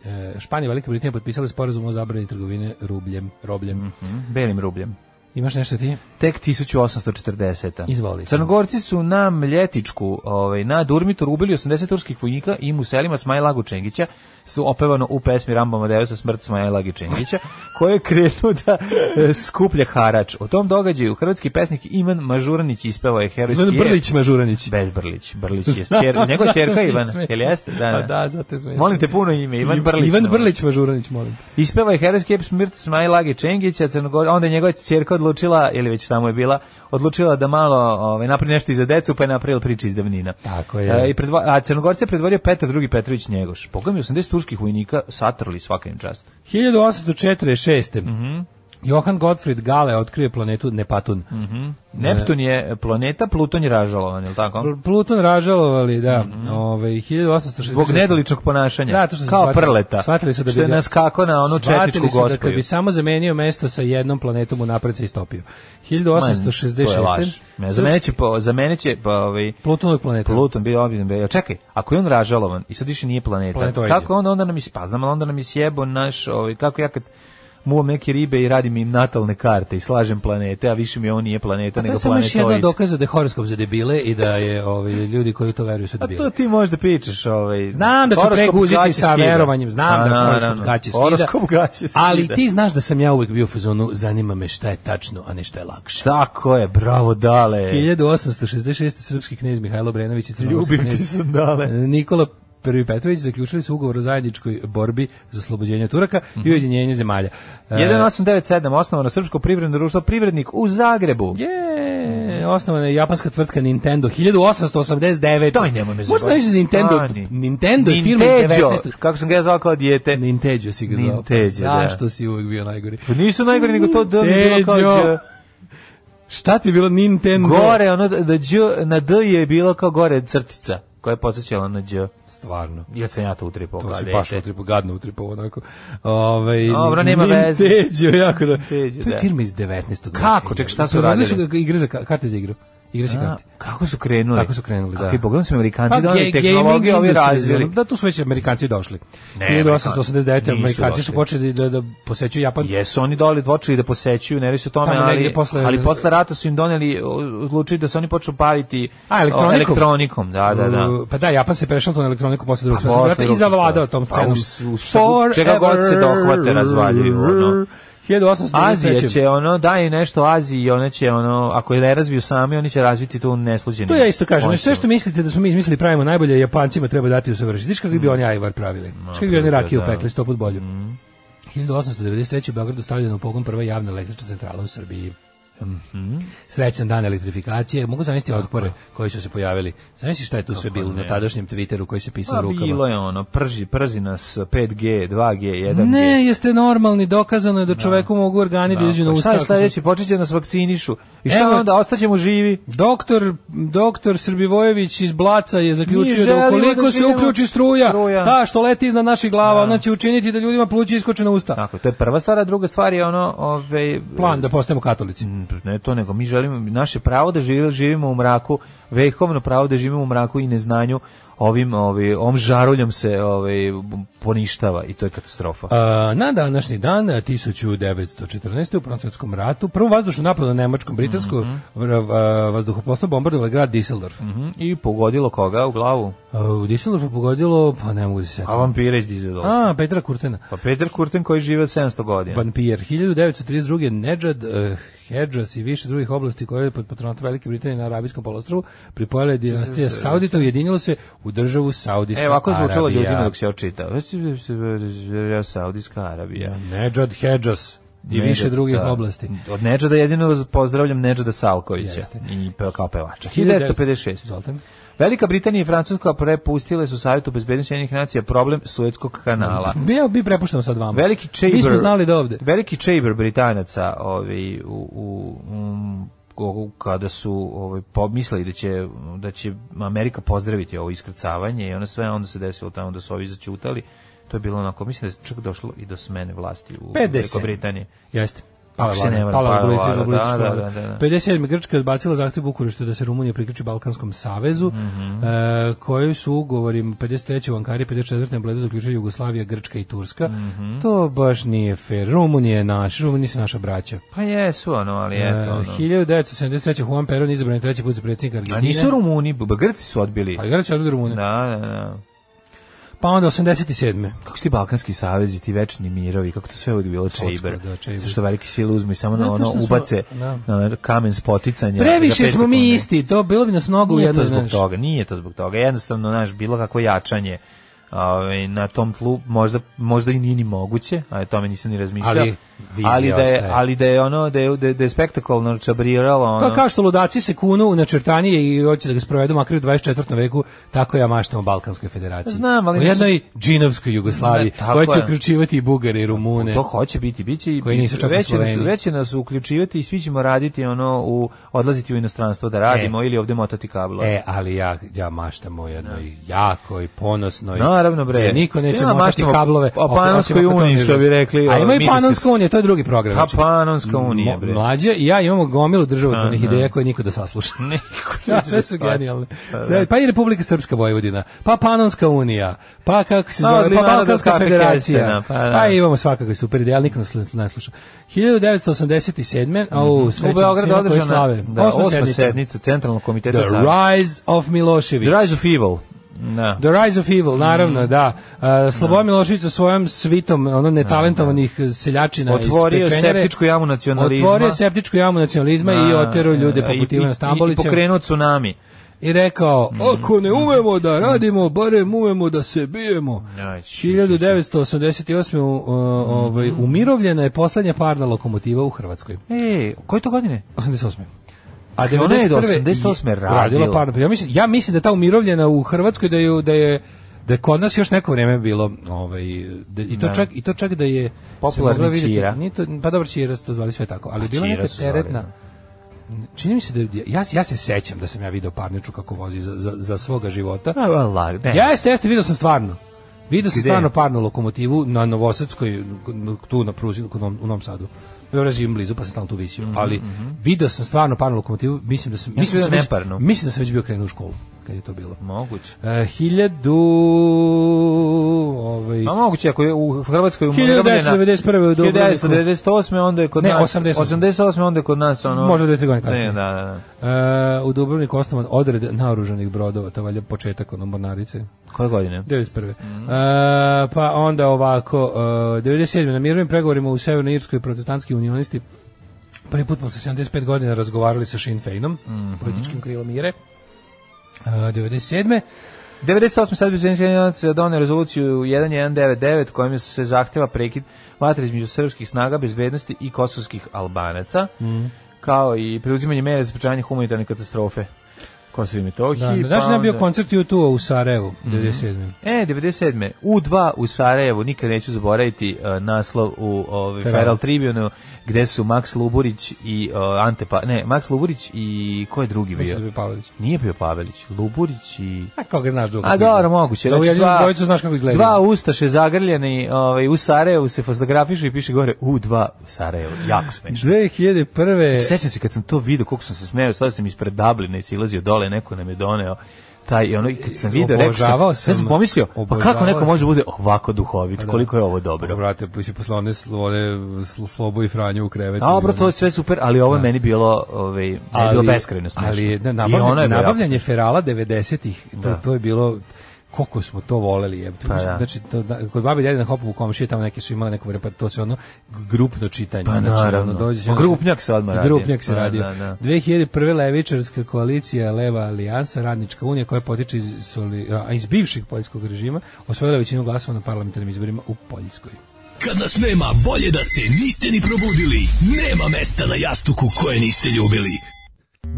S6: E, Španija i Velika Britanija potpisali sporazum o zabrani trgovine rubljem, robljem.
S5: Mhm, Belim rubljem.
S6: Imaš nešto ti?
S5: tek 1840.
S6: Izvoli.
S5: Crnogorci su na Mljetičku, ovaj, na Durmitoru ubili 80 turskih vojnika i mu selima Smajla Gučengića su opevano u pesmi Ramba Madeusa smrt Smajla Gučengića, koji je krenuo da e, skuplja harač. O tom događaju hrvatski pesnik Ivan Mažuranić ispevao je herojski
S6: Ivan Brlić Mažuranić.
S5: Bez Brlić. Brlić je čer, njegova čerka Ivan, jel jeste? Da, da.
S6: Pa da, zato je smiješno.
S5: Molim te puno ime, Ivan Brlić.
S6: Ivan
S5: molim.
S6: Brlić Mažuranić, molim te.
S5: Ispeva je herojski ep smrt Smajlage Čengića, Crnogor, onda je njegova ćerka odlučila, ili već tamo je bila, odlučila da malo ovaj, napravi nešto i za decu, pa je napravila priče iz davnina.
S6: Tako je.
S5: E, i predvo, a Crnogorce je predvodio Petar II. Petrović Njegoš. Boga mi 80 turskih vojnika satrli svaka im čast.
S6: 1846.
S5: Mhm.
S6: Johan Gottfried Gale otkrio je planetu Nepatun.
S5: Mhm. Neptun je planeta, Pluton je ražalovan, je li tako?
S6: Pl- Pluton ražalovali, da. Ovaj 1860.
S5: Mhm. Zbog nedoličnog ponašanja.
S6: Da, to što su
S5: kao
S6: shvatili-
S5: prleta.
S6: Shvatili su da bi
S5: što je
S6: ga-
S5: naskakao na onu
S6: shvatili
S5: četničku
S6: su da
S5: gospoju.
S6: kad bi samo zamenio mesto sa jednom planetom unapred se istopio.
S5: Man, to je laž.
S6: 1866.
S5: Ne, Za mene će, po, za mene će pa, ovaj,
S6: Plutonog planeta.
S5: Pluton bio obiljen bio. Čekaj, ako je on ražalovan i sad više nije planeta.
S6: Planetoid je.
S5: Kako onda onda nam ispaznamo, onda nam je sjebo naš, ovaj kako ja kad muvam neke ribe i radim im natalne karte i slažem planete, a više mi on nije planeta
S6: Pa To je
S5: nego
S6: samo još jedna
S5: planetoid.
S6: dokaza da je horoskop za debile i da je ovaj, ljudi koji u to veruju su
S5: A
S6: debile.
S5: to ti možda pričaš, ovaj.
S6: Znam da ću
S5: horoskop
S6: preguziti
S5: gaće
S6: sa
S5: skida.
S6: verovanjem, znam
S5: A,
S6: da
S5: naravno.
S6: horoskop gaće skida.
S5: Horoskop gaće skida.
S6: Ali ti znaš da sam ja uvek bio u fazonu, zanima me šta je tačno, a ne šta je lakše.
S5: Tako je, bravo dale.
S6: 1866. srpski knez Mihajlo Brenović i crnogorski
S5: Ljubim
S6: knez
S5: ti sandale.
S6: Nikola Prvi Petrović zaključili su ugovor o zajedničkoj borbi za oslobođenje Turaka
S5: Mhm.
S6: i ujedinjenje zemalja. E,
S5: 1897 osnovano Srpsko privredno društvo Privrednik u Zagrebu.
S6: Je, osnovana je japanska tvrtka Nintendo 1889.
S5: Daj, nemoj me
S6: Možda
S5: zajebati.
S6: znaš da Nintendo,
S5: Stani.
S6: Nintendo je firma iz
S5: Ninteđo,
S6: 19.
S5: Kako sam ga ja zvao kao dijete.
S6: Nintendo si ga zvao. pa
S5: Ninteđo, da.
S6: Zašto si uvek bio najgori?
S5: Pa Nisu najgori nego to D mi je bilo kao
S6: Teđo.
S5: Đ.
S6: Šta ti je bilo Nintendo?
S5: Gore, ono da Đ, na D je bilo kao gore crtica koja je podsjećala na Đ.
S6: Stvarno.
S5: Jer sam ja to utripao.
S6: To
S5: kao
S6: si
S5: dete.
S6: baš utripo, gadno utripo, onako. Ove,
S5: Dobro, nema veze.
S6: Ninteđo, jako da.
S5: Ninteđo,
S6: to je
S5: da.
S6: firma iz 19.
S5: Kako? Ček, šta su
S6: Proizvodili
S5: radili?
S6: su ga igre za ka- karte za igru. igra se
S5: A,
S6: karte.
S5: kako su krenuli?
S6: Kako su krenuli, da. Pa,
S5: Kako je pogledam su Amerikanci da
S6: ge-
S5: oni tehnologiju
S6: gaming
S5: ovi
S6: industry,
S5: razvili.
S6: ono, Da, tu su već Amerikanci došli.
S5: Ne,
S6: 1889.
S5: Amerikanci
S6: Amerikanci
S5: nisu
S6: su
S5: došli.
S6: počeli da, da posećuju Japan.
S5: Jesu oni doli počeli da posećuju, ne reći o tome,
S6: Tamo negde
S5: ali
S6: posle-
S5: posle, ali posle rata su im doneli, o- odlučili da se oni počnu baviti
S6: A, elektronikom?
S5: o, elektronikom, da, da, da.
S6: Uh, Pa da, Japan se prešao tu na elektroniku posle drugog
S5: Pa
S6: svjetskog
S5: posle
S6: rata i
S5: drugog
S6: zavladao tom
S5: svjetskog rata.
S6: scenom.
S5: Pa u- u čega- čega god se dohvate razvaljuju, ono.
S6: 1893.
S5: Azija će ono daj nešto Aziji i ona će ono ako je ne razviju sami oni će razviti tu nesluđenu.
S6: To ja isto kažem,
S5: koncept.
S6: sve što mislite da smo mi izmislili pravimo najbolje, Japancima treba dati usavršiti. Viš kako bi oni ajvar pravili? Viš kako bi oni
S5: dobro,
S6: rakiju
S5: Mm. da. Mm.
S6: pekli sto put bolju. 1893. u Beogradu stavljena u pogon prva javna električna centrala u Srbiji.
S5: Mhm.
S6: Srećan dan elektrifikacije. Mogu zamisliti otpore koji su se pojavili. Zamisli šta je tu sve bilo na tadašnjem Twitteru koji se pisao
S5: Pa,
S6: rukama.
S5: bilo je ono prži przi nas 5G, 2G, 1G.
S6: Ne, jeste normalni, dokazano je da čoveku mogu organi da, izađu na
S5: Pa
S6: usta.
S5: Šta je
S6: ako su-
S5: sledeće? Počeće nas vakcinišu. I šta
S6: Evo-
S5: onda? Ostaćemo živi.
S6: Doktor, doktor Srbivojević iz Blaca je zaključio
S5: Mi
S6: da
S5: želimo
S6: ukoliko
S5: da
S6: se
S5: živimo-
S6: uključi struja,
S5: Struja.
S6: ta što leti iznad naših glava, ona će učiniti da ljudima pluće iskoče na usta.
S5: Tako, to je prva stvar, a druga stvar je Mm. ono, ovaj
S6: Plan da postajemo katolici.
S5: ne to nego mi želimo naše pravo da živimo, živimo u mraku, vekovno pravo da živimo u mraku i neznanju ovim ovaj ovom žaroljom se ovaj poništava i to je katastrofa.
S6: A, na današnji dan, 1914. u Francuskom ratu, prvo vazdušno napad na Nemačkom, Britansko mm vazduhoplovstvo bombardovalo je grad Düsseldorf.
S5: Mhm, I pogodilo koga u glavu?
S6: A, u Düsseldorfu pogodilo, pa ne mogu da se sjetiti.
S5: A vampire iz Dizeloga.
S6: A, Pa Petra Kurtena.
S5: Pa Peter Kurten koji žive 700 godina.
S6: Vampir. 1932. Nedžad, uh, Hedžas i više drugih oblasti koje je pod patronatom Velike Britanije na Arabijskom polostravu pripojala je dinastija Saudita ujedinilo se u državu Saudijska
S5: Evo, E, ovako je zvučalo
S6: Arabija.
S5: ljudima dok se očita. Saudijska Arabija.
S6: Nedžad, Hedžas i
S5: Nedžad,
S6: više drugih
S5: da.
S6: oblasti.
S5: Od Nedžada jedino pozdravljam Nedžada Salkovića.
S6: Jeste.
S5: I pe- kao pevača. 1956.
S6: 1956.
S5: Velika Britanija i Francuska prepustile su Savjetu bezbednosti jednih nacija problem Suetskog kanala.
S6: Bio bi prepušteno sad vama.
S5: Veliki Chamber.
S6: Mi smo znali da ovde.
S5: Veliki Chamber Britanaca, ovaj u, u, um, u- kada su ovaj pomislili da će da će Amerika pozdraviti ovo iskrcavanje i ono sve onda se desilo tamo da su ovi zaćutali. To je bilo onako, mislim da je čak došlo i do smene vlasti u
S6: 50.
S5: Velikoj Britaniji.
S6: Jeste. Pala
S5: Pa Ako se ne
S6: vlada,
S5: varam,
S6: pala
S5: pala
S6: vlada,
S5: vlada,
S6: globalistička
S5: da,
S6: vlada.
S5: da, da, da.
S6: 57. Grčka je odbacila zahtev Bukurešta da se Rumunija priključi Balkanskom savezu,
S5: Mhm.
S6: e, koji su ugovorim 53. u Ankari, 54. na Bledu zaključili Jugoslavija, Grčka i Turska.
S5: Mhm.
S6: To baš nije fair. Rumunija je naš, Rumunija su naša braća.
S5: Pa jesu ono, ali
S6: E,
S5: eto ono.
S6: 1973. Juan Perón izabran je treći put za predsjednika
S5: A
S6: Argentine.
S5: nisu Rumuni, b- Grci su odbili.
S6: Ali Grci odbili Rumuniju.
S5: Da, da, da.
S6: Pa onda 87.
S5: Kako su ti balkanski savezi, ti večni mirovi, kako to sve uvijek bilo
S6: Kocka,
S5: čeiber.
S6: da, čeiber.
S5: Zašto velike sile uzmu i samo na
S6: Zato
S5: ono
S6: što smo-
S5: ubace
S6: da.
S5: na ono kamen spoticanja. za
S6: Previše
S5: pet
S6: smo mi
S5: sekundi.
S6: isti, to bilo bi nas mnogo u
S5: Nije to
S6: jednoj
S5: zbog
S6: znaš.
S5: toga, nije to zbog toga. Jednostavno, naš, bilo kakvo jačanje ovaj, na tom tlu možda, možda i nije ni moguće, a o tome nisam ni razmišljao.
S6: Ali vizija
S5: ali da je,
S6: ostaje.
S5: ali da je ono, da je, da je, da je spektakulno čabriralo ono.
S6: Pa kao što ludaci se kunu u načrtanije i hoće da ga sprovedu makar u 24. veku, tako ja maštam o Balkanskoj federaciji.
S5: Znam, ali
S6: O jednoj džinovskoj Jugoslaviji,
S5: Ne, tako
S6: koja će
S5: je.
S6: uključivati i Bugare i Rumune.
S5: To hoće biti, biće i
S6: Koji nisu čak ni
S5: već će nas,
S6: Sloveni.
S5: već će nas uključivati i svi ćemo raditi ono u odlaziti u inostranstvo da radimo ili ovdje motati kablo.
S6: E, ali ja, ja maštam o jednoj jakoj, ponosnoj.
S5: Naravno, bre.
S6: gdje Niko neće
S5: Ja
S6: motati
S5: maštam o-
S6: kablove.
S5: o
S6: oko-
S5: Panonskoj
S6: osim ako to
S5: uniji,
S6: ne
S5: što bi
S6: žele.
S5: rekli,
S6: A
S5: ovaj,
S6: ima i
S5: mi da se
S6: Panonska
S5: s-
S6: unija, to je drugi program.
S5: Pa
S6: znači.
S5: Panonska unija,
S6: Mo-
S5: bre.
S6: Mlađe i ja imamo gomilu državotvornih
S5: Da, da.
S6: ideja koje niko da sasluša.
S5: Niko se
S6: Ja,
S5: neće
S6: sve su
S5: da shvati.
S6: genijalne.
S5: Pa da.
S6: Sve, pa i Republika Srpska Vojvodina, pa Panonska unija, pa kako se
S5: Pa od
S6: zove, pa
S5: Livada do
S6: Balkanska
S5: Kape
S6: federacija.
S5: Kestena,
S6: Pa,
S5: pa da.
S6: imamo svakakve super ideje, ali niko nas ne sluša. 1987.
S5: Mhm.
S6: au, srećan
S5: u Beogradu
S6: svima koji
S5: održana
S6: slave.
S5: da,
S6: Osma
S5: osma
S6: sednica.
S5: sednica Centralnog komiteta
S6: The
S5: Saveza.
S6: Rise of Milošević.
S5: The Rise of Mhm. Evil. Da.
S6: The Rise of Evil, naravno, da. Uh, Slobodan Milošević sa svojom svitom, ono netalentovanih seljačina
S5: Otvorio
S6: iz
S5: je
S6: Pečenjere.
S5: septičku jamu nacionalizma.
S6: Otvorio je septičku jamu nacionalizma i
S5: Da,
S6: otero ljude
S5: da,
S6: poput
S5: e, i-
S6: Ivana
S5: i-
S6: Stambolića.
S5: I pokrenuo tsunami.
S6: i rekao, ako ne umemo da radimo, barem umemo da se bijemo.
S5: Aj, ši, ši, ši.
S6: 1988. U, uh, ovaj, umirovljena je poslednja parna lokomotiva u Hrvatskoj.
S5: E, koje to godine?
S6: 88. A
S5: Dakle, Ona je do
S6: 91.
S5: 88
S6: je
S5: radila.
S6: parnu- Ja mislim, ja mislim da je ta umirovljena u Hrvatskoj da je da je da je kod nas još neko vrijeme bilo ovaj da, i to čak i to čak da je se
S5: Popularni
S6: mogla vidjeti-
S5: Ćira.
S6: Nije to, pa dobro Ćira su to zvali sve tako, ali
S5: Pa,
S6: bila je
S5: Ćira
S6: neka
S5: su zvali,
S6: teretna. Čini mi se da je- ja ja se sećam da sam ja video parniču kako vozi za za, za svoga života.
S5: A, a, la- e, ne.
S6: Jeste, jeste, video sam stvarno. Vidio sam
S5: Gde?
S6: stvarno parnu lokomotivu na Novosadskoj, tu na pruzi, u Novom- u Novom Sadu. Ja živim blizu, pa sam stalno tu visio. Ali video sam stvarno parnu lokomotivu, mislim da sam, mislim, da
S5: Mhm, sam
S6: sam, već-
S5: neparnu.
S6: mislim da sam već bio krenuo u školu, kad je to bilo.
S5: Moguće.
S6: E, hiljadu... Ovaj,
S5: A moguće ako je u Hrvatskoj u
S6: 1991. u Dubrovniku.
S5: 1998. onda je kod
S6: Ne,
S5: nas
S6: 88..
S5: 88. onda je kod nas ono
S6: Možda dve, tri godine kasnije.
S5: Ne, da, da, da.
S6: E, u Dubrovniku osnovan odred naoružanih brodova, to valja početak ono mornarice.
S5: Koje godine?
S6: 91.
S5: Mhm.
S6: E, pa onda ovako, e, 97. na mirovnim pregovorima u Severnoj Irskoj protestantski unionisti prvi put posle 75 godina razgovarali sa Sinn Féinom,
S5: Mhm.
S6: političkim krilom Ire. E, 97.
S5: 98. sad bi donio rezoluciju 1199 kojom se zahteva prekid vatre između srpskih snaga bezbednosti i kosovskih albanaca,
S6: Mm.
S5: kao i preuzimanje mere za sprečavanje humanitarne katastrofe Kosovo i Metohiji.
S6: Da,
S5: pa
S6: znaš da je bio
S5: onda-
S6: koncert YouTube u Sarajevu, 97.
S5: E, 97. U2 u Sarajevu, nikad neću zaboraviti e, naslov u ovaj,
S6: Feral.
S5: Feral Tribune, gde su Max Luburić i e, Ante Pa... Ne, Max Luburić i ko je drugi bio?
S6: Mislim da je Pavlović.
S5: Nije bio Pavelić, Luburić i...
S6: A kako ga znaš dugo?
S5: A dobro, moguće.
S6: Za
S5: Znači,
S6: ujedinu
S5: dva-
S6: dvojicu znaš kako izgleda.
S5: Dva ustaše zagrljeni ovaj, u Sarajevu se fotografišu i piše gore U2 u Sarajevu. Jako smešno.
S6: 2001.
S5: Sećam se kad sam to vidio, koliko sam se smejao, stao sam ispred Dublina i silazio dole, neko nam je doneo taj i ono i kad sam video rekao sam,
S6: Obožavao
S5: ja
S6: sam-
S5: sam pomislio pa kako
S6: obožavao
S5: neko
S6: sam. Pa
S5: može bude ovako duhovit koliko je ovo
S6: Dobro,
S5: dobro
S6: brate, mislim, posle one, sl- one sl- slobo i Franjo u krevetu.
S5: dobro to je sve super ali ovo je meni bilo ovaj meni je bilo beskrajno smešno
S6: Ali da,
S5: I ono
S6: nabavljanje,
S5: je bilo jako
S6: nabavljanje Ferala 90-ih, to, to je bilo koliko smo to voleli jebote.
S5: Pa
S6: Mislim,
S5: da.
S6: Znači to da, kod babi i dede na Hopovu komšije tamo neki su imali neko vreme pa to se ono grupno čitanje.
S5: Pa
S6: znači,
S5: naravno.
S6: Ono, dođe se,
S5: Pa grupnjak se odmah radi.
S6: Grupnjak se
S5: Da,
S6: radio.
S5: da, da.
S6: 2001. levičarska koalicija Leva alijansa Radnička unija koja potiče iz, soli- a, iz bivšeg poljskog režima osvojila većinu glasova na parlamentarnim izborima u Poljskoj.
S1: Kad nas nema, bolje da se niste ni probudili. Nema mesta na jastuku koje niste ljubili.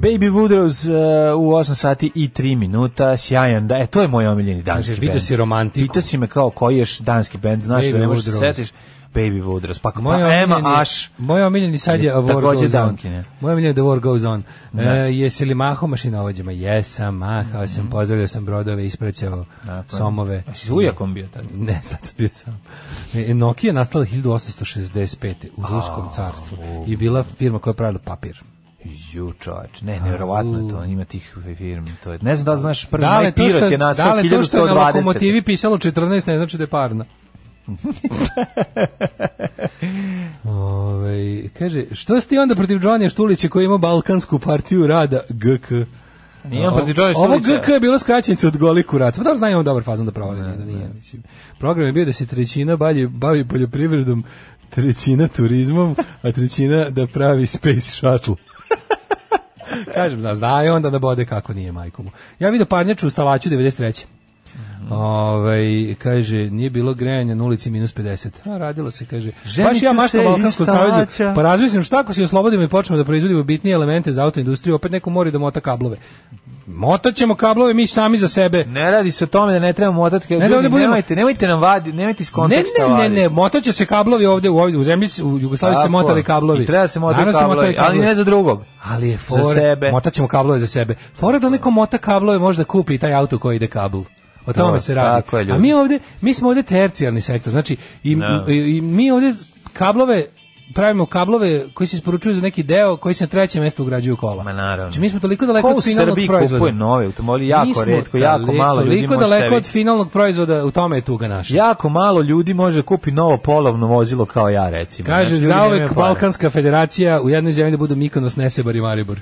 S5: Baby Woodrows uh, u 8 sati i 3 minuta, sjajan da, e, to je moj omiljeni danski
S6: Kaže,
S5: band.
S6: vidio si romantiku.
S5: Pitao si me kao koji ješ danski band, znaš
S6: Baby
S5: da ne možeš da se
S6: Woodrows.
S5: setiš. Baby Woodrows, pa,
S6: Moj
S5: pa Ema
S6: omiljeni-
S5: Ash,
S6: Moj omiljeni sad je
S5: Je
S6: A War
S5: takođe
S6: Goes On.
S5: Dunkin, je.
S6: Moj omiljeni je The War Goes On. E, jesi li mahao mašinovođama? Jesam, mahao
S5: Mhm.
S6: sam, pozdravio sam brodove, ispraćao somove.
S5: s ujakom bio tad.
S6: Ne, sad sam bio sam. E, Nokia je nastala 1865. u Ruskom carstvu i bila firma koja je pravila papir.
S5: Ju, čovač, ne, nevjerovatno je to, ima tih firmi, to je, ne znam da li znaš, prvi
S6: Da li to što,
S5: najpirot je nastao
S6: da li to što je na
S5: 1120.
S6: lokomotivi pisalo 14 ne znači da je parna? Ove, Ovaj, kaže, što si ti onda protiv Johnija Štulića koji ima Balkansku partiju rada GK?
S5: Nijem
S6: O-
S5: protiv Johnija
S6: Ovo
S5: Štulića.
S6: GK je bilo skraćenica od goli kurac. Pa dobro znaju on dobar fazon da provali, ne, da nije. Mislim. Program je bio da se trećina bavi, bavi poljoprivredom, trećina turizmom, a trećina da pravi space shuttle. Kažem, zna, znaju onda da bode kako nije majkomu. Ja vidio parnjaču u stalaću 93.
S5: Mhm.
S6: Ovaj kaže, nije bilo grejanja na ulici minus 50. A, radilo se, kaže.
S5: Ženit
S6: baš
S5: ću
S6: ja mašta
S5: se
S6: Balkanskog
S5: iz Stalaća.
S6: saveza. Pa razmislim, šta ako se oslobodimo i počnemo da proizvodimo bitnije elemente za autoindustriju, opet neko mora i da mota kablove. Motaćemo kablove mi sami za sebe.
S5: Ne radi se o tome da ne trebamo odatke,
S6: da
S5: ljudi,
S6: ovdje budemo-
S5: nemojte, nemojte nam vadi, nemojte iz
S6: Ne,
S5: konteksta
S6: ne, ne,
S5: vaditi.
S6: ne, motaće se kablovi ovde u, ovdje, u zemlji, se- u Jugoslaviji se
S5: Tako
S6: motali
S5: je.
S6: kablovi.
S5: I treba se motaju
S6: Naravno
S5: kablovi, ali ne za drugog.
S6: Ali je
S5: Za
S6: fora,
S5: sebe.
S6: motaćemo kablove za sebe. Fora da neko mota kablove možda kupi i taj auto koji ide kabl. O tome
S5: To,
S6: se radi.
S5: tako je, ljudi.
S6: A mi ovde, mi smo ovde tercijarni sektor. Znači, i,
S5: Da.
S6: i, i mi ovde kablove pravimo kablove koji se isporučuju za neki deo koji se na trećem mjestu ugrađuju u kola.
S5: Ma naravno.
S6: Znači, mi smo toliko daleko
S5: Ko u
S6: od finalnog
S5: Srbiji
S6: proizvoda.
S5: kupuje nove automobile? Jako
S6: Mi smo
S5: retko, jako
S6: dale-
S5: malo ljudi
S6: Toliko
S5: može
S6: daleko
S5: sebi-
S6: od finalnog proizvoda, u tome je tuga naša.
S5: Jako malo ljudi može da kupi novo polovno vozilo kao ja recimo.
S6: Kaže,
S5: Znači, ljudi nemaju
S6: zauvek
S5: para.
S6: Balkanska federacija u jednoj zemlji da budu Mikonos, Nesebar i Maribor.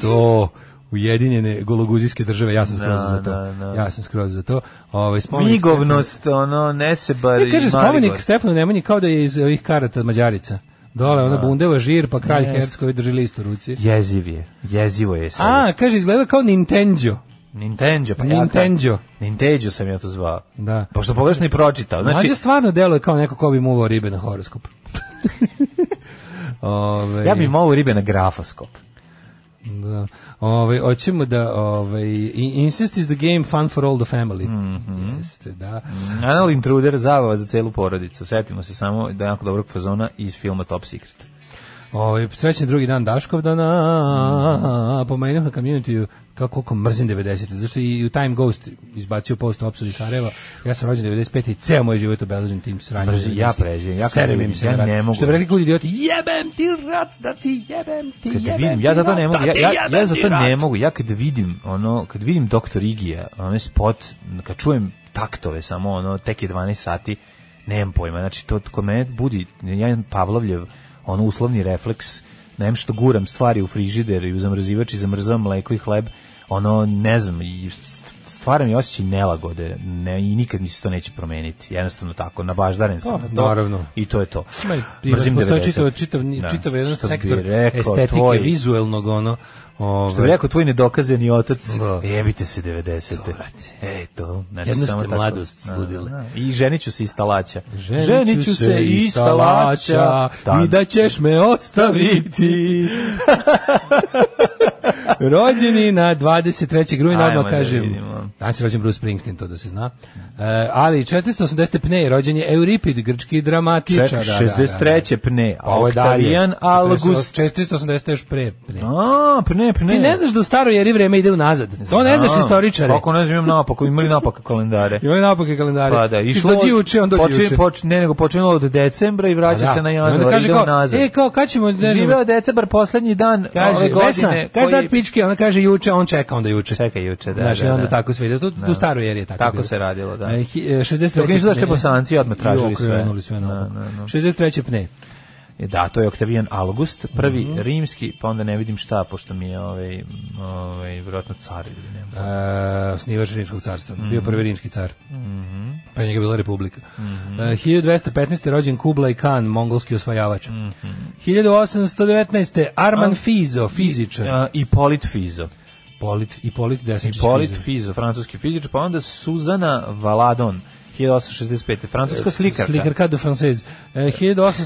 S6: to ujedinjene gologuzijske države, ja sam skroz
S5: Da,
S6: za to.
S5: da, da.
S6: Ja sam skroz za to. Ovaj, spomenik
S5: Migovnost, ono, nesebar
S6: Stefanu-
S5: i
S6: Ne, kaže, spomenik
S5: Maribor.
S6: Stefanu Nemanji kao da je iz ovih karata Mađarica. Dole, ona bundeva žir, pa kralj Herckovi drži list u ruci.
S5: Jeziv je, jezivo je sad.
S6: A, kaže, izgleda kao Nintendo.
S5: Nintendo, pa ja
S6: Nintendo.
S5: ta- Nintendo sam ja to zvao.
S6: Da.
S5: Pošto pogrešno i pročitao.
S6: Znači,
S5: Znači,
S6: stvarno deluje kao neko ko bi muvao ribe na horoskop. Ovaj,
S5: ja bih imao ribe na grafoskop.
S6: Da. Ovaj hoćemo da ovaj i- insist is the game fun for all the family.
S5: Mhm.
S6: Jeste, da.
S5: Anal Intruder, zabava za celu porodicu. Sjetimo se samo da je jako dobrog fazona iz filma Top Secret.
S6: Ovaj srećan drugi dan Daškovdana. Pomenuo na community kako koliko mrzim 90 zašto i u Time Ghost izbacio post o opsudi Šareva. Ja sam rođen 95 i ceo moj život obeležen tim sranjem.
S5: Mrzim, ja preživim, ja
S6: Serem
S5: preživim,
S6: im se
S5: ja
S6: na rat.
S5: ne mogu.
S6: Što bi rekli ljudi idioti, jebem ti rat, da ti jebem ti
S5: kad
S6: jebem.
S5: vidim,
S6: ti
S5: ja zato
S6: rat,
S5: ne mogu,
S6: da
S5: ja,
S6: ti
S5: ja,
S6: jebem
S5: ja
S6: ti
S5: zato ne
S6: rat.
S5: mogu, ja kad vidim, ono, kad vidim doktor Igija, onaj spot, kad čujem taktove samo, ono, tek je 12 sati, nemam pojma, znači, to kod mene budi, ja imam Pavlovljev, ono, uslovni refleks, nem što guram stvari u frižider i u zamrzivač i zamrzavam mleko i hleb, ono, ne znam, i st- stvara mi osjećaj nelagode ne, i nikad mi se to neće promeniti. Jednostavno tako, nabaždaren sam. na
S6: Pa,
S5: to
S6: naravno.
S5: I to je to.
S6: Ima i- ima-
S5: Mrzim
S6: postoji
S5: 90.
S6: čitav, čitav,
S5: Da.
S6: čitav jedan
S5: Što bi
S6: sektor
S5: rekao
S6: estetike,
S5: tvoj-
S6: vizuelnog ono. Ove,
S5: što bi rekao tvoj nedokazani otac,
S6: Da.
S5: jebite se 90. E, to. Znači,
S6: Jedno
S5: samo
S6: ste
S5: tako.
S6: mladost
S5: Da,
S6: sludili.
S5: da. I ženiću se iz talaća.
S6: Ženiću se i stalača i da ćeš me ostaviti. Rođeni na 23. grujna,
S5: Ajmo
S6: odmah
S5: da
S6: kažem.
S5: vidimo.
S6: Danas je rođen Bruce Springsteen, to da se zna. E, ali 480. pne je rođen je Euripid, grčki dramatičar. Da, da, da.
S5: 63. pne,
S6: Pa ovo je dalje.
S5: Octavian August.
S6: 480 još pre. pne.
S5: A, pne, pne.
S6: Ti ne znaš da u staroj eri vreme ide unazad. To ne znaš istoričare.
S5: Kako ne znam, imam napako, imali napaka kalendare.
S6: I ove napake kalendare.
S5: Pa da, išlo...
S6: Dođi juče, on dođi
S5: počin-
S6: juče. Pa
S5: poč- ne, nego počinilo od decembra i vraća
S6: Da.
S5: se na
S6: I onda
S5: januar,
S6: kaže
S5: ide
S6: kao,
S5: nazad.
S6: E, kao, kad ćemo, ne znam,
S5: Živeo decembar, poslednji dan ove
S6: kaže,
S5: godine.
S6: Vesna, kaže
S5: koji-
S6: tad pičke, ona kaže juče, on čeka onda juče.
S5: Čeka juče, da,
S6: Znači,
S5: da, da.
S6: onda tako sve ide. Tu, tu
S5: Da.
S6: staro jer je tako
S5: Tako
S6: bilo.
S5: se radilo, da.
S6: E, hi- e, 63.
S5: Dok nisu došli
S6: pne.
S5: Bosanci, odmah tražili
S6: Jo,
S5: sve.
S6: krenuli sve
S5: Da,
S6: naopako.
S5: da, da.
S6: 63. pne.
S5: E, Da, to je Oktavijan August, prvi
S6: Mhm.
S5: rimski, pa onda ne vidim šta, pošto mi je ovaj, ovaj, vjerojatno car ili ne. znam.
S6: Uh, snivač rimskog carstva. Bio
S5: Mhm.
S6: prvi rimski car. Pre njega je bila republika.
S5: Mhm.
S6: E, 1215. rođen Kublai Khan, mongolski osvajač.
S5: Mhm.
S6: 1819. Arman Fizo, fizičar.
S5: A, I Polit Fizo.
S6: Polit, i Polit desničar.
S5: Polit Fizo, francuski fizičar, pa onda Suzana Valadon, 1865. Francuska slikarka.
S6: Slikarka do Francez. E,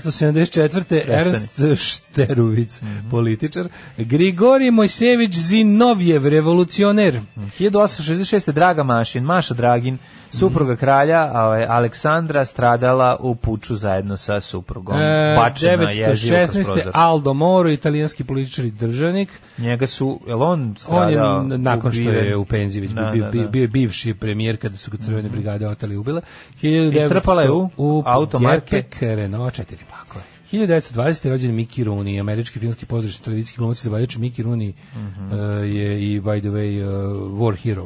S6: 1874. Ernst Šterovic,
S5: Mhm.
S6: političar. Grigorij Mojsević Zinovjev, revolucioner.
S5: Mhm. 1866. Draga Mašin, Maša Dragin, supruga
S6: Mhm.
S5: kralja ovaj, Aleksandra stradala u puču zajedno sa suprugom.
S6: E,
S5: Bačena je živo kroz
S6: 916.
S5: prozor.
S6: Aldo Moro, italijanski političar i državnik.
S5: Njega su, je li on
S6: On je
S5: stradao?
S6: n- nakon što je
S5: ubiven?
S6: u penziji već
S5: Da,
S6: bio,
S5: da,
S6: bio,
S5: da.
S6: bio je bivši premijer kada su ga crvene brigade otali i ubile. 1900
S5: Istrpala je u automarke.
S6: Gepek Renault 4 pakove. 1920. je rođen Mickey Rooney, američki filmski pozdravični televizijski glumac i zabavljač Mickey Rooney
S5: Mhm.
S6: uh, je i by the way uh, war hero.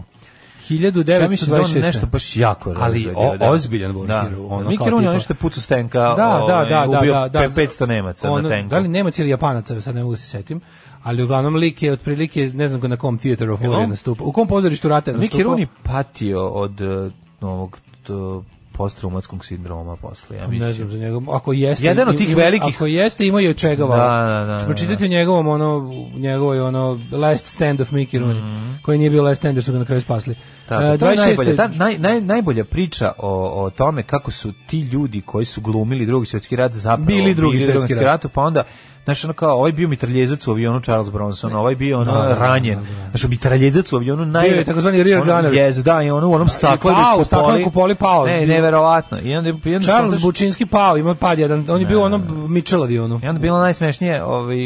S5: Ja mislim da on
S6: 1926.
S5: nešto baš jako
S6: Ali
S5: razgradio,
S6: o,
S5: da.
S6: ozbiljan war
S5: da.
S6: hero. Ono
S5: Miki
S6: kao
S5: Run je
S6: tipa-
S5: ono što je pucu stenka,
S6: da, da,
S5: ovaj,
S6: da,
S5: ubio
S6: da, da,
S5: pe- 500 Nemaca
S6: Ono,
S5: na tenku.
S6: Da li Nemac ili Japanaca, sad ne mogu se setim. Ali uglavnom lik je otprilike, ne znam na kom Theater of War
S5: on-
S6: je nastupao. U kom pozorištu rata je nastupao?
S5: Miki Run je patio od uh, ovog to, postraumatskog sindroma posle, ja
S6: Ne
S5: mislim.
S6: znam za njegov, ako jeste...
S5: Jedan od
S6: im-
S5: tih
S6: ima-
S5: velikih-
S6: Ako jeste, ima i od čega vala.
S5: Da, da, da, da,
S6: Pročitati o njegovom, ono, u njegovoj, ono, last stand of Mickey Rooney, koji nije bio last stand, jer su ga na kraju spasli.
S5: Mhm. Tako,
S6: E,
S5: to je
S6: 26.
S5: najbolja, ta, naj, naj, najbolja priča o, o tome kako su ti ljudi koji su glumili drugi svjetski rat zapravo
S6: Bili Drugi
S5: u
S6: svjetski
S5: Drugom svjetskom
S6: rat.
S5: ratu, pa onda Znaš, ono kao, ovaj bio mitraljezac u avionu Charles Bronson, ovaj bio ono
S6: Da, da, da,
S5: ranjen.
S6: da, da.
S5: Znaš, mitraljezac u avionu naj...
S6: Bio je takozvani rear
S5: ono
S6: gunner.
S5: Jez, da, i ono u onom staklu.
S6: pao, u staklenoj kupoli pao.
S5: Ne, neverovatno. I onda, i onda,
S6: Charles
S5: onda,
S6: Bučinski pao, ima pad jedan, on je bio ono u onom Mitchell avionu.
S5: I onda bila najsmešnija ovaj,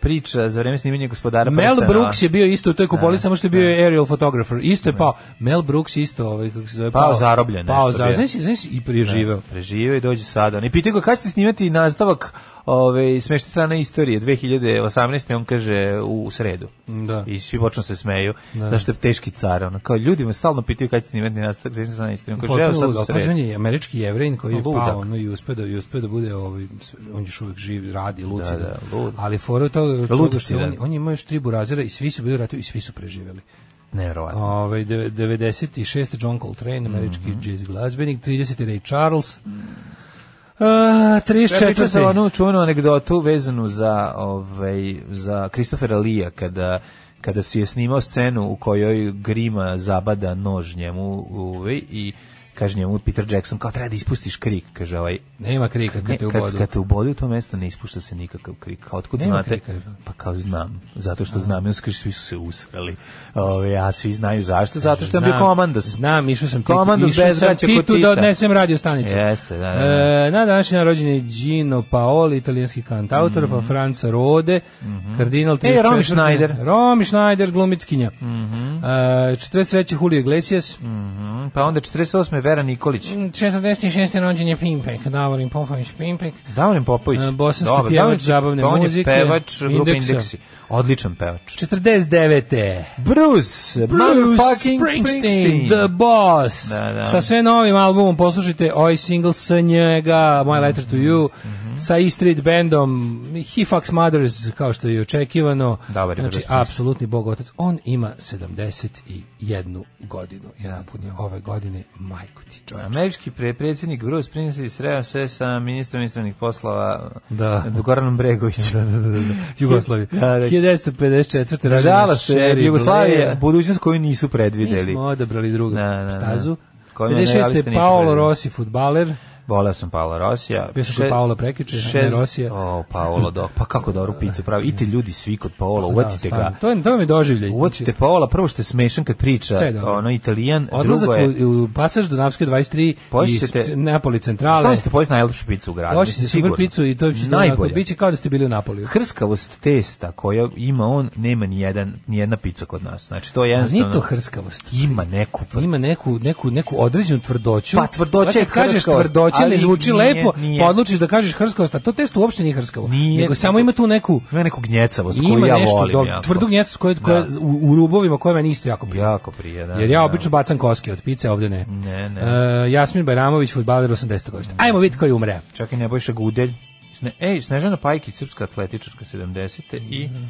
S5: priča za vreme snimanja gospodara.
S6: Mel
S5: prstena.
S6: Brooks je bio isto u toj kupoli,
S5: Da,
S6: samo što je bio aerial photographer. Isto je pao. Mel Brooks isto, ovaj, kako se zove,
S5: Pao zarobljen,
S6: Pao
S5: nešto bio.
S6: zarobljen, znaš, znaš, i preživeo.
S5: Preživio i dođe sada. I pitaju ga kada ćete snimati nastavak ove, smešne strane istorije 2018. On kaže u, u sredu.
S6: Da.
S5: I svi počnu se smeju. Zašto je teški car. Ono, kao ljudi me stalno pitaju kada ćete snimati nastavak smešne strane istorije. On kaže evo sad u
S6: Potpuno ludo. Pazi, on
S5: sredu.
S6: je američki jevrein koji je
S5: Ludak.
S6: pao ono, i uspeo da, i uspeo da bude, ovaj, sve- on je još uvijek živ, radi, lucida.
S5: da, lud.
S6: Ali fora je to,
S5: Ludac
S6: što
S5: je,
S6: on,
S5: da.
S6: on je imao još tri burazera i svi su bili u ratu i svi su preživjeli.
S5: Nevjerovatno.
S6: Ovaj de- 96 John Coltrane, američki
S5: Mhm.
S6: jazz glazbenik, 30 Ray Charles. Uh,
S5: Ja pričao
S6: 34.
S5: sam onu čuvenu anegdotu vezanu za, ovaj, za Kristofera Lija kada kada si je snimao scenu u kojoj Grima zabada nož njemu u uvi ovaj, i kaže njemu Peter Jackson, kao treba da ispustiš krik, kaže ovaj.
S6: Nema krika kad
S5: Ne,
S6: te u
S5: E, kad,
S6: bodu.
S5: kad te ubode u to mesto ne ispušta se nikakav krik. Kao otkud
S6: Nema
S5: znate?
S6: krika, da.
S5: Pa kao znam. Zato što znam. I onda se kaže, svi su se usrali. Ove, a svi znaju zašto. Zato što je bio komandos.
S6: Znam, išao sam Titu,
S5: Komandos
S6: išao
S5: bez
S6: sam
S5: vraća kod
S6: Titu
S5: Tita.
S6: da odnesem radio stanicu.
S5: Jeste, da, da,
S6: E, na današnji dan rođen je Gino Paoli, italijanski kantautor, pa Franca Rode, kardinal
S5: Mhm. E, Romy
S6: 34..
S5: Schneider. Mhm.
S6: Romy Schneider, glumitkinja. Mm -hmm. e, 43. Julio Iglesias, mm
S5: Mm, Pa onda 48. Vera Nikolić.
S6: e, 46. rođen je Pimpek, Davorin Popović Pimpek.
S5: Davorin Popović.
S6: E, bosanski
S5: Dobar,
S6: pjevač
S5: Davorin-
S6: zabavne
S5: pa on je
S6: muzike,
S5: pevač grupe
S6: Indeksa.
S5: Indeksi. Odličan pevač.
S6: 49.
S5: Bruce,
S6: Bruce
S5: motherfucking
S6: Springsteen, The Boss.
S5: Da, da.
S6: Sa sve novim albumom poslušajte ovaj single s njega, My Letter to You,
S5: Mhm.
S6: sa E Street Bandom, He Fucks Mothers, kao što je i očekivano.
S5: Dobar je
S6: znači,
S5: Bruce Springsteen.
S6: apsolutni bogotac. On ima 71 godinu. Jedan put je ove godine, majko ti čovječe.
S5: Američki pre- predsjednik Bruce Springsteen sreo se sa ministrom inostranih poslova eh,
S6: Da.
S5: Goranom Bregovićem. da, da, da.
S6: Jugoslavije.
S5: Da, da.
S6: 1954. rođen je
S5: Nažalost,
S6: Sherry
S5: Jugoslavija,
S6: Blair.
S5: budućnost koju nisu
S6: Mi
S5: predvideli.
S6: smo odabrali drugu
S5: Da, da, da.
S6: stazu.
S5: Koju ne, ali ste
S6: 56. je
S5: niste
S6: Paolo
S5: gledali.
S6: Rossi, futbaler.
S5: Voleo sam Paola Rosija.
S6: Bio sam kod Paola prekjuče, ne Rosija.
S5: O, Paolo, do, pa kako dobru picu pravi. Idite ljudi svi kod Paola, uvatite
S6: Da,
S5: ga.
S6: stvarno. To je to mi doživljaj. Znači,
S5: Uvatite Paola, prvo što je smešan kad priča,
S6: Sve dobro.
S5: ono, italijan,
S6: Odlazak
S5: drugo je...
S6: u, u pasaž do Napske 23
S5: Poješćete-
S6: i s- Napoli centrale.
S5: Stavno ste pojesti najlepšu picu u gradu.
S6: Došli ste
S5: mislim,
S6: super
S5: sigurno.
S6: picu i to će
S5: Najbolja.
S6: Biće kao da ste bili u Napoliju.
S5: Hrskavost testa koja ima on, nema ni jedan, ni jedna pica kod nas. Znači, to je
S6: A Nije
S5: jednostavno...
S6: to hrskavost.
S5: Ima neku...
S6: Ima neku, neku, neku određenu tvrdoću.
S5: Pa, tvrdoća
S6: Zato
S5: je
S6: kažeš
S5: hrskavost,
S6: tvrdoća,
S5: ali
S6: ne zvuči
S5: nije,
S6: lepo,
S5: nije.
S6: pa odlučiš da kažeš hrskavost, a to test uopšte nije hrskavo.
S5: Nije.
S6: Nego samo ima tu neku
S5: Ima neku gnjecavost koju
S6: ima
S5: ja
S6: nešto
S5: volim.
S6: dobro,
S5: jako.
S6: tvrdog njeca koje, koje
S5: Da.
S6: u, u rubovima koje meni isto jako prija.
S5: Jako prije, da.
S6: Jer ja
S5: da.
S6: obično bacam koske od pice, ovdje ne.
S5: Ne, ne.
S6: E, Jasmin Bajramović, futbaler 80. godišta. Ajmo vidjeti koji umre.
S5: Čak i Nebojša Gudelj. Sne, ej, Snežana Pajkić, srpska atletičarka 70. I
S6: Mhm.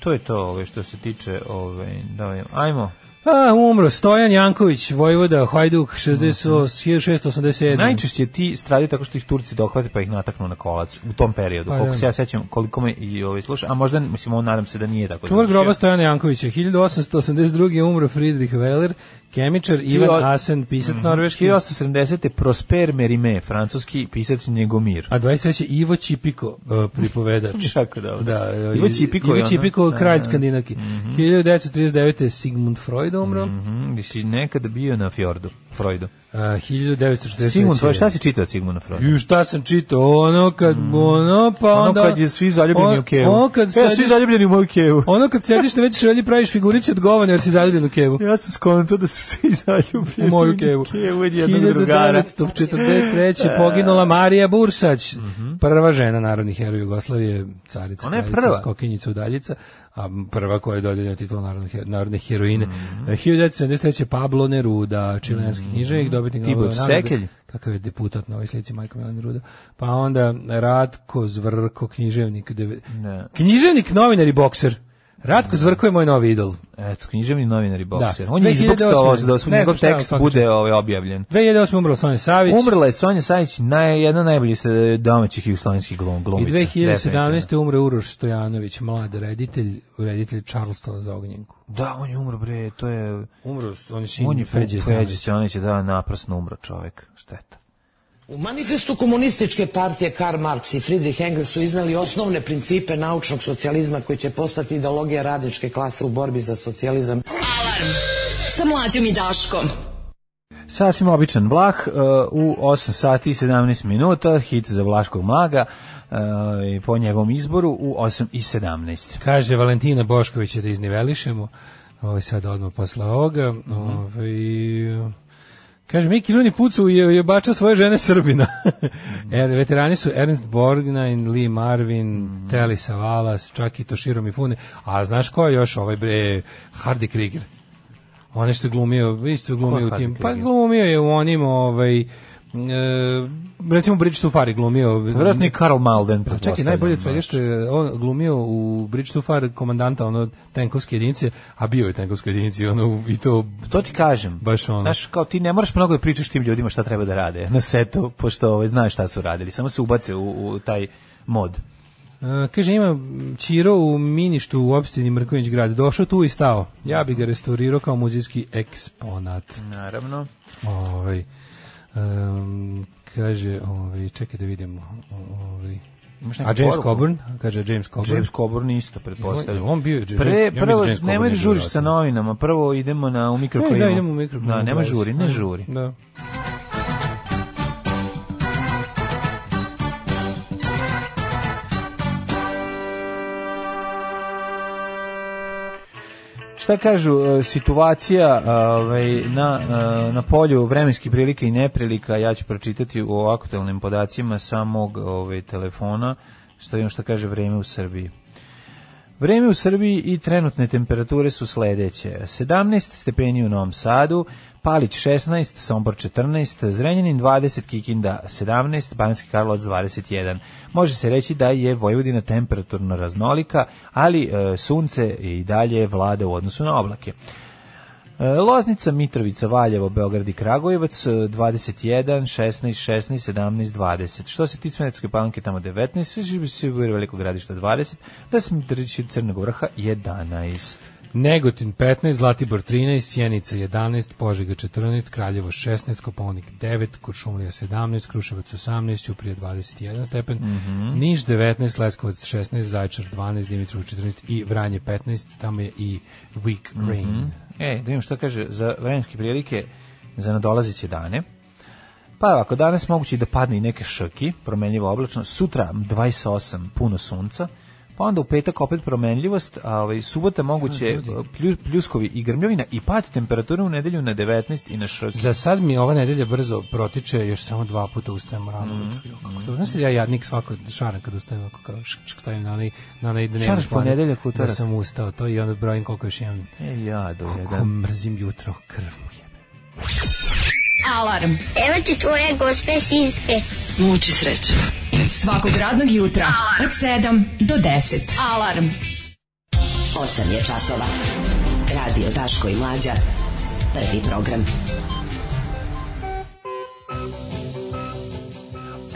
S5: to je to ove, što se tiče... Ove, da, vidim. ajmo.
S6: A, umro Stojan Janković, Vojvoda, Hajduk,
S5: Mhm.
S6: 60, 1687.
S5: Najčešće ti stradaju tako što ih Turci dohvate pa ih nataknu na kolac u tom periodu.
S6: Pa,
S5: koliko
S6: da.
S5: se ja sećam, koliko me i ove, sluša. A možda, mislim, ovo nadam se da nije tako. Znači,
S6: Čuvar
S5: završio.
S6: groba Stojana Jankovića, 1882. je umro Friedrich Weller, kemičar, Ivan Asen, pisac
S5: Mhm.
S6: norveški,
S5: 1870. Prosper Merime, francuski pisac Njegomir.
S6: a 23. Ivo Čipiko, e, pripovedač.
S5: Tako dobro.
S6: Da, e,
S5: Ivo Čipiko je
S6: Ivo
S5: ono-
S6: Čipiko,
S5: da,
S6: kralj
S5: da.
S6: Skandinaki. 1939. je Sigmund Freud umro.
S5: Mhm, Gdje si nekada bio na Fjordu, Freudu.
S6: A, 1940.
S5: Sigmund Freud, šta si čitao od Sigmunda Freuda?
S6: Ju šta sam čitao, ono kad, ono, pa
S5: Mm. Ono
S6: onda...
S5: kad je svi zaljubljeni
S6: on-
S5: u kevu.
S6: Ono kad,
S5: e, svi
S6: sediš,
S5: zaljubljeni u moju kevu.
S6: ono kad sediš na veći šelji praviš figurice od govana jer si zaljubljen u kevu.
S5: Ja sam skonto da su svi zaljubljeni
S6: U moju kevu.
S5: Kevu od jednog drugara. E.
S6: 1943. poginula Marija Bursać, prva žena narodnih heroja Jugoslavije,
S5: Mhm.
S6: carica,
S5: Ona je
S6: kraljica,
S5: prva.
S6: skokinjica, udaljica, a prva koja je dodeljena titul narodne, he- narodne heroine.
S5: Mhm.
S6: E, 1973. Pablo Neruda, čilenski književnik, dobitnik
S5: Tibor
S6: Nobelove nagrade.
S5: Sekelj.
S6: Kakav je deputat na ovoj slici Majko Milan Neruda. Pa onda Ratko Zvrko, književnik, deve-
S5: Ne.
S6: književnik, novinar i bokser. Ratko Zvrko je moj novi idol.
S5: Eto, književni novinar i bokser.
S6: Da.
S5: On je
S6: 2008.
S5: izboksao da smo
S6: Ne
S5: njegov
S6: znam šta je
S5: tekst
S6: on
S5: bude
S6: faktički.
S5: ovaj, objavljen.
S6: 2008. umrla Sonja Savić.
S5: Umrla je Sonja Sajić, naj, jedna najboljih se domaćih jugoslovenskih glum,
S6: I
S5: glumica.
S6: 2017. umre Uroš Stojanović, mlad reditelj, reditelj Charlestona za ognjenku.
S5: Da, on je umro, bre, to je...
S6: Umro, on je
S5: On je
S6: sin
S5: Feđe
S6: Feđe Stojanović.
S5: Stjanović, da, naprasno umro čovek. Šteta.
S8: U manifestu komunističke partije Karl Marx i Friedrich Engels su iznali osnovne principe naučnog socijalizma koji će postati ideologija radničke klase u borbi za socijalizam.
S4: Alarm. Sa mlađom i Daškom.
S5: Sasvim običan Vlah e, u 8 sati i 17 minuta, hit za Vlaškog mlaga e, i po njegovom izboru u 8 i 17.
S6: Kaže Valentina Boškovića da iznivelišemo. Ovo je sad odmah posle ovoga.
S5: Mhm.
S6: Ovaj, Kaže, Miki Runi Pucu je, je bača svoje žene Srbina.
S5: Mhm.
S6: er, veterani su Ernst Borgnine, Lee Marvin,
S5: Mhm.
S6: Telly Savalas, čak i Toshiro Mifune. A znaš ko je još ovaj bre? Hardy Krieger. On je što je glumio, isto je
S5: Ko je
S6: glumio u
S5: Hardy
S6: tim. Pa
S5: Krieger?
S6: glumio je u onim, ovaj, e, recimo Bridge to Far je glumio.
S5: Vjerojatno i Karl Malden.
S6: Pa čekaj,
S5: pretpostavljam,
S6: najbolje od svega
S5: znaš.
S6: što je on glumio u Bridge to Far komandanta ono tenkovske jedinice, a bio je tenkovske jedinici ono, u- i to
S5: To ti kažem.
S6: Baš ono.
S5: Znaš, kao ti ne moraš mnogo da pričaš tim ljudima šta treba da rade na setu, pošto ovaj, znaš šta su radili. Samo se ubace u, u taj mod.
S6: E, kaže, ima Čiro u miništu u opštini Mrković grad. Došao tu i stao. Ja bi ga restaurirao kao muzejski eksponat.
S5: Naravno.
S6: Ovaj. Um, kaže, ovaj, čekaj da vidim, ovaj,
S5: Imaš neku
S6: a James
S5: poruku?
S6: Coburn, kaže James Coburn.
S5: James Coburn isto, pretpostavljam.
S6: On- on bio je James- ja
S5: Pre,
S6: mislim
S5: prvo,
S6: James Coburn
S5: nemoj
S6: je
S5: da
S6: bio
S5: žuriš sa
S6: vjerojatno.
S5: novinama, prvo idemo na, u mikroklimu.
S6: Ne, da, idemo E, u mikrofon.
S5: Da, nema žuri, ne žuri.
S6: Da.
S5: Šta kažu e, situacija ovaj, na, e, na polju vremenskih prilika i neprilika, ja ću pročitati u aktualnim podacima samog ovaj, telefona, šta imam šta kaže vreme u Srbiji. Vreme u Srbiji i trenutne temperature su sledeće. 17 stepeni u Novom Sadu, Palić 16, Sombor 14, Zrenjanin 20, Kikinda 17, Banski Karlovac 21. Može se reći da je Vojvodina temperaturno raznolika, ali e, sunce i dalje vlada u odnosu na oblake. E, Loznica, Mitrovica, Valjevo, Beograd i Kragujevac e, 21, 16, 16, 17, 20. Što se tiče Smederske palanke tamo 19, Žibisibir Veliko gradište 20, da se Mitrović i Crnog vrha 11.
S6: Negotin 15, Zlatibor 13, Sjenica 11, Požega 14, Kraljevo 16, Koponik 9, Kuršumlija 17, Kruševac 18, Ćuprija 21 stepen,
S5: Mhm.
S6: Niš 19, Leskovac 16, Zaječar 12, Dimitrov 14 i Vranje 15, tamo je i Weak Rain.
S5: E, da vidim što kaže za vremenske prilike za nadolazeće dane. Pa ovako, danas moguće i da padne i neke šrki, promenljivo oblačno, sutra 28, puno sunca, pa onda u petak opet promenljivost, a ovaj, subota moguće plju- pljuskovi i grmljovina i pad temperature u nedelju na 19 i na šrki.
S6: Za sad mi ova nedelja brzo protiče, još samo dva puta ustajemo rano
S5: Mhm.
S6: ujutru. Jo, Kako to? Znaš li ja jadnik svako šaran kad ustajem, ako kao šk, šk, stavim na onaj, na onaj dnevni
S5: Šaraš
S6: plan
S5: ponedeljak, utorak.
S6: Da sam ustao to i onda brojim koliko još imam.
S5: E, ja do
S6: Kako
S5: jedan.
S6: mrzim jutro, krv mu jebe.
S4: Alarm.
S2: Evo ti tvoje gospe sinske.
S4: Muči sreće. Svakog radnog jutra od 7 do 10. Alarm.
S9: 8 je časova. Radio Daško i Mlađa. Prvi program.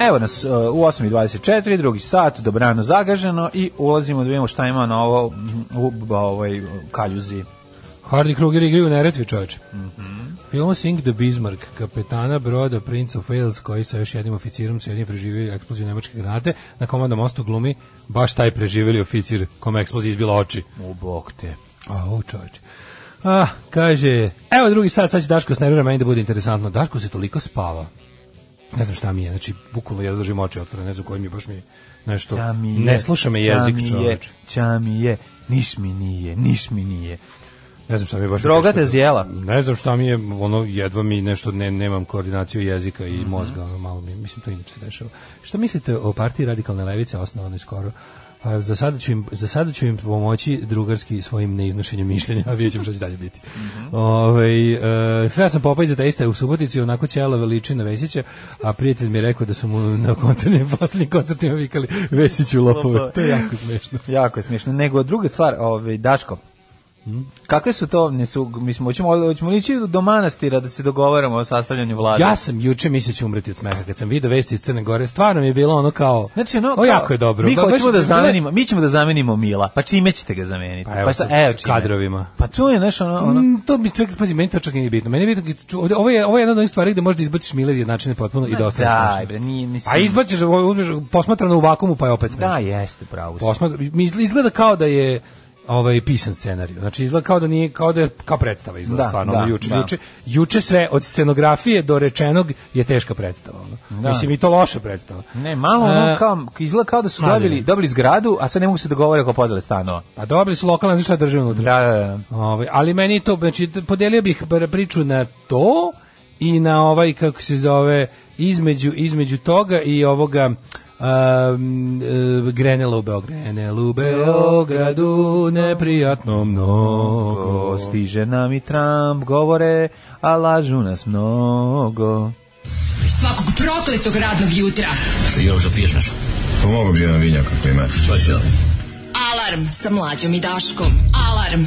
S5: Evo nas e, u 8.24, drugi sat, dobrano zagaženo i ulazimo da vidimo šta ima na ovo, mm, u, ovaj, kaljuzi.
S6: Hardy Kruger igraju u Neretvi, čoveče.
S5: Mhm.
S6: Film Sink the Bismarck, kapetana broda Prince of Wales, koji sa još jednim oficirom su jednim preživio eksploziju nemačke granate, na komandom mostu glumi baš taj preživjeli oficir kome je eksplozija izbila oči.
S5: U bok te.
S6: A, o, čoveče. Ah, kaže, evo drugi sat, sad će Daško s nervira, meni da bude interesantno. Daško se toliko spava. Ne znam šta mi je, znači, bukvalno ja držim oči otvorene, ne znam koji mi je, baš mi je nešto...
S5: Ća mi je,
S6: ne sluša me
S5: ća
S6: jezik,
S5: mi je,
S6: čoveče.
S5: Ća mi je, niš mi nije, niš mi nije.
S6: Ne znam šta mi je baš...
S5: Droga
S6: teško-
S5: te zjela.
S6: Ne znam šta mi je, ono, jedva mi nešto, ne, nemam koordinaciju jezika
S5: Mhm.
S6: i mozga, ono, malo mi, je- mislim, to inače se dešava. Šta mislite o partiji radikalne levice, osnovane skoro? Pa, za, sada ću im, za sada ću im pomoći drugarski svojim neiznošenjem mišljenja, a vidjet ćemo što će dalje biti.
S5: Mhm.
S6: Ovaj, e, sve sam popao iza teista u Subotici, onako ćela veliči na Vesića, a prijatelj mi je rekao da su mu na koncertnim, poslednjim koncertima vikali Vesiću lopove. To je jako smešno.
S5: Jako je smiješno. Nego druga stvar, ovaj, Daško,
S6: Hm?
S5: kakve su to, nisu, mislim, hoćemo, hoćemo li ići do manastira da se dogovaramo o sastavljanju vlade?
S6: Ja sam juče mislio da ću umreti od smeha kad sam video vesti iz Crne Gore. Stvarno mi je bilo ono kao
S5: Znači, ono,
S6: o,
S5: kao,
S6: jako je dobro.
S5: Mi
S6: Ba- baš-
S5: hoćemo da
S6: bilo-
S5: zamenimo, mi ćemo da zamenimo Mila. Pa čime ćete ga zameniti?
S6: Pa evo
S5: šta-
S6: sa- s
S5: čime.
S6: kadrovima.
S5: Pa tu je, znaš, ono, ono
S6: Mm, to bi čak, pazi, meni to čak nije bitno. Meni je bitno, kad ču- ovdje- ovo je, ovo je jedna od onih stvari gde možeš da izbaciš mile jednačine potpuno i dosta je
S5: daj,
S6: smešno.
S5: bre, nije, mislim.
S6: A Pa izbaciš, ovo uzmeš, posmatrano u vakumu, pa je opet smešno.
S5: Da, jeste, pravo. si.
S6: Posmatra, mi izgl- izgleda kao da je ovaj pisan scenarijo. Znači izgleda kao da nije kao da je kao predstava izgleda
S5: Da,
S6: stvarno
S5: da,
S6: ono, juče,
S5: da.
S6: juče, juče sve od scenografije do rečenog je teška predstava. Ono. Mislim i to loša predstava.
S5: Ne, malo ono
S6: E,
S5: kao, izgleda kao da su
S6: ali-
S5: dobili, dobili zgradu, a sad ne mogu se dogovoriti oko podele stanova.
S6: Pa dobili su lokalna znači šta drže unutra.
S5: Da, da, da.
S6: Ovaj, ali meni to, znači, t- podelio bih pr- priču na to i na ovaj, kako se zove, između, između toga i ovoga um, e, Grenela u Beogradu. Grenela u Beogradu, neprijatno mnogo.
S5: Ko stiže nam i Trump, govore, a lažu nas mnogo.
S4: Svakog prokletog radnog jutra.
S1: Još da piješ nešto? Pa
S3: Pomogu Pa bi jedan vinjak ako imate.
S4: Alarm sa mlađom i Daškom. Alarm.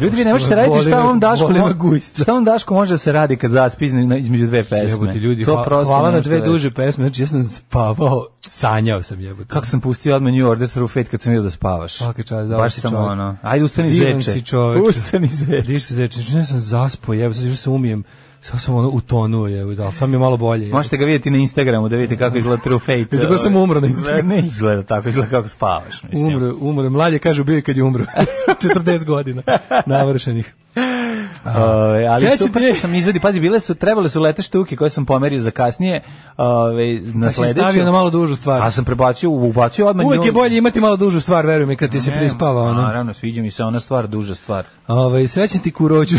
S5: Ljudi, vi ne možete raditi šta
S6: Voli me-
S5: vam Daško,
S6: voli me
S5: mo-
S6: gujst.
S5: šta vam Daško može da se radi kad zaspi izme- na- između dve pesme.
S6: Jebote ljudi,
S5: To
S6: hva-
S5: prosto
S6: hvala
S5: ne
S6: na
S5: možete
S6: dve
S5: reći.
S6: duže pesme, znači ja sam spavao, sanjao sam jebote.
S5: Kako sam pustio odmah New Order through Fate kad sam vidio da spavaš.
S6: Svaki čas, da,
S5: Baš
S6: si
S5: sam
S6: čovjek.
S5: ono. Ajde, ustani
S6: Divan
S5: zeče.
S6: si čovjek.
S5: Ustani zeče.
S6: Diš se zeče, znači, ne sam zaspo, jebe, sad još se umijem. Sad sam ono utonuo je, da, sad mi je malo bolje. Je.
S5: Možete ga vidjeti na Instagramu da vidite kako izgleda True Fate. ovaj.
S6: Izgleda sam umro na Instagramu.
S5: Ne izgleda tako, izgleda kako spavaš. Mislim.
S6: Umro, umro. Mlađe kaže bio je kad je umro. 40 godina navršenih.
S5: Uh, ali
S6: Sreći
S5: super
S6: ti je.
S5: što sam izvedi, pazi, bile su, trebale su lete štuke koje sam pomerio za kasnije, ovaj na
S6: Znači,
S5: sledeću.
S6: stavio na malo dužu stvar.
S5: A sam prebacio, ubacio odmah.
S6: Uvijek je
S5: nju-
S6: bolje imati malo dužu stvar, veruj mi, kad ti se
S5: Ne,
S6: prispava. Ono.
S5: Naravno, sviđa mi se ona stvar, duža stvar.
S6: Ovaj srećan ti kuroću.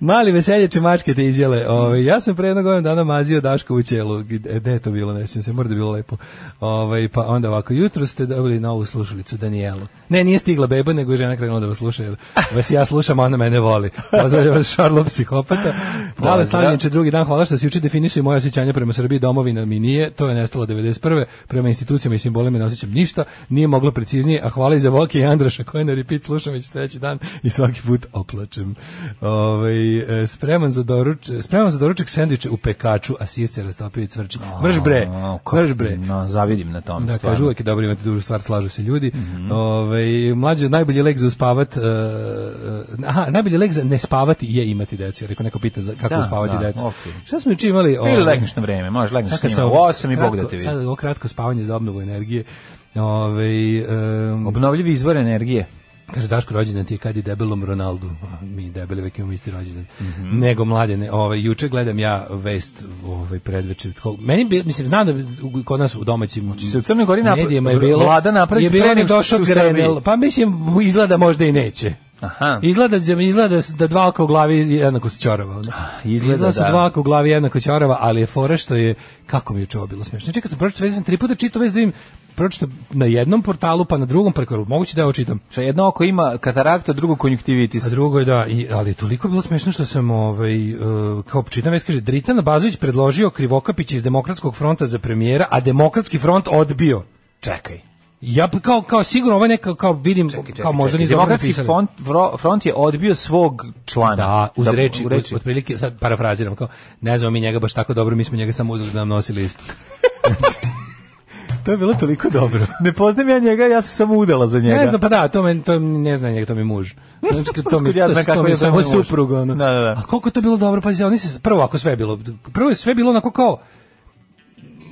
S6: Mali veselječe mačke te izjele. Ovaj ja sam pre jednog godina dana mazio Daško u ćelu. Gde gde je to bilo, ne sjećam se, mora da je bilo lepo. Ovaj pa onda ovako jutro ste dobili novu slušalicu Danijelu. Ne, nije stigla beba, nego je žena krenula da vas sluša. Jer vas ja slušam, a ona mene voli. Pozdravljam vas Šarlo psihopata. Dale Slavljenče, drugi dan, hvala što si juče definisao moje osjećanje prema Srbiji, domovina mi nije, to je nestalo 91. Prema institucijama i simbolima ne osjećam ništa, nije moglo preciznije, a hvala i za Voki i Andraša koje na repeat slušam već treći dan i svaki put oplačem. Ovaj, e, spreman, za doruč, spreman za doručak sendviče u pekaču, a sisce rastopio i cvrči. Mrš bre,
S5: A, kako-
S6: mrš bre.
S5: No, zavidim na tom.
S6: Da,
S5: stvarno. Mhm.
S6: kažu uvek je dobro imati dužu stvar, slažu se ljudi. Ovaj, mlađe, najbolji lek za uspavat, e, aha, najbolji lek za ne spavati je imati decu, jer ako neko pita za kako
S5: Da,
S6: uspavati
S5: da,
S6: decu.
S5: okej.
S6: Šta smo juče imali?
S5: Ili
S6: ovaj,
S5: legneš na vreme, možeš legneš
S6: sad
S5: s
S6: kad
S5: njima.
S6: sam-
S5: U osam i Bog da
S6: kratko-
S5: te vidi.
S6: Sad ovo kratko spavanje za obnovu energije. Ovaj, em,
S5: Obnovljivi izvor energije.
S6: Kaže Daško rođendan ti je kad je debelom Ronaldu, a mi debeli uvijek imamo isti rođendan.
S5: Mhm.
S6: Nego mladene, ovaj juče gledam ja vest ovaj predveče. Tko- Meni bi, mislim znam da bi u- kod nas u domaćim
S5: se u Crnoj Gori napra-
S6: medijima je bilo
S5: vlada napraviti
S6: je bilo
S5: pre
S6: nek
S5: nego što
S6: došao
S5: su u Srbiji.
S6: Grenell. Pa mislim izgleda možda i neće.
S5: Aha.
S6: Izgleda da izgleda da dva oka u glavi jednako su ćorava. ono.
S5: Ah, izgleda
S6: izgleda su
S5: da.
S6: dva oka u glavi jednako ćorava, ali je fora što je kako mi je čuo bilo smešno. Čekaj, sam pročitao vest, sam tri puta čitao vest da vidim pročitao na jednom portalu pa na drugom portalu. Moguće da ovo čitam.
S5: Što jedno oko ima katarakta, drugo konjuktivitis.
S6: A drugo je da, i, ali je toliko bilo smešno što sam, ovaj, uh, kao čitam, već kaže, Dritan Bazović predložio Krivokapić iz Demokratskog fronta za premijera, a Demokratski front odbio.
S5: Čekaj.
S6: Ja bi kao, kao sigurno, ovo je neka, kao vidim, kao možda nisu dobro
S5: Demokratski
S6: napisali.
S5: front, vro- front je odbio svog člana.
S6: Da, uz
S5: Da,
S6: reči,
S5: u reči.
S6: Od, otprilike, sad parafraziram, kao, ne znamo mi njega baš tako dobro, mi smo njega samo uzeli da nam nosi listu. to je bilo toliko dobro.
S5: Ne poznam ja njega, ja sam samo udala za njega.
S6: Ne znam, pa da, to, men, to ne znam njega, to mi je muž. Znači, to mi,
S5: Otkud ja znam
S6: to,
S5: kako
S6: to mi je
S5: je
S6: samo
S5: to moj muž?
S6: suprug. Ono.
S5: Da, da, da.
S6: A koliko je to bilo dobro, pazi, oni se, prvo ako sve je bilo, prvo je sve bilo onako kao,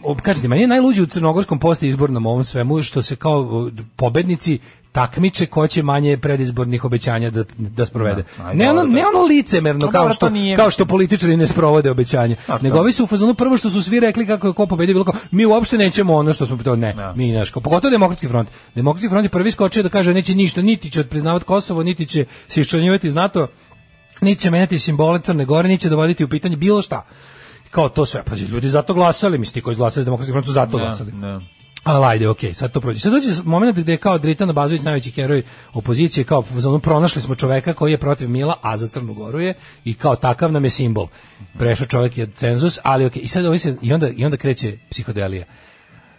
S6: ob- kažete, meni je najluđe u crnogorskom posti izbornom ovom svemu, što se kao o, d- pobednici takmiče ko će manje predizbornih obećanja da, da sprovede.
S5: Da, aj,
S6: ne, ono,
S5: dobro,
S6: ne ono licemerno
S5: Pa
S6: kao
S5: dobro,
S6: što,
S5: to nije,
S6: kao
S5: mislim.
S6: što političari ne sprovode obećanje, nego ovi su u fazonu prvo što su svi rekli kako je ko pobedio bilo kao, mi uopšte nećemo ono što smo to ne, mi naš kao, pogotovo demokratski front. Demokratski front je prvi skočio da kaže neće ništa, niti će priznavati Kosovo, niti će se iščlanjivati iz NATO, niti će menjati simbole Crne Gore, niti će dovoditi u pitanje bilo šta. Kao to sve, pa ljudi zato glasali, mislim ti koji glasali za demokratski front su zato glasali.
S5: Da.
S6: Ali ajde, okej, sad to prođe. Sad dođe moment gde je kao Dritan Bazović najveći heroj opozicije, kao za ono, pronašli smo čoveka koji je protiv Mila, a za Crnu Goru je i kao takav nam je simbol. Prešao čovek je cenzus, ali okej, i sad ovi se, i onda, i onda kreće psihodelija.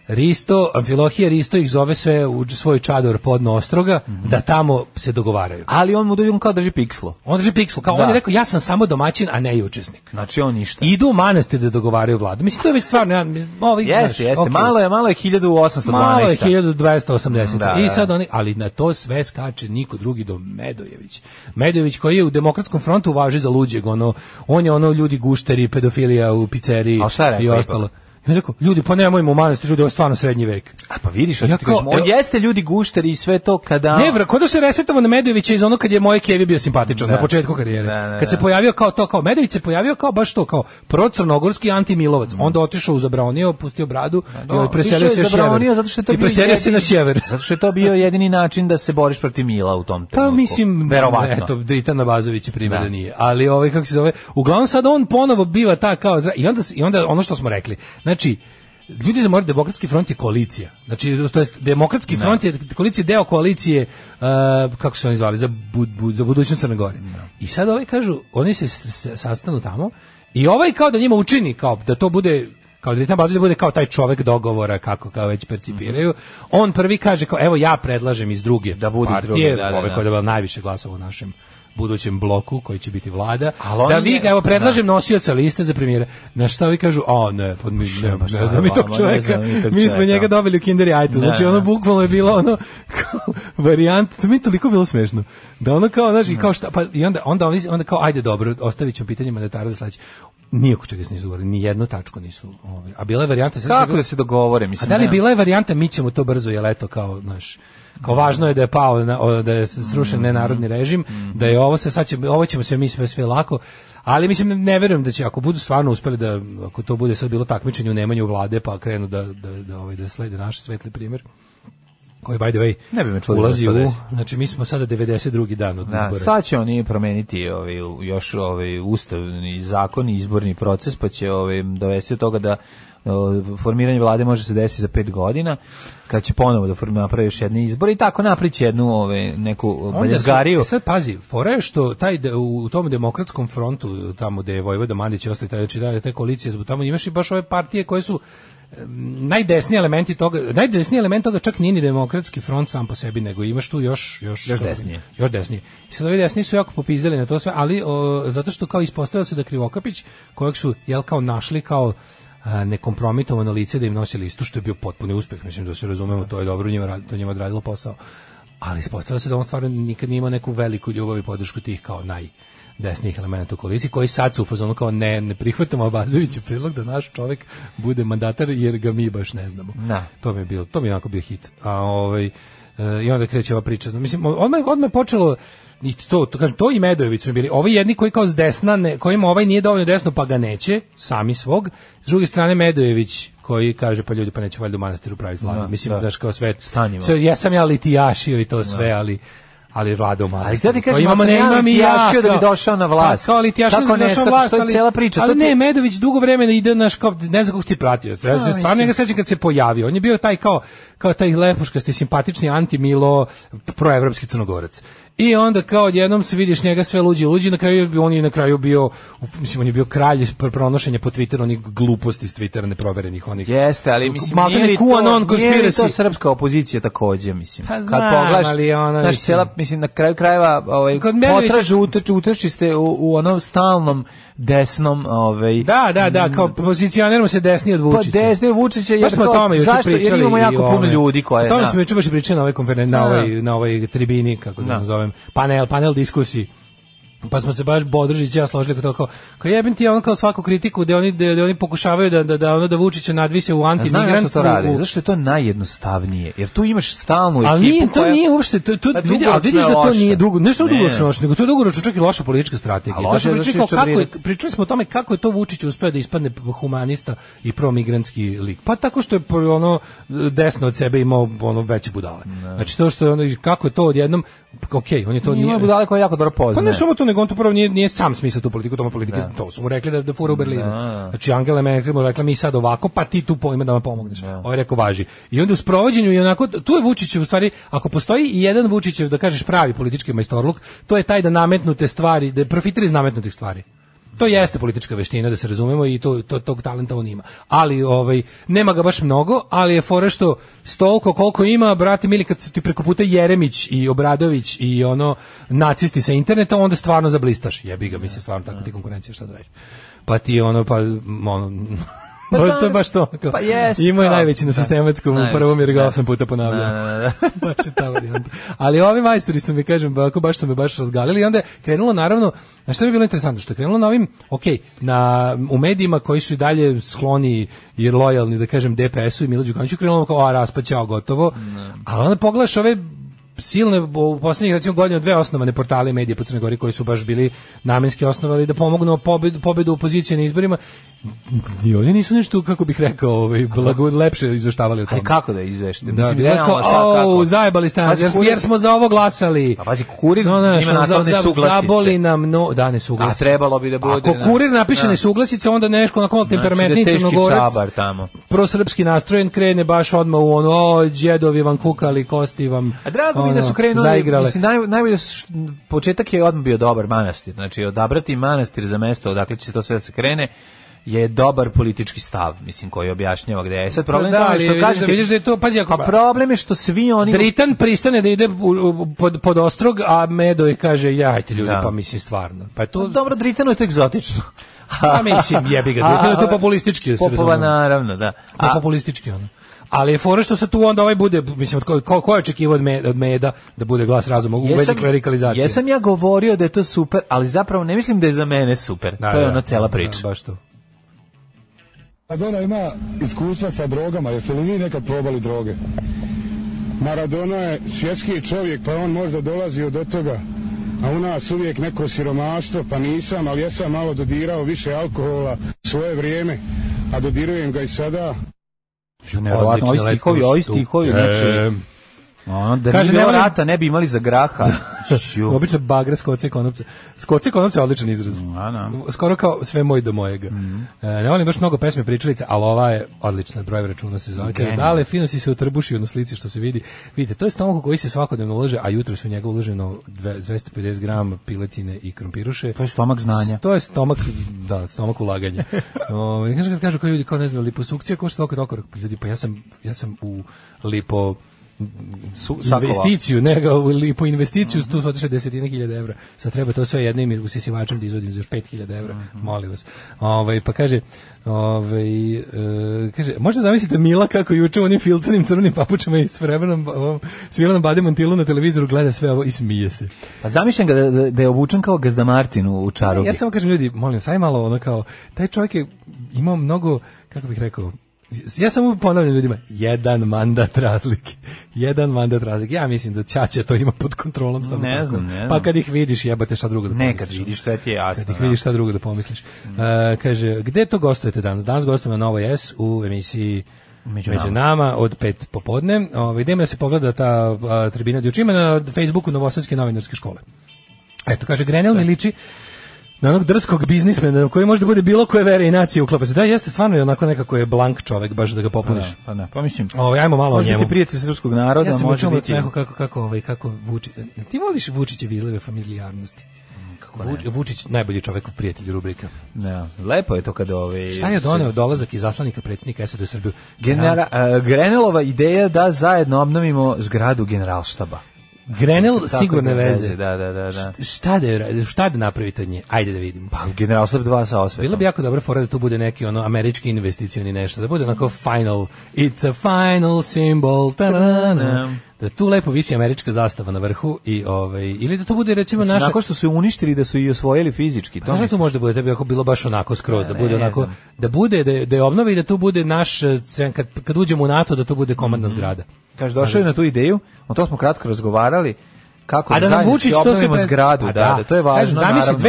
S6: Risto, Amfilohije Risto ih zove sve u svoj čador podno Ostroga,
S5: Mhm.
S6: da tamo se dogovaraju.
S5: Ali on mu dođe, on kao drži pikslo.
S6: On drži piksel, kao
S5: Da.
S6: on je rekao, ja sam samo domaćin, a ne i učesnik.
S5: Znači on ništa.
S6: Idu u manastir da dogovaraju vladu. Mislim, to je već stvarno... Ja, ovi, znaš,
S5: Jeste, jeste.
S6: okej.
S5: Malo je, malo je 1812.
S6: Malo je 1280.
S5: Da,
S6: I
S5: da.
S6: sad oni, ali na to sve skače niko drugi do Medojević. Medojević koji je u demokratskom frontu važi za luđeg, ono, on je ono ljudi gušteri, pedofilija u pizzeriji
S5: A šta je rekao
S6: i ostalo. I on je rekao, ljudi, pa nemojmo u manastir, ljudi, ovo je stvarno srednji vek.
S5: A pa vidiš, hoću
S6: Ja
S5: ti
S6: kao-
S5: kažem, on
S6: evo-
S5: jeste ljudi gušteri i sve to kada...
S6: Ne, vra, da se resetamo na Medovića iz ono kad je moje Kevi bio simpatičan na početku karijere.
S5: Da, da,
S6: kad se
S5: da.
S6: pojavio kao to, kao Medović se pojavio kao baš to, kao procrnogorski antimilovac.
S5: Mm.
S6: Onda otišao u Zabranio, opustio bradu i ovaj, preselio
S5: Više
S6: se na
S5: zabranio
S6: sjever.
S5: Zato što je to
S6: I
S5: bio
S6: preselio se na
S5: jedini-
S6: sjever.
S5: Zato što je to bio jedini način da se boriš protiv Mila u tom
S6: Pa
S5: trenutku.
S6: mislim,
S5: verovatno.
S6: eto, Dritan Bazović je primjer da.
S5: Da.
S6: nije. Ali ovaj, kako se zove, uglavnom sad on ponovo biva ta kao, zra- i onda, s- i onda ono što smo rekli, znači, ljudi zamoraju demokratski front je koalicija. Znači, to jest, demokratski front je koalicija, deo koalicije, uh, kako se oni zvali, za, bud, bud- za budućnost Crne Gore. I sad ovaj kažu, oni se s- s- sastanu tamo i ovaj kao da njima učini, kao da to bude kao Dritan Bazić da bude kao taj čovek dogovora, kako kao već percipiraju. On prvi kaže kao, evo ja predlažem iz druge
S5: Mhm. Da bude iz
S6: partije,
S5: druge, da, da,
S6: ove
S5: da.
S6: koja je dobila najviše glasova u našem budućem bloku koji će biti vlada.
S5: Ali on
S6: da vi
S5: je-
S6: ga, evo, predlažem nosioca liste za premijera. Na šta vi kažu, a ne, pa mi, ne,
S5: pa šta
S6: ne znam mi
S5: je
S6: tog
S5: vama, ne
S6: čoveka,
S5: znam mi tog
S6: mi smo
S5: čoveka.
S6: njega dobili u kinder jajtu.
S5: Da,
S6: Znači,
S5: da.
S6: ono bukvalno je bilo ono, kao, varijant, to mi je toliko bilo smešno. Da ono kao, znaš, i kao šta, pa i onda, onda, ovi- onda kao, ajde dobro, ostavit ćemo pitanje mandatara za sledeće. Nije oko čega se nisu dogovorili, ni jednu tačku nisu. Ovaj. A bila je varijanta... sad sam
S5: Kako
S6: gledao-
S5: da se dogovore,
S6: a
S5: mislim.
S6: da li
S5: ne?
S6: bila je varijanta mi ćemo to brzo jel eto kao znaš kao važno je da je pao na- o, da je srušen
S5: Mm-hmm.
S6: nenarodni režim da je ovo se sad će, ovo ćemo sve mi sve sve lako ali mislim ne verujem da će ako budu stvarno uspeli da ako to bude sad bilo takmičenje u nemanju vlade pa krenu da da da ovaj da slede naš svetli primjer koji by the way
S5: Ne bi me čudilo
S6: ulazi
S5: da se
S6: u
S5: desi.
S6: znači mi smo sada 92. dan od
S5: Da,
S6: izbora
S5: sad će oni promeniti ovaj, još ovaj, ustavni zakon i izborni proces, pa će ovaj, dovesti do toga da o, formiranje vlade može se desiti za pet godina, kad će ponovo da form- napravi još jedne izbore i tako naprići jednu ovaj, neku
S6: Onda su-
S5: baljezgariju.
S6: e Sad pazi, fora je što taj de- u tom demokratskom frontu tamo gde je Vojvoda Mandić i ostali taj znači da, te koalicije zbog tamo imaš i baš ove partije koje su em, najdesniji elementi toga, najdesniji element toga čak nije ni demokratski front sam po sebi, nego imaš tu još još
S5: Još
S6: kako bi-
S5: desnije.
S6: Još desnije. I sad ovi desni su jako popizdali na to sve, ali o, zato što kao ispostavilo se da Krivokapić kojeg su jel kao našli kao a, nekompromitovano lice da im nosi listu što je bio potpuni uspeh, mislim da se razumemo, to je dobro njima rad- to njima odradilo posao ali ispostavilo se da on stvarno nikad nije imao neku veliku ljubav i podršku tih kao naj desnih elemenata u koaliciji, koji sad su u fazonu kao ne, ne prihvatamo Abazovića prilog da naš čovek bude mandatar jer ga mi baš ne znamo.
S5: Da.
S6: To mi je bilo, to mi je onako bio hit. A ovaj e, i onda kreće ova priča. Mislim odmah odmah je počelo i to, to kažem, to i Medojević su bili. Ovi jedni koji kao s desna, ne, kojima ovaj nije dovoljno desno pa ga neće, sami svog. S druge strane Medojević koji kaže pa ljudi pa neće valjda u manastiru praviti vladu.
S5: Da,
S6: Mislim
S5: da.
S6: da. kao sve
S5: Stanimo.
S6: sve ja sam ja litijašio i to sve, ali ali vlada u manastiru.
S5: Ali sad ti
S6: To
S5: kažem,
S6: imamo,
S5: ja sam
S6: ne,
S5: ja
S6: imam i
S5: litijašio da bi
S6: kao-
S5: došao na vlast.
S6: Pa, kao litijašio
S5: Kako
S6: da bi
S5: ne
S6: došao na
S5: shvataš,
S6: vlast,
S5: to je
S6: ali-
S5: cijela priča, to
S6: Ali
S5: ti-
S6: ne, Medović dugo vremena ide naš kao ne znam kako si ti pratio. Ja se stvarno
S5: mislim.
S6: njega sećam kad se pojavio. On je bio taj kao kao taj lepuškasti simpatični anti-milo proevropski crnogorac. I onda kao odjednom se vidiš njega sve luđi i luđi, na kraju je- on je na kraju bio mislim on je bio kralj pr- pronošenja po Twitteru onih gluposti s Twittera neproverenih onih.
S5: Jeste, ali mislim,
S6: Maltene
S5: nije li, to,
S6: QAnon
S5: nije li to
S6: conspiracy.
S5: srpska opozicija takođe, mislim.
S6: Pa znam, ali ono,
S5: znaš,
S6: mislim-
S5: cijela, mislim, na kraju krajeva ovaj,
S6: Kod Medovića-
S5: potražu, utoč, utoči ste u, u onom stalnom desnom ovaj,
S6: Da, da, da, kao pozicioniramo se desni od Vučića.
S5: Pa desne Vučića,
S6: Baš
S5: jer,
S6: smo o
S5: kao,
S6: tome juče
S5: zašto?
S6: pričali.
S5: jer imamo
S6: i
S5: jako
S6: o
S5: puno
S6: ovome.
S5: ljudi koje...
S6: O tome
S5: da.
S6: smo juče baš i pričali na ovoj konferen- na
S5: Da.
S6: ovoj, na ovoj tribini, kako da,
S5: Da.
S6: nazovem, panel, panel diskusiji. Pa smo se baš Bodržić i ja složili kod toga kao, kao jebim ti ono kao svaku kritiku da oni, da, da oni pokušavaju da, da, da, ono da Vučića nadvise u
S5: A Znaš zašto
S6: antimigrantstvu.
S5: to radi?
S6: u-
S5: Zašto je to najjednostavnije? Jer tu imaš stalnu ekipu
S6: Ali nije, to
S5: koja-
S6: nije uopšte, to, to,
S5: Pa
S6: vidi,
S5: dugoročno
S6: ali vidiš da
S5: je
S6: to
S5: loše.
S6: nije dugo, ne što
S5: Ne.
S6: dugoročno loše, nego to je dugoročno čak i loša politička strategija.
S5: A
S6: To
S5: loše
S6: smo
S5: je da
S6: pričali,
S5: se
S6: kao kako je,
S5: iščabrirati.
S6: pričali smo o tome kako je to Vučić uspeo da ispadne humanista i promigrantski lik. Pa tako što je pro- ono desno od sebe imao ono veće budale. Znači to što je ono, kako je to odjednom, okej, on je to
S5: Ima
S6: nije,
S5: budale koje jako dobro
S6: pa
S5: poznaje.
S6: ne samo to, nego on to prvo nije, nije sam smislio tu politiku, to mu politike, to su mu rekli da, da fura u Berlinu. Znači Angela Merkel mu rekla mi sad ovako, pa ti tu pojma da me pomogneš. Ovo je rekao važi. I onda u sprovođenju i onako, tu je Vučićev u stvari, ako postoji i jedan Vučićev, da kažeš pravi politički majstorluk, to je taj da nametnute stvari, da profitira iz nametnutih stvari. To jeste politička veština da se razumemo i to, to tog talenta on ima. Ali ovaj nema ga baš mnogo, ali je fora što stolko koliko ima, brate mili kad su ti preko puta Jeremić i Obradović i ono nacisti sa interneta, onda stvarno zablistaš. Jebi ga, mislim stvarno tako ti konkurencija šta da radiš. Pa ti ono pa m, ono
S5: Pa
S6: to,
S5: da,
S6: to je baš to. kao,
S5: pa jest,
S6: Imao je
S5: da.
S6: najveći na
S5: Da.
S6: sistematskom u
S5: Najveći,
S6: prvom jer ga
S5: da.
S6: osam puta ponavljao.
S5: Da, da, da.
S6: baš je ta varijanta. Ali ovi majstori su mi, kažem, ovako baš su me baš razgalili i onda je krenulo naravno, znaš što je bilo interesantno, što je krenulo na ovim, ok, na, u medijima koji su i dalje skloni i lojalni, da kažem, DPS-u i Milo Đukanoviću, krenulo ono kao, a raspad ćao, gotovo, ali onda pogledaš ove silne bo- u poslednjih recimo godina dve osnovane portale i medije po Crnoj Gori koji su baš bili namenski osnovali da pomognu pobedu, pobedu opozicije na izborima i oni nisu nešto kako bih rekao ovaj, blago, lepše izveštavali o tome
S5: Ali kako da izvešte?
S6: da, bi
S5: realno,
S6: rekao,
S5: šta,
S6: "Au,
S5: kako?"
S6: zajebali ste nas,
S5: Pazi,
S6: jer, smo-
S5: kurir-
S6: jer smo za ovo glasali.
S5: A pazi, kurir
S6: znaš,
S5: ima naslov nesuglasice.
S6: Zaboli nam, no, da, nesuglasice.
S5: A trebalo bi da bude,
S6: Ako
S5: znaš,
S6: kurir napiše
S5: da. Znači
S6: nesuglasice, onda nešto onako malo temperamentni
S5: da teški
S6: crnogorac,
S5: čabar tamo.
S6: prosrpski nastrojen, krene baš odmah u ono, o, djedovi vam kukali, kosti vam
S5: A drago mi je da su
S6: ono,
S5: krenuli,
S6: zaigrale.
S5: mislim, naj, najbolje, su š- početak je odmah bio dobar manastir, znači odabrati manastir za mesto odakle će se to sve da se krene, je dobar politički stav, mislim, koji objašnjava gde je. E Sad problem
S6: Pa
S5: je
S6: da,
S5: tome
S6: ali
S5: što
S6: vidiš
S5: kažete...
S6: da- vidiš da je to- pazi, ako-
S5: Pa problem je što svi oni...
S6: Dritan pristane da ide u- u- pod, pod ostrog, a Medo i kaže, jajte ljudi,
S5: Da.
S6: pa mislim stvarno. Pa je to,
S5: Dobro, Dritano je to egzotično.
S6: pa mislim, jebi ga, Dritan je to populistički. da se
S5: Popova,
S6: razumemo.
S5: naravno, da.
S6: To je populistički ono. Ali je fora što se tu onda ovaj bude, mislim, od ko, ko, ko je očekivao od, me, od meda da bude glas razuma u vezi klerikalizacije?
S5: Jesam ja govorio da je to super, ali zapravo ne mislim da je za mene super.
S6: Da,
S5: to je
S6: da,
S5: ona cela
S6: da,
S5: priča.
S6: baš to.
S10: Maradona Pa ima iskustva sa drogama, jeste li vi nekad probali droge? Maradona je svjetski čovjek, pa on možda dolazi od toga. A u nas uvijek neko siromaštvo, pa nisam, ali jesam malo dodirao više alkohola svoje vrijeme, a dodirujem ga i sada.
S5: Ju, nevjerovatno, ovi
S6: Odlične
S5: stihovi,
S6: letke
S5: ovaj ovi
S6: su.
S5: stihovi,
S6: E,
S5: znači, ono, da
S6: Kaže,
S5: nije bilo
S6: ne volim-
S5: rata, ne bi imali za graha. Ju.
S6: Obično bagra skoce i konopce. Skoce i konopce je odličan izraz.
S5: a, Mm, da. Mm.
S6: Skoro kao sve moj do mojega. E, ne volim baš mnogo pesme pričalice, ali ova je odlična broj računa se zove. Kaže,
S5: Genijalno.
S6: dale, fino si se utrbušio na slici što se vidi. Vidite, to je stomak koji se svakodnevno ulaže, a jutro su u njega uloženo dve- 250 grama piletine i krompiruše.
S5: To je stomak znanja.
S6: To je stomak, da, stomak ulaganja. Ovaj kaže kad kažu kao ljudi kao ne znam liposukcija košta toliko i toliko, Rekao, pa ljudi pa ja sam ja sam u lipo
S5: Su- sakova.
S6: investiciju, ne, ga u lipo investiciju, tu su otišle desetine hiljada evra. Sad treba to sve jednim usisivačem da izvodim za još pet hiljada evra, molim vas. Ovaj, pa kaže, ovaj, e, kaže, možda zamislite Mila kako juče u onim filcanim crvenim papučama i s vremenom ovom, svilenom bademantilu na televizoru gleda sve ovo i smije se.
S5: Pa zamišljam ga da, da, da je obučen kao Gazda Martin u, u čarobi.
S6: Ja samo kažem ljudi, molim, saj malo ono kao, taj čovjek je imao mnogo, kako bih rekao, ja samo ponavljam ljudima, jedan mandat razlike. Jedan mandat razlike. Ja mislim da Ćaća to ima pod kontrolom samo
S5: Ne
S6: tako.
S5: znam, ne
S6: Pa
S5: znam.
S6: kad ih vidiš, jebate šta drugo da
S5: Ne,
S6: pomisliš.
S5: kad vidiš, sve ti je jasno,
S6: Kad ih
S5: Pa da.
S6: vidiš šta drugo da pomisliš. E, kaže, gde to gostujete danas? Danas gostujemo na Novoj S u emisiji
S5: Među
S6: Među, nama od pet popodne. Ovaj idemo da se pogleda ta a, tribina od juče. Ima na Facebooku Novosadske novinarske škole. Eto, kaže, Grenell mi liči na onog drskog biznismena koji može da bude bilo koje vere i nacije uklapa se. Da, jeste stvarno je onako nekako je blank čovek, baš da ga popuniš.
S5: Da, pa ne, pa mislim,
S6: Ovaj, ajmo malo
S5: može
S6: o njemu.
S5: biti prijatelj srpskog naroda,
S6: ja sam
S5: može
S6: učinio
S5: biti...
S6: biti... kako, kako, ovaj, kako Vučić... Jel Ti voliš Vučićevi izleve familijarnosti?
S5: Mm,
S6: Kako Vučić najbolji čovek u prijatelju rubrika.
S5: Da, lepo je to kada ove...
S6: Šta je doneo dolazak iz zaslanika predsjednika SED u Srbiju?
S5: Genera, e, Grenelova ideja da zajedno obnovimo zgradu generalštaba.
S6: Grenell
S5: Tako
S6: sigurne
S5: da
S6: veze.
S5: Da, da, da. da.
S6: Šta da, je- šta da napravite od nje? Ajde da vidimo.
S5: Pa, generalštab 2 sa osvetom.
S6: Bilo bi jako dobro fora da tu bude neki ono američki investicioni nešto, da bude onako final, it's a final symbol, ta-da-da-da. da tu lepo visi američka zastava na vrhu i ovaj, ili da to bude recimo naša...
S5: Nakon što su je uništili da su i osvojili fizički.
S6: Pa Znaš da tu možda bude, da bi ako bilo baš onako
S5: Pa
S6: skroz, da bude onako, da bude, da je, da je obnovi, da tu bude naš, eh, cen- kad, kad uđemo u NATO, da to bude komandna
S5: Mhm.
S6: zgrada.
S5: Kaže, došao je na tu ideju, o tom smo kratko razgovarali, kako
S6: A da nam
S5: zajednički
S6: Vučić to se...
S5: obnovimo zgradu, da, da, to je važno,
S6: Zamisli
S5: naravno.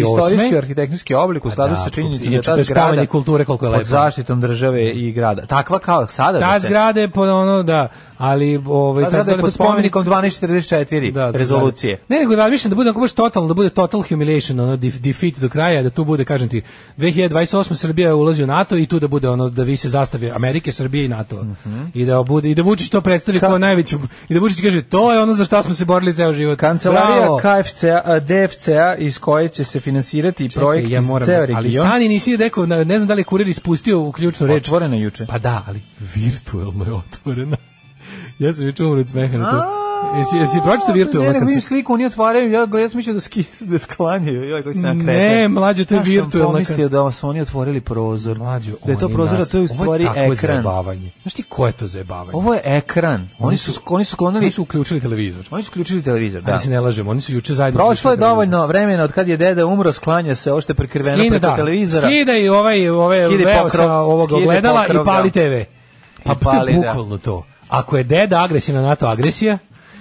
S5: Čuvajući istorijski arhitektonski oblik u skladu
S6: da,
S5: sa činjenicom da
S6: inače to
S5: ta
S6: je spomenik
S5: zgrada
S6: kulture, koliko je
S5: pod
S6: lepo.
S5: zaštitom države i grada. Takva kao sada
S6: Ta
S5: da se...
S6: zgrada je pod ono, da, ali ovaj,
S5: Ta zgrada je pod spomenikom 1244
S6: da, zgrada.
S5: rezolucije.
S6: Ne, nego da mislim da bude onako baš total, da bude total humiliation, ono def- defeat do kraja, da tu bude, kažem ti, 2028 Srbija ulazi u NATO i tu da bude ono da vi se zastave Amerike, Srbije i NATO.
S5: Mhm.
S6: I da bude i da Vučić to predstavi kao najveću i da Vučić kaže to je ono za šta smo se borili ceo život.
S5: Kancelarija
S6: Bravo.
S5: KFC-a, a, DFC-a iz koje će se finansirati projekt
S6: ja
S5: iz
S6: moram,
S5: ceo
S6: ali
S5: region.
S6: stani nisi rekao, na- ne znam da li je kurir ispustio u ključnu reč.
S5: Otvoreno juče.
S6: Pa da, ali virtuelno je otvorena. ja sam već umro od smeha na to. Jesi, jesi pročito virtuelno?
S5: Ne, nego
S6: kad
S5: vidim
S6: se-
S5: sliku, oni otvaraju, ja, ja sam mislio da, ski, da sklanjaju. Ja, koji se
S6: Ne, mlađe, to je virtuelna
S5: Ja sam pomislio da su oni otvorili prozor.
S6: Mlađo,
S5: da je to
S6: oni
S5: prozor, a
S6: nas-
S5: to je u
S6: ovo
S5: stvari
S6: takvo
S5: ekran.
S6: Zajebavanje. Znaš ti ko je to zajebavanje?
S5: Ovo je ekran. Oni, su,
S6: su-
S5: oni su sklonili,
S6: Oni su uključili televizor.
S5: oni su uključili televizor,
S6: Da.
S5: da.
S6: Ali se ne lažemo, oni su juče zajedno...
S5: Prošlo
S6: uključili
S5: je
S6: televizor.
S5: dovoljno vremena od kad je deda umro, sklanja se ovo što je prekriveno
S6: Skine,
S5: preko
S6: da.
S5: televizora.
S6: Skida i ovaj, ovaj
S5: Skidi
S6: veo
S5: pokrov,
S6: sa ovog
S5: skidi
S6: ogledala
S5: pokrov,
S6: i pali
S5: da.
S6: TV. Pa
S5: I
S6: to
S5: pali,
S6: je
S5: da.
S6: bukvalno to. Ako je deda agresivna NATO agresija,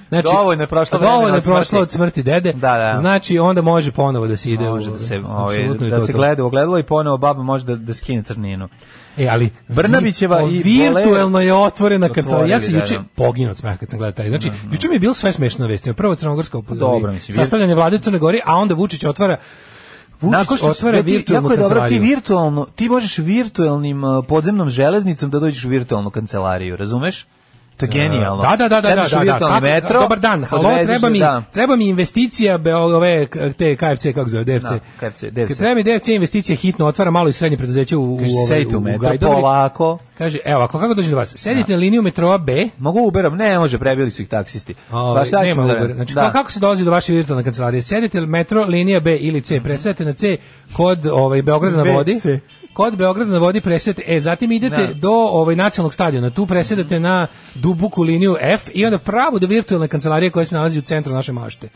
S6: Znači,
S5: Dovoljno je prošlo
S6: dovoljno
S5: vremena
S6: je
S5: od
S6: prošlo
S5: smrti.
S6: od smrti dede.
S5: Da, da.
S6: Znači onda može ponovo da se ide
S5: Može
S6: u,
S5: da se, ovaj,
S6: apsolutno i
S5: da
S6: to
S5: se
S6: to.
S5: gleda u ogledalo i ponovo baba može da, da skine crninu.
S6: E, ali
S5: Brnabićeva
S6: vi-
S5: i
S6: virtuelno
S5: Bolero-
S6: je otvorena kancelarija. Ja
S5: Otvorili,
S6: sam
S5: da,
S6: juče
S5: da.
S6: poginuo od smeha kad sam gledao taj. Znači, juče mi je bilo sve smešno vesti. Prvo crnogorsko
S5: Pa Dobro, mislim, vir-
S6: sastavljanje vlade u Crnoj Gori, a onda Vučić otvara Vučić
S5: Nakon što
S6: otvara
S5: ja ti-
S6: virtuelnu
S5: jako je dobro, ti
S6: kancelariju.
S5: virtualno, ti možeš virtualnim uh, podzemnom železnicom da dođeš u virtualnu kancelariju, razumeš? To je genijalno.
S6: Da, da, da, da,
S5: Sedneš u
S6: da, da,
S5: virtualni
S6: kako-
S5: metro,
S6: dobar dan, halo,
S5: odvezeš
S6: treba
S5: me,
S6: mi,
S5: da.
S6: treba mi investicija be, ove, k- te KFC, kako zove, DFC.
S5: Da, KFC, DFC.
S6: Treba mi DFC investicija, hitno otvara malo i srednje preduzeće u, u,
S5: Kaže,
S6: ovaj,
S5: sedite
S6: u,
S5: u
S6: u
S5: metro,
S6: Gajdobri.
S5: polako.
S6: Kaže, evo, ako kako dođe do vas? Sedite na liniju metroa B,
S5: Mogu Uberom? Ne, može, prebili su ih taksisti.
S6: Ovaj,
S5: sad
S6: nema
S5: ćemo da-
S6: Uber. Znači,
S5: da.
S6: kao- kako se dolazi do vaše virtualne kancelarije? Sedite li metro, linija B ili C, presedate na C kod ovaj, Beograda na vodi.
S5: VC.
S6: Kod Beograda na vodi presedate, e, zatim idete
S5: Da. Mhm.
S6: do ovaj, nacionalnog stadiona, tu presedate na dubuku liniju F i onda pravo do virtualne kancelarije koja se nalazi u centru naše mašte.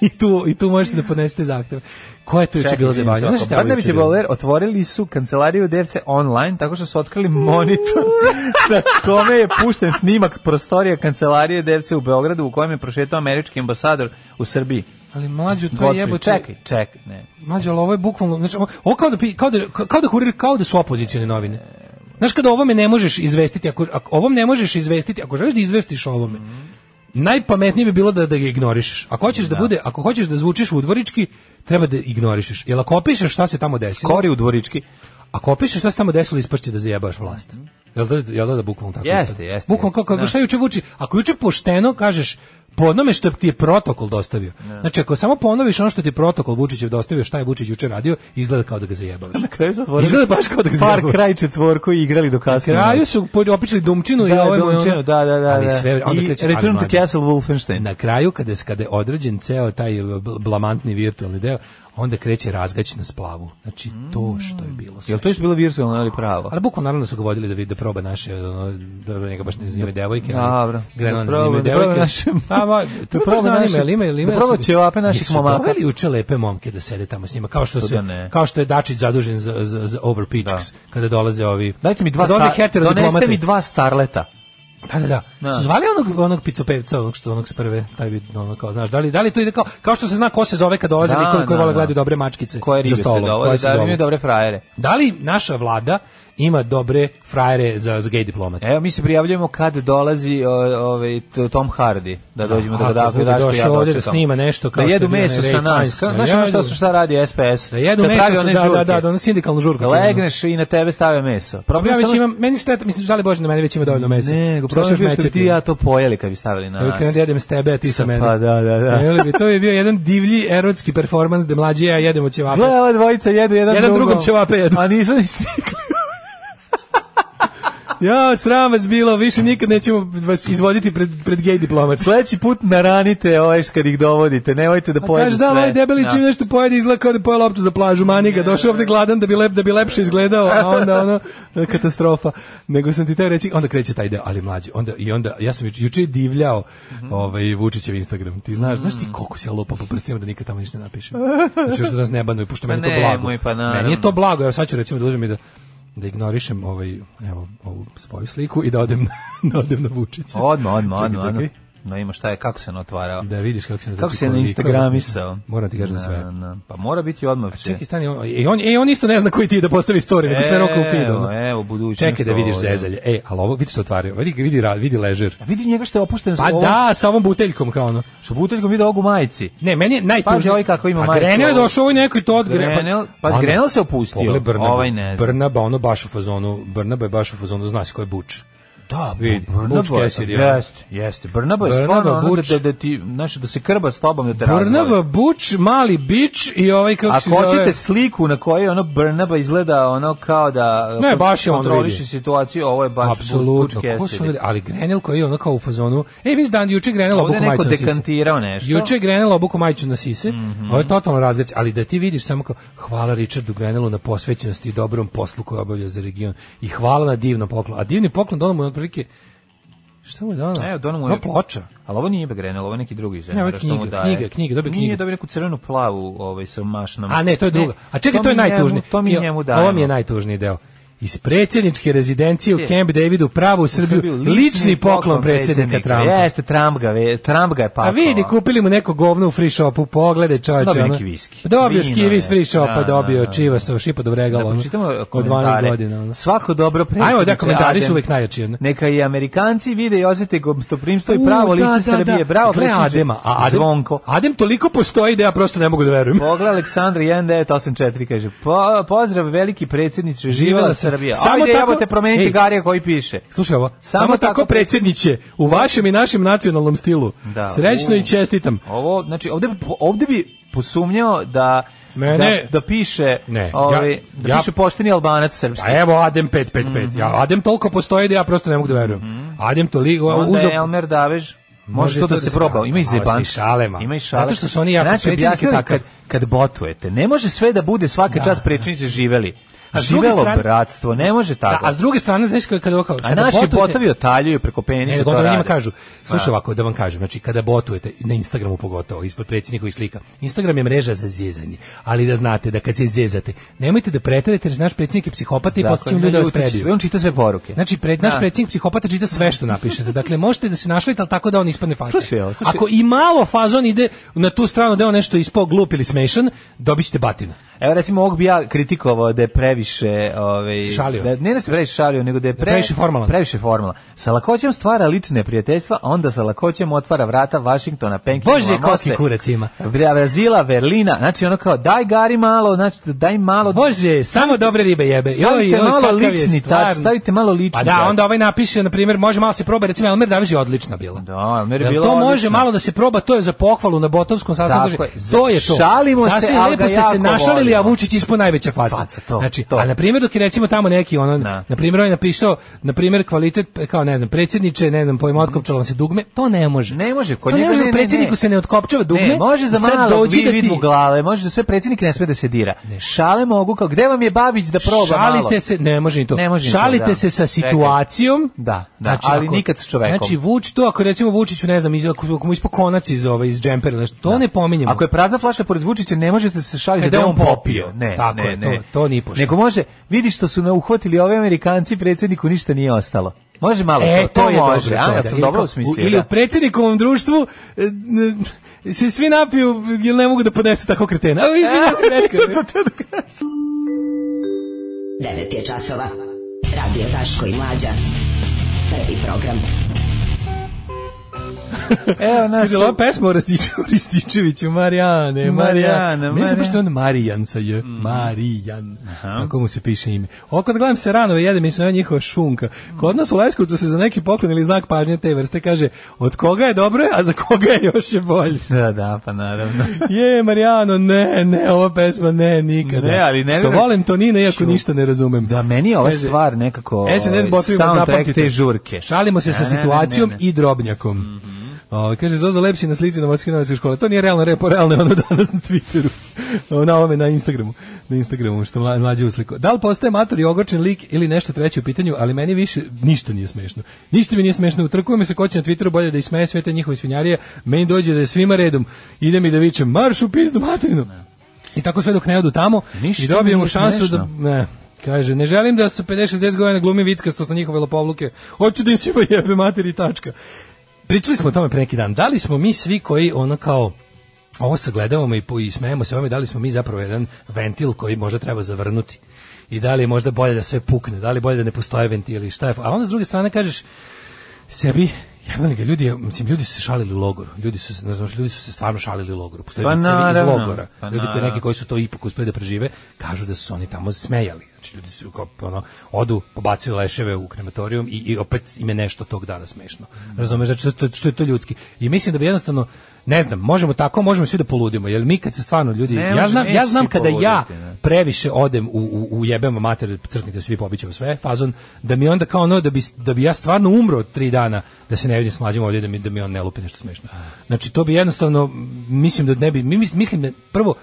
S6: I tu, I tu možete da podnesete zahtev. Koja je tu juče
S5: Čekaj,
S6: bila
S5: izvinim se,
S6: zebanja? Znaš
S5: ovako,
S6: šta je ovo
S5: Brnabić
S6: juče
S5: i
S6: bilo?
S5: Boler otvorili su kancelariju DFC online tako što su otkrili monitor na kome je pušten snimak prostorija kancelarije DFC u Beogradu u kojem je prošetao američki ambasador u Srbiji.
S6: Ali mlađu, to
S5: Godfrey,
S6: je jebote...
S5: Čekaj, čekaj, ne.
S6: Mađo, ali ovo je bukvalno, znači, ovo- ovo kao da, pi- kao da, kao da kurir, kao da su opozicijone novine. Znaš, kada ovome ne možeš izvestiti, ako, ako ovom ne možeš izvestiti, ako želiš da izvestiš o ovome, najpametnije bi bilo da, da ga ignorišeš. Ako hoćeš da. bude, ako hoćeš da zvučiš udvorički, treba da ignorišeš. Jer ako opišeš šta se tamo desilo,
S5: Kori u dvorički.
S6: ako opišeš šta se tamo desilo, ispašće da zajebaš vlast. Jel da, jel da, da bukvalno tako?
S5: Jeste,
S6: ispadne?
S5: jeste,
S6: Bukvalno
S5: jeste,
S6: kako, kako
S5: da.
S6: šta juče vuči, ako juče pošteno kažeš po onome što ti je protokol dostavio. Znači, ako samo ponoviš ono što ti je protokol Vučićev dostavio, šta je Vučić juče radio, izgleda kao da ga zajebavaš. Na
S5: Kraju su otvorili
S6: Izgleda baš kao da ga
S5: par
S6: zjebavaš.
S5: kraj četvorku i igrali do kasno.
S6: kraju su po- opičili Dumčinu i
S5: da,
S6: ovo je
S5: Domčinu,
S6: ono-
S5: da, da, da.
S6: Ali
S5: da.
S6: sve, onda
S5: I
S6: kreće, ali
S5: Return to
S6: mlađe.
S5: Castle Wolfenstein.
S6: Na kraju, kada, se- kada je određen ceo taj bl- blamantni virtualni deo, onda kreće razgać na splavu. Znači, to što je bilo.
S5: Mm.
S6: sve.
S5: Jel to je bilo virtualno ili pravo?
S6: Ali bukvalno naravno su ga vodili da vidi da proba naše ono, da njega baš ne zanimaju devojke.
S5: Dobro.
S6: Gledano
S5: Da
S6: ne
S5: proba-
S6: zanimaju
S5: da proba
S6: devojke.
S5: naše-
S6: A, ma, to
S5: da
S6: proba
S5: proba
S6: naše.
S5: naše-
S6: Ima, ima, ima.
S5: da proba ćevape naših
S6: Jesu
S5: momaka.
S6: doveli juče lepe momke da sede tamo s njima. Kao što,
S5: To
S6: se,
S5: da ne.
S6: kao što je Dačić zadužen za, za, za over pitchers. Kada dolaze ovi...
S5: Dajte mi dva
S6: kada dolaze
S5: sta-
S6: hetero
S5: Donesite
S6: diplomati.
S5: mi dva starleta.
S6: Da, da, da.
S5: Da.
S6: Su zvali onog, onog picopevca, onog što onog s prve, taj bi, ono, kao, znaš, da li, da li to ide kao, kao što se zna ko se zove kad dolaze
S5: Da,
S6: likovi koji
S5: da,
S6: vole
S5: da.
S6: gledaju dobre mačkice
S5: Koje ribe
S6: za
S5: se
S6: stolom. koje
S5: dovode,
S6: se
S5: da
S6: zovu.
S5: imaju dobre frajere.
S6: Da li naša vlada ima dobre frajere za, za gay diplomate?
S5: Evo mi se prijavljujemo kad dolazi o, ovaj t- Tom Hardy da dođemo da
S6: ako
S5: ga dakle
S6: bude
S5: daš
S6: došao
S5: ja
S6: ovdje da
S5: dočekam.
S6: snima nešto kao
S5: da
S6: što je
S5: jedu
S6: bio
S5: meso
S6: onaj
S5: sa
S6: Ray
S5: nas.
S6: Fiennes.
S5: Ka-
S6: Da
S5: Znaš ono
S6: jedu-
S5: što su šta radi SPS?
S6: Da jedu
S5: Kad
S6: meso
S5: pravi
S6: sa-
S5: one
S6: da, da,
S5: žurke.
S6: da, da, ono sindikalnu žurku, čuvenu.
S5: Legneš i na tebe stave meso.
S6: Problem Pa
S5: je
S6: ja već
S5: samo-
S6: imam, meni šteta, mislim, žali Bože da mene već ima dovoljno mesa.
S5: Ne, go
S6: Šta
S5: problem je
S6: ćeš
S5: bio što bi ti
S6: mečeti?
S5: i ja to pojeli kad bi stavili na
S6: Ja bih
S5: nas.
S6: krenuo da jedem s tebe, a ti sa
S5: Pa,
S6: mene.
S5: da, da, da.
S6: Jel bi, to je bio jedan divlji erotski performans gde mlađi i ja jedemo ćevape.
S5: Gle, ova dvojica jedu jedan,
S6: Jedan drugom ćevape jedu.
S5: A nisu ni stigli.
S6: Ja, sram vas bilo, više nikad nećemo vas izvoditi pred, pred gej diplomac.
S5: Sledeći put naranite ovaj kad ih dovodite. Nemojte da
S6: A
S5: pojedu
S6: kaže,
S5: sve.
S6: da, ovaj debeli
S5: Da.
S6: čim nešto pojede izgleda kao da poje loptu za plažu, mani ga, došao ovde gladan da bi, lep, da bi lepše izgledao, a onda ono, katastrofa. Nego sam ti teo reći, onda kreće taj deo, ali mlađi, onda, i onda, ja sam juč- juče divljao
S5: Mhm.
S6: ovaj, Vučićev Instagram, ti znaš, znaš ti
S5: Mm.
S6: koliko se ja lupa po prstima da nikad tamo ništa ne napišem. Znači još da nas ne banuju, pošto
S5: Pa
S6: meni je to
S5: nemoj,
S6: blago.
S5: pa naravno.
S6: meni je to blago, evo sad ću recimo da uzmem i da da ignorišem ovaj evo ovu svoju sliku i da odem na, da odem na Vučića.
S5: Odmah, odmah,
S6: Čekaj,
S5: odmah.
S6: čekaj.
S5: odmah. No ima šta je, kako se on otvarao.
S6: Da vidiš kako se
S5: Kako
S6: znači,
S5: se na
S6: koliko je
S5: Instagramisao?
S6: Moram ti kažem
S5: Da,
S6: sve.
S5: da. Pa mora biti odmah. će.
S6: Čekaj, stani, on, e, on, e, on isto ne zna koji ti je da postavi story, nego sve roka u feedu.
S5: Evo,
S6: ono.
S5: evo, budućnost.
S6: Čekaj da vidiš
S5: ovo,
S6: zezalje. E, ali ovo, vidi se otvario, vidi, vidi, ra- vidi ležer.
S5: A vidi njega što je opušten.
S6: Pa da, sa ovom buteljkom kao ono.
S5: Što buteljkom vidi ovu majici.
S6: Ne, meni je najtužnije.
S5: Pazi ovaj kako ima
S6: A
S5: majicu
S6: Grenell je
S5: ovu.
S6: došao ovaj neko i to odgre.
S5: Grenell- pazi, Grenell pa se opustio,
S6: Pogled Brnaba.
S5: ovaj ne zna.
S6: Brnaba, ono baš u fazonu, Brnaba je baš u fazonu, zna se ko je Buč.
S5: Da,
S6: Vidi, Butch Cassidy, ja.
S5: Jeste, jeste. Brnaba je
S6: Brnaba,
S5: stvarno ono
S6: Butch.
S5: da, da, da ti, znaš, da se krba s tobom da te
S6: Brnaba,
S5: razvali.
S6: Buč, mali bič i ovaj kako se
S5: Ako
S6: zove...
S5: hoćete sliku na kojoj ono Brnaba izgleda ono kao da
S6: Ne,
S5: kont-
S6: baš je on
S5: kontroliše
S6: vidi.
S5: situaciju, ovo je baš Butch-
S6: Apsolutno,
S5: Butch
S6: ko su
S5: Cassidy.
S6: ljudi? ali Grenell koji je ono kao u fazonu, ej, vidiš dan, juče je Grenell
S5: Ovde
S6: obuku
S5: je neko
S6: majicu na sise.
S5: dekantirao nešto.
S6: Juče je Grenell obuku majicu na sise,
S5: Mhm.
S6: ovo je totalno razgać, ali da ti vidiš samo kao, hvala Richardu Grenellu na posvećenosti i dobrom poslu koju obavlja za region i hvala na divnom poklonu, a divni poklon dono mu je otprilike, šta mu je dono?
S5: Evo, dono mu je-
S6: ono, No, ploča.
S5: Ali ovo nije Begrenel, ovo je neki drugi zemlja.
S6: Ne, ovo je
S5: što mu
S6: knjiga,
S5: daje.
S6: knjiga, knjiga, dobio
S5: Nije
S6: knjigu.
S5: dobio neku crvenu plavu ovaj, sa mašnom.
S6: A ne, to je druga. A čekaj, to, je
S5: mi njemu-
S6: najtužniji.
S5: to mi
S6: I o-
S5: njemu dajemo.
S6: Ovo mi je najtužniji deo. Iz predsjedničke rezidencije u
S5: Gdje?
S6: Camp Davidu pravo u Srbiju, lični poklon predsjednika Trumpa.
S5: Jeste, Trump ga, ve- Trump ga je pakao.
S6: A vidi, kupili mu neko govno u free shopu, pogledaj čovječe.
S5: Dobio
S6: ono.
S5: neki viski.
S6: Dobio
S5: Vino
S6: skiri iz
S5: je.
S6: free shopa,
S5: Da,
S6: dobio
S5: da, da.
S6: čiva sa šipa do
S5: Da,
S6: vregala. ono,
S5: pročitamo
S6: od 12
S5: komentare.
S6: godina. ono.
S5: Svako dobro predsjedniče.
S6: Ajmo, da, komentari su
S5: Adem.
S6: uvek najjači, ono.
S5: Neka i Amerikanci vide i osjete gostoprimstvo i pravo
S6: U,
S5: lice
S6: da, da,
S5: Srbije.
S6: da.
S5: Bravo,
S6: Gle
S5: predsjedniče.
S6: Adema, a Adem,
S5: Zvonko.
S6: Adem toliko postoji da ja prosto ne mogu da verujem.
S5: Pogled Aleksandra 1984 kaže po, pozdrav veliki predsjedniče živela,
S6: Živela
S5: Srbija. Samo Ajde, tako, te promeniti
S6: Ej,
S5: Garija koji piše.
S6: Slušaj ovo, samo, tako predsjedniće, u vašem i našem nacionalnom stilu.
S5: Da,
S6: Srećno
S5: u.
S6: i čestitam.
S5: Ovo, znači, ovde, bi- ovde bi posumnjao da
S6: Mene-
S5: da, da piše
S6: Ne,
S5: ovaj,
S6: ja-
S5: da
S6: ja-
S5: piše pošteni albanac srpski.
S6: A Pa evo Adem 555.
S5: Mhm.
S6: Ja Adem toliko postoji da ja prosto ne mogu da verujem. Adem toliko
S5: Onda
S6: uzeo
S5: je Elmer Davež Pa Može to da se proba, ima i
S6: Malo si
S5: zebanč.
S6: šalema.
S5: Ima i šale.
S6: Zato što su oni jako
S5: znači,
S6: predsjednik je
S5: objasnili
S6: takav.
S5: kad, kad botujete. Ne može sve da bude svaka čast prečnice živeli.
S6: A s druge
S5: Živelo
S6: strane-
S5: bratstvo, ne može
S6: Da,
S5: tako.
S6: a s druge strane znaš kako kada kao
S5: A naši botovi otaljuju preko
S6: Ne,
S5: penisa.
S6: nego
S5: to
S6: E, onda njima
S5: rade.
S6: kažu, slušaj
S5: Da.
S6: ovako, da vam kažem, znači kada botujete, na Instagramu pogotovo, ispod predsjednikovih slika, Instagram je mreža za zezanje, ali da znate da kad se zezate, nemojte da preterete, jer naš predsjednik je psihopata i
S5: Dakle,
S6: posle će vam ljudi da vas
S5: ljuti će se.
S6: predaju.
S5: On čita sve poruke.
S6: Znači, pred, naš
S5: Da.
S6: predsjednik psihopata čita sve što napišete. Dakle, možete da se našlite, ali tako da on ispadne fazon.
S5: Slušaj, evo, slušaj.
S6: Ako i malo fazon ide na tu stranu da je on nešto ispao glup ili smešan, dobit ćete batina.
S5: Evo recimo ovog bi ja kritikovao da je previše, ovaj
S6: Si šalio.
S5: da ne da se previše šalio, nego da je pre,
S6: previše formalan.
S5: Previše formalan. Sa lakoćem stvara lične prijateljstva, a onda sa lakoćem otvara vrata Vašingtona, Penkina,
S6: Bože, koki kurac ima.
S5: Brazila, Berlina. Znači ono kao daj gari malo, znači daj malo
S6: Bože, samo dobre ribe jebe.
S5: Stavite
S6: Joj, joj,
S5: malo
S6: kakav je
S5: lični
S6: stvarno.
S5: tač, stavite malo lični
S6: Pa da,
S5: tač.
S6: onda ovaj napiše, na primjer, može malo se proba, recimo, Elmer Daviž je odlična bila.
S5: Da, Elmer je
S6: Jel
S5: bila
S6: to može
S5: odlična.
S6: malo da se proba, to je za pohvalu na botovskom sastanku.
S5: Tako je.
S6: To je to.
S5: Šalimo se,
S6: Sasvim
S5: ali
S6: lepo
S5: ga
S6: ste se
S5: jako
S6: našalili,
S5: volimo.
S6: a Vučić ispod najveća faca.
S5: Faca, to,
S6: znači,
S5: to.
S6: a na primjer, dok je recimo tamo neki, ono,
S5: Da.
S6: na primjer, on je napisao, na primjer, kvalitet, kao ne znam, predsjedniče, ne znam, pojma, otkopčalo vam se dugme, to ne može.
S5: Ne može, kod
S6: To
S5: njega
S6: ne može,
S5: ne, ne,
S6: predsjedniku
S5: ne.
S6: se ne otkopčava dugme.
S5: Ne, može za
S6: sad
S5: malo
S6: dođi da
S5: vi vidmu
S6: ti-
S5: glave, može za sve predsjednik ne sme da se dira. Šale mogu kao, gde vam je Babić da proba
S6: šalite
S5: malo?
S6: se ne može ni to
S5: Ne može ni to,
S6: šalite
S5: da.
S6: se sa
S5: Čekaj.
S6: situacijom
S5: Da, da, ali nikad s čovekom.
S6: znači Vuč to ako recimo Vučiću ne znam iz, ako, ako mu ispo konac iz ove iz džempera ili nešto to ne pominjemo
S5: Ako je prazna flaša pored Vučića, ne možete se šaliti da,
S6: E, da
S5: je
S6: je
S5: on
S6: on
S5: popio.
S6: popio.
S5: Ne,
S6: Tako
S5: ne,
S6: je,
S5: ne.
S6: to- to ni pošto.
S5: Nego može, vidi što su na uhvatili ove Amerikanci, predsjedniku ništa nije ostalo. Može malo, to, to,
S6: je
S5: može,
S6: dobro,
S5: a,
S6: E, to
S5: ja
S6: da.
S5: sam
S6: Ili
S5: dobro
S6: kao-
S5: usmislio.
S6: Ili
S5: da.
S6: u predsjednikovom društvu e, n- se svi napiju jer ne mogu da podnesu tako kretena. A, izvinjam se, greška.
S4: 9 je časova. Radio Daško i Mlađa. Prvi program.
S5: Evo nas,
S6: Kaže, ova pesma o Rističeviću, Rističeviću, Marijane,
S5: Marijane, Mm.
S6: Marijane. Meni se
S5: Marijane.
S6: pošto on Marijan sa je, Marijan, kako mu se piše ime. Ovo kad gledam se ranove, jede mi se ova njihova šunka. Kod nas u Leskovcu se za neki poklon ili znak pažnje te vrste kaže, od koga je dobro, a za koga je još je bolje.
S5: Da, da, pa naravno.
S6: Je, Marijano, ne, ne, ova pesma ne, nikada.
S5: Ne, ali ne
S6: Što
S5: vjerujem.
S6: volim Tonina, iako
S5: Šu-
S6: ništa ne razumem.
S5: Da, meni je ova
S6: Kaže, e,
S5: stvar nekako ovaj,
S6: SNS botovima
S5: soundtrack
S6: zapamtite.
S5: te žurke.
S6: Šalimo se sa
S5: Ne, ne, ne,
S6: situacijom
S5: ne, Mhm. ne.
S6: i drobnjakom. Ovaj, kaže Zozo Lepši na slici na Vatske novinske škole. To nije realno repo, realno je ono danas na Twitteru. O, na ovome, na Instagramu. Na Instagramu, što mla, mlađe usliko. Da li postaje mator i ogorčen lik ili nešto treće u pitanju, ali meni više ništa nije smešno. Ništa mi nije smešno. Utrkuje mi se ko će na Twitteru bolje da ismeje sve te njihove svinjarije. Meni dođe da je svima redom. Idem i da vičem marš u pizdu materinu. I tako sve dok ne odu tamo
S5: Ništa
S6: i dobijemo
S5: nije
S6: šansu
S5: smešno.
S6: da ne, kaže, ne želim da se 50-60 godina glumi vickastost na njihove lopovluke. Hoću da im svima jebe mater i tačka. Pričali smo o tome pre neki dan. Da li smo mi svi koji ono kao ovo sagledavamo i, po- i smejemo se ovome, da li smo mi zapravo jedan ventil koji možda treba zavrnuti? I da li je možda bolje da sve pukne? Da li je bolje da ne postoje ventili? Šta je? A onda s druge strane kažeš, sebi jebali ga ljudi, je- mislim ljudi su se šalili u logoru. Ljudi su se, ne znam, ljudi su se stvarno šalili u logoru. Postoje
S5: Pa
S6: pa iz
S5: naravno,
S6: logora.
S5: pa
S6: ljudi koji
S5: naravno.
S6: neki koji su to ipak uspeli da prežive, kažu da su se oni tamo smejali. Znači ljudi su kao ono odu, pobacuju leševe u krematorijum i, i opet im je nešto tog dana smešno. Razumeš, znači što, što je to ljudski. I mislim da bi jednostavno ne znam, možemo tako, možemo svi da poludimo, jer mi kad se stvarno ljudi,
S5: Ne
S6: ja
S5: može,
S6: znam, ja
S5: neće
S6: znam
S5: svi
S6: kada ja
S5: poluditi, ne.
S6: previše odem u u, u jebemo mater crknite svi pobićemo sve fazon da mi onda kao ono da bi da bi ja stvarno umro od tri dana da se ne vidim s mlađim ovdje da mi da mi on ne lupi nešto smešno. Znači to bi jednostavno m, mislim da ne bi mi mis- mislim da prvo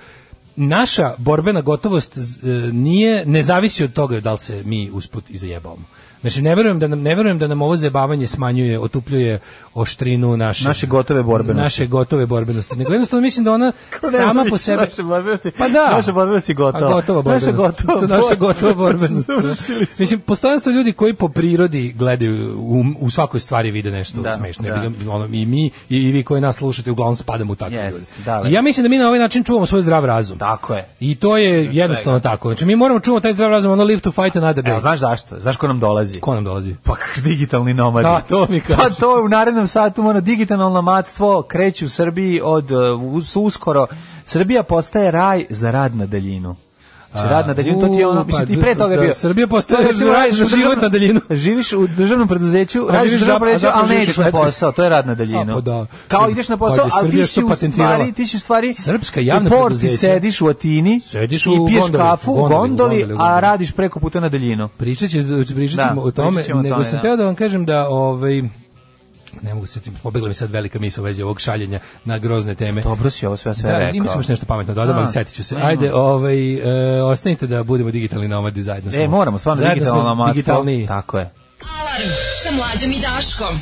S6: naša borbena gotovost z- e, nije ne zavisi od toga da li se mi usput i zajebavamo. Znači ne verujem da nam ne verujem da nam ovo zajebavanje smanjuje, otupljuje oštrinu naše
S5: Naše gotove borbenosti.
S6: Naše gotove borbenosti. Nego jednostavno mislim da ona
S5: Ne,
S6: sama
S5: više
S6: po sebi
S5: Naše borbenosti,
S6: pa da.
S5: Naše borbenosti je gotova.
S6: A gotova borbenost.
S5: Naše gotova
S6: To je naša gotova
S5: borbenost.
S6: borbenost.
S5: Završili smo.
S6: Mislim, postojanstvo ljudi koji po prirodi gledaju, u, u svakoj stvari vide nešto
S5: Da,
S6: smešno. Ja
S5: da.
S6: bih ga- ono, I mi, i, i vi koji nas slušate, uglavnom spadamo u takve
S5: Jest,
S6: ljude.
S5: dale.
S6: I ja mislim da mi na ovaj način čuvamo svoj zdrav razum.
S5: Tako je.
S6: I to je jednostavno tako. Znači, mi moramo čuvati taj zdrav razum, ono live to fight another
S5: Evo,
S6: day.
S5: znaš zašto? Znaš ko nam dolazi?
S6: Ko nam dolazi?
S5: Pa digitalni nomadi.
S6: Da, to mi kaže.
S5: Pa to u narednom satu ono digitalno nomadstvo kreće u Srbiji od uh, us- uskoro. Srbija postaje raj za rad na daljinu. Rad na daljinu, to ti je ono, mislim, i pre toga je bio.
S6: pa Srbija postoje,
S5: To je, recimo,
S6: radiš
S5: radiš u
S6: život na daljinu.
S5: Živiš u državnom preduzeću,
S6: A
S5: radiš u
S6: živiš
S5: državnom
S6: zap- a
S5: preduzeću,
S6: zapravo
S5: ali ne
S6: živiš
S5: ideš
S6: u
S5: na
S6: Švedskoj.
S5: posao, to je rad na daljinu.
S6: A, pa da.
S5: Kao ideš na posao,
S6: Pa je
S5: ali
S6: Srbija
S5: ti
S6: što
S5: si u
S6: patentirala.
S5: stvari, ti si u stvari
S6: Srpska javna
S5: u porti
S6: preduzeća.
S5: sediš u Atini
S6: Sediš u
S5: i piješ
S6: gondoli,
S5: kafu
S6: u
S5: u
S6: gondoli, u
S5: gondoli,
S6: gondoli,
S5: a
S6: u gondoli.
S5: radiš preko puta na daljinu.
S6: Pričat, će, pričat
S5: Da,
S6: ćemo o tome,
S5: pričat ćemo o
S6: nego
S5: tome,
S6: sam
S5: da.
S6: teo da vam kažem da ovaj, ne mogu se setim, pobegla mi sad velika misla u vezi ovog šaljenja na grozne teme.
S5: Dobro si ovo sve, ja sve
S6: da,
S5: rekao.
S6: imam sam još nešto pametno dodam,
S5: A,
S6: ali setit ću se.
S5: nema.
S6: Ajde, ovaj, e, ostanite da budemo digitalni nomadi zajedno.
S5: E,
S6: smo.
S5: moramo, stvarno
S6: Zajedno smo
S5: digitalno nomadstvo.
S6: Digitalni,
S5: Tako je.
S4: Alarm sa mlađom i Daškom.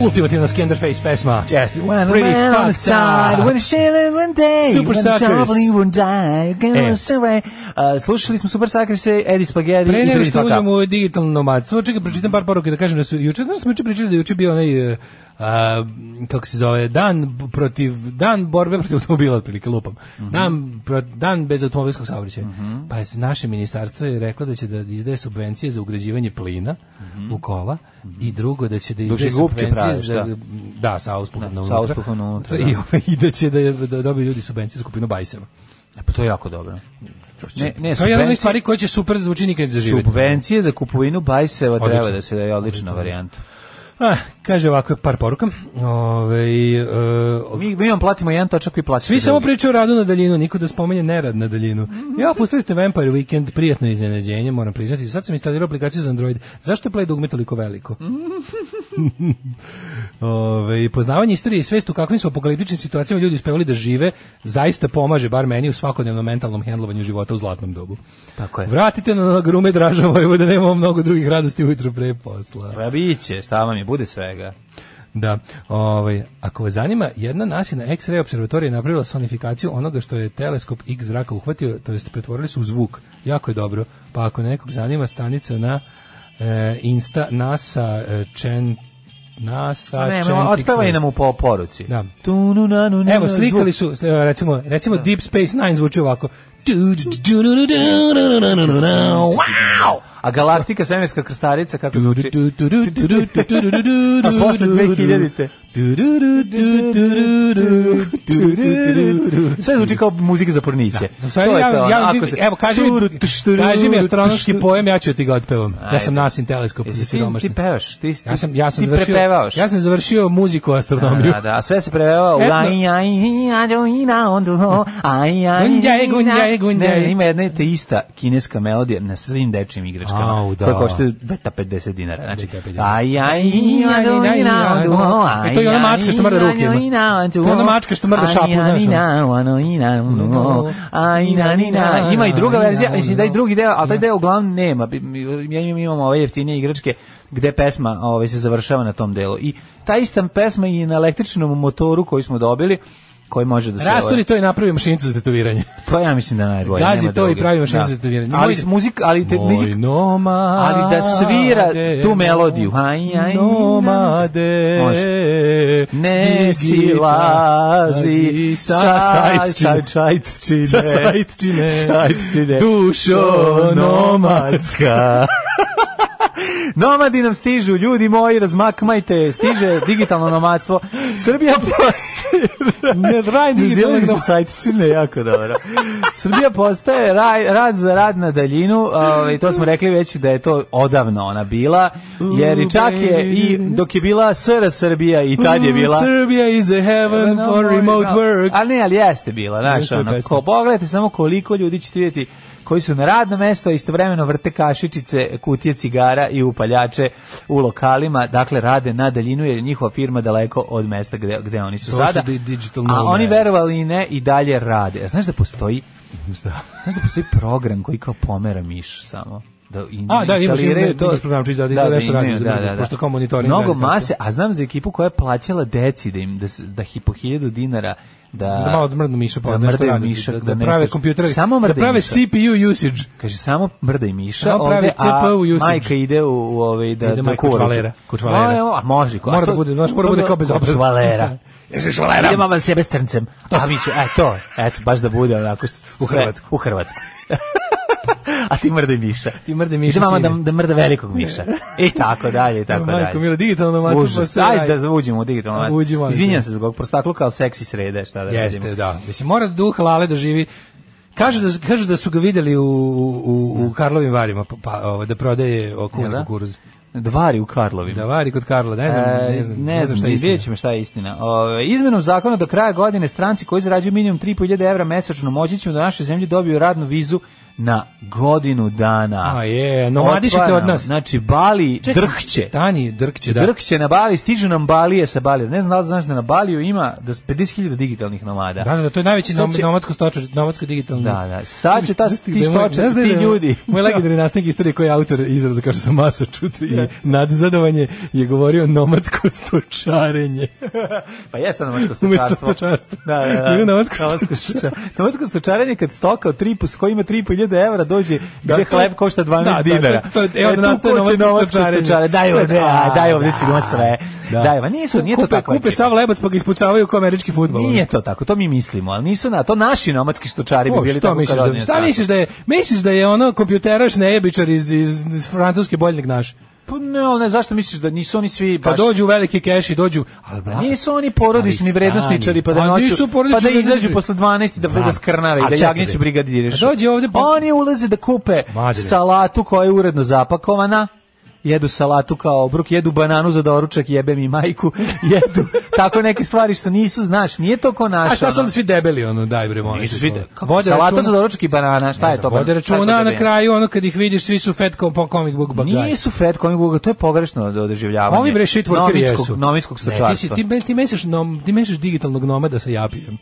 S6: ultimativna Skenderface pesma.
S5: Jeste, when
S6: Pretty
S5: Pretty man on the
S6: fucked up.
S5: side, when Shailen one day,
S6: Super
S5: when
S6: Suckers.
S5: traveling one day,
S6: E.
S5: gonna survive. Uh, slušali smo Super Suckers, Eddie Spaghetti
S6: Pre
S5: i
S6: nego
S5: Pretty
S6: što
S5: Fucked Up.
S6: uzmemo u digitalno nomadstvo, čekaj, pročitam par poruke da kažem da su juče, znaš, smo juče pričali da je juče bio onaj, e, a, kako se zove, dan b- protiv, dan borbe protiv automobila, otprilike lupam.
S5: Mhm.
S6: dan, pro- dan bez automobilskog saobraćaja. Pa je s- naše ministarstvo je reklo da će da izdaje subvencije za ugrađivanje plina u kola i drugo da će da izdaje
S5: Mhm. Duže gubke
S6: subvencije
S5: praviš,
S6: za...
S5: da.
S6: Da, sa auspuhom
S5: sa
S6: na unutra.
S5: auspuhom na unutra,
S6: I,
S5: da.
S6: ovaj, I da će da, da dobiju ljudi subvencije za kupinu bajseva.
S5: E, Pa to je jako dobro. Ne, ne,
S6: To je jedna od onih
S5: subvencije-
S6: stvari koje će super da zvuči nikad ne zaživeti.
S5: Subvencije za kupovinu bajseva treba
S6: Odlično.
S5: da se daje odlična varijanta.
S6: Ah, kaže ovako par poruka. Ovaj, e,
S5: Mi, mi vam platimo jedan točak i plaćamo.
S6: svi samo pričaju o radu na daljinu, niko da spomenje nerad na daljinu. Ja, pustili ste Vampire Weekend, prijatno iznenađenje, moram priznati. Sad sam instalirao aplikaciju za Android. Zašto je Play dugme toliko veliko? Ove, poznavanje istorije i svest u kakvim su apokaliptičnim situacijama ljudi uspevali da žive zaista pomaže, bar meni, u svakodnevnom mentalnom hendlovanju života u zlatnom dobu.
S5: Tako je.
S6: Vratite na grume Draža Vojvoda, nemamo mnogo drugih radosti ujutro pre posla.
S5: Pa biće, šta vam je, bude svega.
S6: Da. Ovaj, ako vas zanima, jedna nasina X-ray observatorija je napravila sonifikaciju onoga što je teleskop X zraka uhvatio, to jest pretvorili su u zvuk. Jako je dobro. Pa ako nekog zanima, stanica na e, Insta NASA e, Chen NASA
S5: Ne,
S6: Chen
S5: otpevaj
S6: X-ray.
S5: nam u po poruci.
S6: Da.
S5: Tu, nu, na, nu, nu,
S6: Evo,
S5: na,
S6: slikali
S5: zvuk.
S6: su, e, recimo, recimo Deep Space Nine zvuči ovako.
S5: Wow! A Galaktika, svemirska krstarica, kako zvuči?
S6: A
S5: posle 2000-te. Sve zvuči kao muzika za porniće.
S6: U stvari,
S5: To je
S6: ja,
S5: to,
S6: ja,
S5: onako se-
S6: ono, evo, kaži mi,
S5: Turu, tuš, turu,
S6: kaži mi astronomski
S5: tuš,
S6: pojem, ja ću ti ga otpevam. Ja
S5: Ajde.
S6: sam nasin teleskop za
S5: Jesi ti,
S6: siromašne.
S5: ti pevaš? Ti,
S6: Ja sam, ja sam
S5: ti
S6: završio,
S5: prepevaš.
S6: ja sam završio muziku astronomiju.
S5: Da, da, a sve se preveva u
S6: Etno.
S5: aj, aj, aj, aj, na, ondu, aj, aj,
S6: Gunđaj, gunđaj, gunđaj.
S5: Ne, ima jedna je te ista kineska melodija na svim dečjim igračkama.
S6: Au, da.
S5: Koja košta 250 dinara. Znači,
S6: 250.
S5: aj, aj, aj, aj, na, ondu, aj,
S6: E, to je ona mačka što mrda rukima.
S5: aj, aj, na, ondu,
S6: To je ona mačka što mrda šapu,
S5: aj, aj,
S6: znaš, ono.
S5: na, ono, i na, ono, aj, na, ni, na. Ima i druga verzija, mislim da i drugi deo, ali taj deo uglavnom nema. Mi- mi- Ja imam- imamo ove jeftinije igračke gde pesma ovaj, se završava na tom delu. I ta ista pesma i na električnom motoru koji smo dobili, koji može da se... ovaj-
S6: Rasturi to i napravi mašinicu za tetoviranje.
S5: To ja mislim da je najbolje.
S6: Gazi
S5: nema
S6: to i
S5: druge.
S6: pravi mašinu za tetoviranje.
S5: Ali,
S6: Moj-
S5: s muzik, ali, te,
S6: Moj
S5: muzik,
S6: nomade,
S5: ali da svira tu melodiju. Aj, aj,
S6: Nomade,
S5: Ne silazi
S6: silazi
S5: sa
S6: sajtčine.
S5: sajtčine.
S6: Sa sajtčine.
S5: Sajtčine. Ono.
S6: Dušo
S5: nomadska. Nomadi nam stižu, ljudi moji, razmakmajte, stiže digitalno nomadstvo. Srbija postaje...
S6: Ne raj digitalnog
S5: Digitalno
S6: nomadstva.
S5: sajtčine, jako dobro. Srbija postaje raj, rad za rad na daljinu, i to smo rekli već da je to odavno ona bila, jer i čak je i dok je bila SR Srbija i tad je bila...
S6: Serbia is a heaven for remote work.
S5: Ali ne, ali jeste bila, znaš,
S6: Jeste bila
S5: ono,
S6: pesma.
S5: ko, pogledajte samo koliko ljudi ćete vidjeti koji su na radno mesto, a istovremeno vrte kašičice, kutije cigara i upaljače u lokalima, dakle rade na daljinu jer je njihova firma daleko od mesta gde, gde oni su
S6: To su
S5: sada.
S6: di- digital
S5: a oni
S6: nomads.
S5: verovali i ne i dalje rade. A znaš da postoji znaš da postoji program koji kao pomera miš samo? Da in,
S6: A, da, imaš-
S5: instaliraju
S6: imaš programčić da- da izgleda što radi,
S5: imaju,
S6: za mrtvost, pošto kao monitoring
S5: Mnogo
S6: radi tako.
S5: mase, a znam za ekipu koja je plaćala deci da im da, s- da hi- po hiljadu dinara da,
S6: Da malo mrdnu miša pa
S5: da
S6: nešto
S5: mrdaju
S6: radi,
S5: miša,
S6: da, da,
S5: da nešto-
S6: prave kompjutere,
S5: Samo
S6: da
S5: mrdaju
S6: prave
S5: miša.
S6: CPU usage.
S5: Kaže samo mrdaj Miša,
S6: Samo pravi
S5: ovde, a
S6: CPU usage.
S5: majka ide u, u ovaj da
S6: Ide
S5: da
S6: majka
S5: kuvače.
S6: čvalera, ko čvalera.
S5: A, evo, a može ko. a
S6: Mora
S5: to-
S6: da bude, znaš, mora da bude kao bezobrazna.
S5: Čvalera. Jesi čvalera. Idemo malo sebe s crncem. A vi će, e to, eto baš da bude onako s-
S6: U
S5: sve-
S6: Hrvatsku.
S5: U Hrvatsku. a ti mrdaj Miša.
S6: Ti mrdaj Miša,
S5: Ide mama da,
S6: sine.
S5: da mrda velikog Miša. I tako dalje, i tako
S6: Majko
S5: dalje.
S6: mila, digitalno nomadstvo, pa
S5: Užas.
S6: sve
S5: Ajde
S6: radi. Pa
S5: da uđemo u digitalno nomadstvo.
S6: Uđi, molim te.
S5: Izvinjam se zbog prostakluka, ali seksi srede, šta da radimo.
S6: Jeste, da. Mislim, mora duh lale da živi Kažu da, kažu da su ga vidjeli u, u, u Karlovim varima, pa, pa, ovo, da prodaje okuvni
S5: da?
S6: kukuruz.
S5: Dvari u Karlovima.
S6: Da vari kod Karla, ne znam,
S5: E,
S6: ne znam,
S5: ne znam,
S6: šta
S5: šta
S6: je istina.
S5: vidjet ćemo šta je istina. Ove, izmenom zakona do kraja godine stranci koji zarađuju minimum 3.500 evra mesečno moći ćemo da naše zemlje dobiju radnu vizu na godinu dana.
S6: A je, nomadišite
S5: Otvaramo.
S6: od nas.
S5: Znači, Bali
S6: Čekaj,
S5: drhće.
S6: Stani, drhće, da.
S5: Drhće na Bali, stižu nam Balije sa Balije. Ne znam da li znaš da na Baliju ima do 50.000 digitalnih nomada.
S6: Da, da, da, to je najveći
S5: Sad
S6: nom,
S5: će-
S6: nomadsko stočar, nomadsko digitalno.
S5: Da, da. Sad će ta,
S6: Znaš
S5: ti
S6: je moj-
S5: stočari,
S6: znaš da je
S5: ti
S6: moj-
S5: ljudi.
S6: Moj legendarni nastavnik istorije koji je autor izraza kao što sam masa čuti i nadzadovanje je govorio nomadsko stočarenje.
S5: Pa jeste nomadsko
S6: Umesto
S5: stočarstvo.
S6: stočarstva.
S5: Da, da, da.
S6: Ima nomadsko
S5: stočarstvo. Nomadsko stočaranje kad stoka od 3,5, koji ima 3.500 evra dođe
S6: Da,
S5: gde
S6: to-
S5: hleb košta 12
S6: Dakle, da, da,
S5: dinara. E,
S6: to- to- evo da
S5: tu
S6: nastaje
S5: ko će
S6: nomadsko stočarenje.
S5: stočarenje. Daj ovde,
S6: Da,
S5: da, daj ovde si ima
S6: da.
S5: sve.
S6: Da.
S5: Daj, ma nisu, nije to
S6: kupe,
S5: tako.
S6: Kupe sav lebac pa ga ispucavaju kao američki futbol.
S5: Nije to tako, to mi mislimo, ali nisu na to naši nomadski stočari bi
S6: O,
S5: bili
S6: što
S5: tako
S6: misliš
S5: kad
S6: da,
S5: odniju
S6: šta
S5: stoku.
S6: misliš da je misliš da je ono kompjuteraš nejebičar iz, iz, iz francuske boljnik naš
S5: Pa ne, ali ne, zašto misliš da nisu oni svi
S6: pa
S5: baš...
S6: dođu u veliki keši dođu ali
S5: Pa
S6: bla,
S5: Nisu oni porodični
S6: Ali stani.
S5: vrednostničari pa da
S6: Pa
S5: noću,
S6: nisu
S5: pa da
S6: porodični
S5: izađu
S6: vrednosničari.
S5: posle 12 da
S6: Znam.
S5: da skrnave
S6: A
S5: i da
S6: čekaj
S5: jagnjeće
S6: bre.
S5: brigadiriš.
S6: Kad dođe ovde, pa-
S5: Oni ulaze da kupe
S6: Mlađe.
S5: salatu koja je uredno zapakovana, jedu salatu kao obrok, jedu bananu za doručak, jebe mi majku, jedu tako neke stvari što nisu, znaš, nije to ko naša.
S6: a šta su onda svi debeli ono daj bre molim
S5: Nisu
S6: te,
S5: svi
S6: to.
S5: de- kako-
S6: Vode
S5: salata
S6: računa-
S5: za doručak i banana, šta je to?
S6: Vode računa na kraju, ono kad ih vidiš, svi su fat kom- comic book bagaj.
S5: Nisu fat comic book, to je pogrešno do- doživljavanje.
S6: Ovi bre shit workeri
S5: Novinskog-
S6: jesu.
S5: Novinskog stočarstva.
S6: Ne, ti, si- ti, me- ti, mešaš nom, ti mešaš digitalnog nomada sa japijem.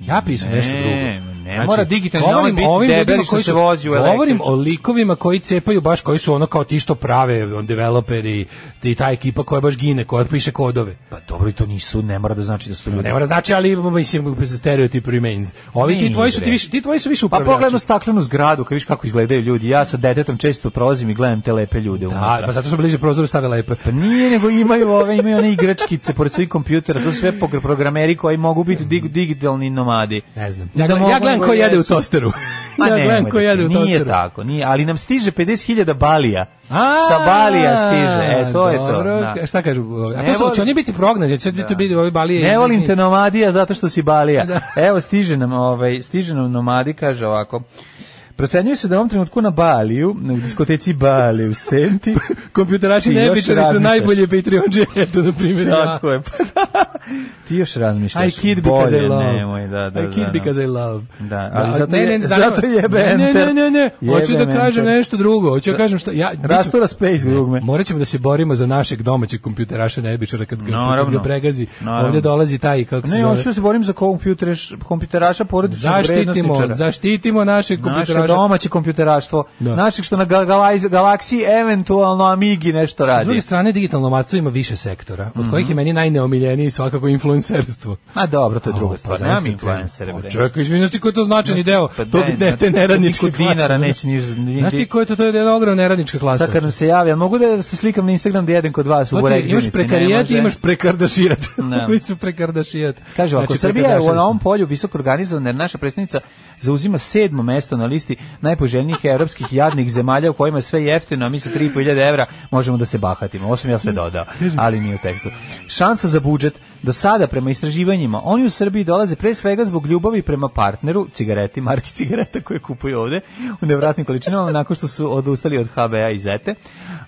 S6: Japi su nešto
S5: Ne,
S6: drugo. Znači,
S5: ne mora digitalni nomad biti
S6: ovim
S5: debeli
S6: ljudima
S5: što
S6: koji
S5: se
S6: su-
S5: vozi u
S6: Govorim
S5: električnom.
S6: o likovima koji cepaju baš, koji su ono kao ti što prave, on developeri, ti ta ekipa koja baš gine, koja piše kodove.
S5: Pa dobro, i to nisu, ne mora da znači da su to ljudi.
S6: Ne mora znači, ali mislim, stereotip remains. Ovi ti
S5: Nije,
S6: tvoji su, ti,
S5: bre.
S6: više, ti tvoji su više
S5: Pa
S6: upravljači.
S5: pogledam u staklenu zgradu, kad viš kako izgledaju ljudi. Ja sa detetom često prolazim i gledam te lepe ljude
S6: A,
S5: unutra.
S6: pa zato što bliže prozoru stave lepe.
S5: Pa nije, nego imaju ove, imaju one igračkice pored svih kompjutera, to su sve pogr- programeri koji mogu biti dig- digitalni nomadi.
S6: Ne znam.
S5: Da
S6: Ja, gledam- ja
S5: mogu,
S6: gledam
S5: nego
S6: ko jede u
S5: jesu.
S6: tosteru.
S5: Ma
S6: ja
S5: nemoj
S6: gledam
S5: da
S6: ko
S5: ti-
S6: jede u tosteru.
S5: Nije tako, nije, ali nam stiže 50.000 balija.
S6: A,
S5: Sa balija stiže, e, to je to.
S6: dobro,
S5: da.
S6: ka- Šta kažu? ovi? A
S5: Ne
S6: to su,
S5: volim-
S6: će oni biti prognani, jer će biti biti ovi balije.
S5: Ne
S6: iz-
S5: volim
S6: iz-
S5: te nomadija zato što si balija.
S6: Da.
S5: Evo stiže nam, ovaj, stiže nam nomadi, kaže ovako. Procenjuje se da u ovom trenutku na Baliju, u diskoteci Bali u Senti,
S6: Kompjuteraši
S5: Ti još
S6: nebičari su
S5: razmišljaš.
S6: najbolje Patreon džetu, na primjer. ja.
S5: Tako je. pa Ti još razmišljaš.
S6: I kid because
S5: Bolje
S6: I love.
S5: Nemoj, da, da,
S6: I kid
S5: da,
S6: because
S5: da.
S6: I love.
S5: Da, ali zato
S6: ne,
S5: je-
S6: ne, zanima-
S5: zato jebe
S6: ne, ne,
S5: enter.
S6: ne, ne, ne, hoću
S5: Jebe
S6: da kažem
S5: enter.
S6: nešto drugo, hoću da kažem šta, ja, mi ću-
S5: Rastura space dugme.
S6: Morat ćemo da se borimo za našeg domaćeg kompjuteraša nebičara kad ga, kad
S5: Naravno.
S6: ga pregazi.
S5: Naravno.
S6: Ovdje dolazi taj, kako se
S5: Ne,
S6: zove.
S5: hoću da se borim za kompjutereš, kompjuteraša porodičnog
S6: Zaštitimo,
S5: vrednosničara.
S6: zaštitimo našeg
S5: Naše
S6: kompjuteraša.
S5: domaće kompjuteraštvo.
S6: Da.
S5: Naših što na ga- galaiz- galaksiji eventualno Amigi nešto
S6: S druge
S5: radi.
S6: strane, digitalno nomadstvo ima više sektora, od kojih je meni najneomiljeniji svakako influencerstvo.
S5: A dobro, Mhm. to je druga
S6: O,
S5: stvar.
S6: pa,
S5: Nemam
S6: zamisli
S5: influencere.
S6: krenu.
S5: bre.
S6: O, Čekaj, izvini, ti koji je to značajni deo
S5: Pa
S6: tog
S5: daj,
S6: ne, te
S5: pa
S6: neradničke
S5: niko
S6: klase.
S5: dinara neće niš- ni-
S6: Znaš ti koji je to, to je jedna ogromna neradnička klasa.
S5: Sad kad nam se javi, ali mogu da se slikam na Instagram da jedem kod vas u
S6: To ti je,
S5: Boređenici?
S6: imaš prekarijat i imaš prekardašijat.
S5: Ne.
S6: Koji su prekardašijat?
S5: Kaže ovako,
S6: Znači,
S5: Srbija je u
S6: prekardašili
S5: ovom
S6: su.
S5: polju visoko organizovana jer naša predstavnica zauzima sedmo mesto na listi najpoželjnijih evropskih jadnih zemalja u kojima je sve jeftino, a mi sa 3.500 evra možemo da se bahatimo. Ovo sam ja sve dodao, ali nije u tekstu. Šansa za budžet do sada prema istraživanjima, oni u Srbiji dolaze pre svega zbog ljubavi prema partneru, cigareti, marki cigareta koje kupuju ovde u nevratnim količinama nakon što su odustali od HBA i Zete.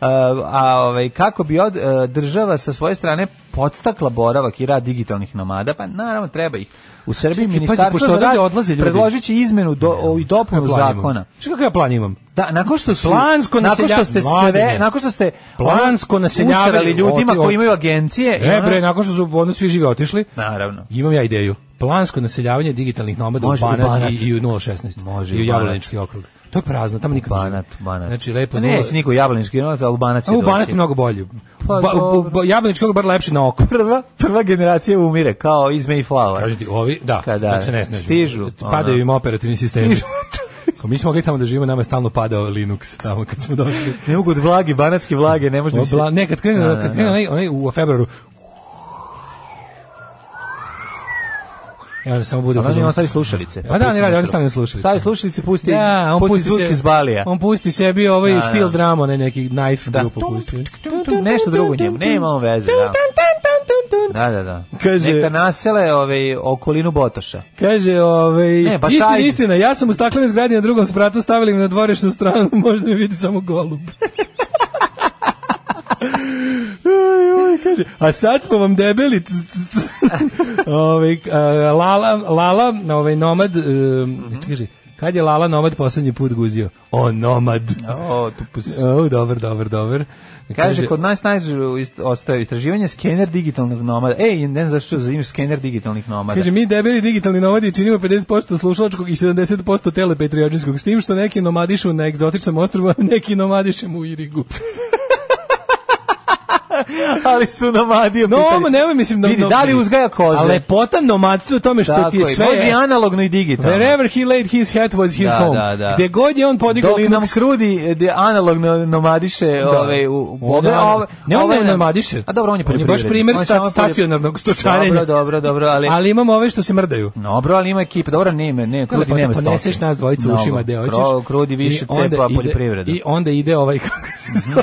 S5: A, a ovaj, kako bi od, e, država sa svoje strane podstakla boravak i rad digitalnih nomada, pa naravno treba ih. U Srbiji
S6: Čekaj, pazi,
S5: ministarstvo
S6: pošto
S5: za
S6: odavde
S5: rad
S6: odlaze ljudi.
S5: predložit će izmenu do, o, i dopunu
S6: Kakav plan imam?
S5: zakona.
S6: Čekaj, kakav ja plan imam?
S5: Da, nakon što su
S6: Plansko
S5: nakon što
S6: naselja-
S5: ste sve,
S6: Mladine.
S5: nakon što ste
S6: Plansko
S5: ono,
S6: naseljavanje-
S5: usrali ljudima
S6: Oti- oti-
S5: koji imaju agencije, i
S6: E,
S5: ono-
S6: bre, nakon što su ono svi živi otišli,
S5: naravno.
S6: imam ja ideju. Plansko naseljavanje digitalnih nomada
S5: Može,
S6: u
S5: u
S6: Banat,
S5: Banat.
S6: i, i u 016.
S5: Može,
S6: I u
S5: u Banat.
S6: Jablanički okrug. To je prazno, tamo nikad ne živi.
S5: Banat, Banat.
S6: Znači, lepo
S5: Pa
S6: nula-
S5: neće niko u Jablanički, ono, Albanac će
S6: A u Banat
S5: doći.
S6: je mnogo bolje.
S5: Pa,
S6: Ba, ba,
S5: dobro.
S6: ba, Jablanički okrug bar lepši na oko.
S5: prva, prva generacija umire, kao iz Mayflower.
S6: Kažu ti, ovi, da,
S5: Kada
S6: kad se ne snađu.
S5: stižu,
S6: Padaju
S5: ono.
S6: im operativni sistemi. Ako mi smo mogli tamo da živimo, nama je stalno padao Linux tamo kad smo došli.
S5: Ne mogu od vlage, banatske vlage, ne možda mi se...
S6: Obla, ne, kad krene,
S5: Da, da,
S6: kad krene
S5: da.
S6: onaj, onaj u februaru, Ja samo bude u
S5: Ali oni
S6: fazonu.
S5: on stavi slušalice.
S6: Pa da,
S5: pusti
S6: oni rade,
S5: nešto.
S6: oni stavljaju slušalice.
S5: Stavi slušalice, pusti,
S6: Da, on
S5: pusti,
S6: pusti
S5: zvuk
S6: se-
S5: iz balija.
S6: On pusti sebi ovaj
S5: Da, da.
S6: steel drum, onaj neki knife
S5: da.
S6: grupu pusti.
S5: Tu, tu, tu, tu, nešto drugo njemu, nema on veze. Da. Da, da, da.
S6: Kaže-
S5: Neka nasele ovaj, okolinu Botoša.
S6: Kaže, ovaj,
S5: Ne, baš
S6: istina,
S5: ajde.
S6: istina, ja sam u staklenoj zgradi na drugom spratu stavili mi na dvorišnu stranu, možda mi vidi samo golub. Aj, ovaj, kaže, a sad smo vam debeli. c, c, c. ovaj, a, Lala, Lala ovaj, nomad, um,
S5: Mhm.
S6: kaže, kad je Lala nomad poslednji put guzio? O, nomad.
S5: O, tupus.
S6: O, dobar, dobar, dobar.
S5: Kaže, kod nas najže ostaje istraživanje skener digitalnog nomada. Ej, ne znam zašto zovem skener digitalnih nomada.
S6: Kaže, mi debeli digitalni nomadi činimo 50% slušalačkog i 70% telepatriotskog, s tim što neki nomadišu na egzotičnom ostrvu, a neki nomadišem u Irigu.
S5: ali su nomadi. u pitanju.
S6: No, nemoj, mislim... No,
S5: Vidi,
S6: no-
S5: da li uzgaja koze?
S6: A lepota nomadstva je u tome što
S5: Tako
S6: ti je
S5: je,
S6: sve...
S5: Može i analogno i digitalno.
S6: Wherever he laid his hat was his
S5: Da,
S6: home.
S5: da, da.
S6: Gde god je on podigao
S5: Dok
S6: Linux...
S5: nam krudi de, analogno nomadiše
S6: Da.
S5: ove, u,
S6: On je-
S5: a ove-
S6: ne, on
S5: ove
S6: ne
S5: nam-
S6: nomadiše.
S5: A dobro, on je
S6: On je
S5: poljoprivrednik.
S6: baš primer
S5: On je
S6: sta-
S5: samo poljoprivrednik.
S6: stacionarnog stočarenja.
S5: Dobro, dobro, dobro, ali...
S6: Ali imamo ove što se mrdaju.
S5: Dobro, ali ima ekipa, dobro, nema, ne, krudi
S6: Pa
S5: nema stoke.
S6: poneseš nas dvojicu u
S5: Mnogo.
S6: ušima gde hoćeš.
S5: Kro- Krudi više
S6: i onda
S5: cepa
S6: ide-
S5: poljoprivreda. Mhm.
S6: I onda ide ovaj kako se zove.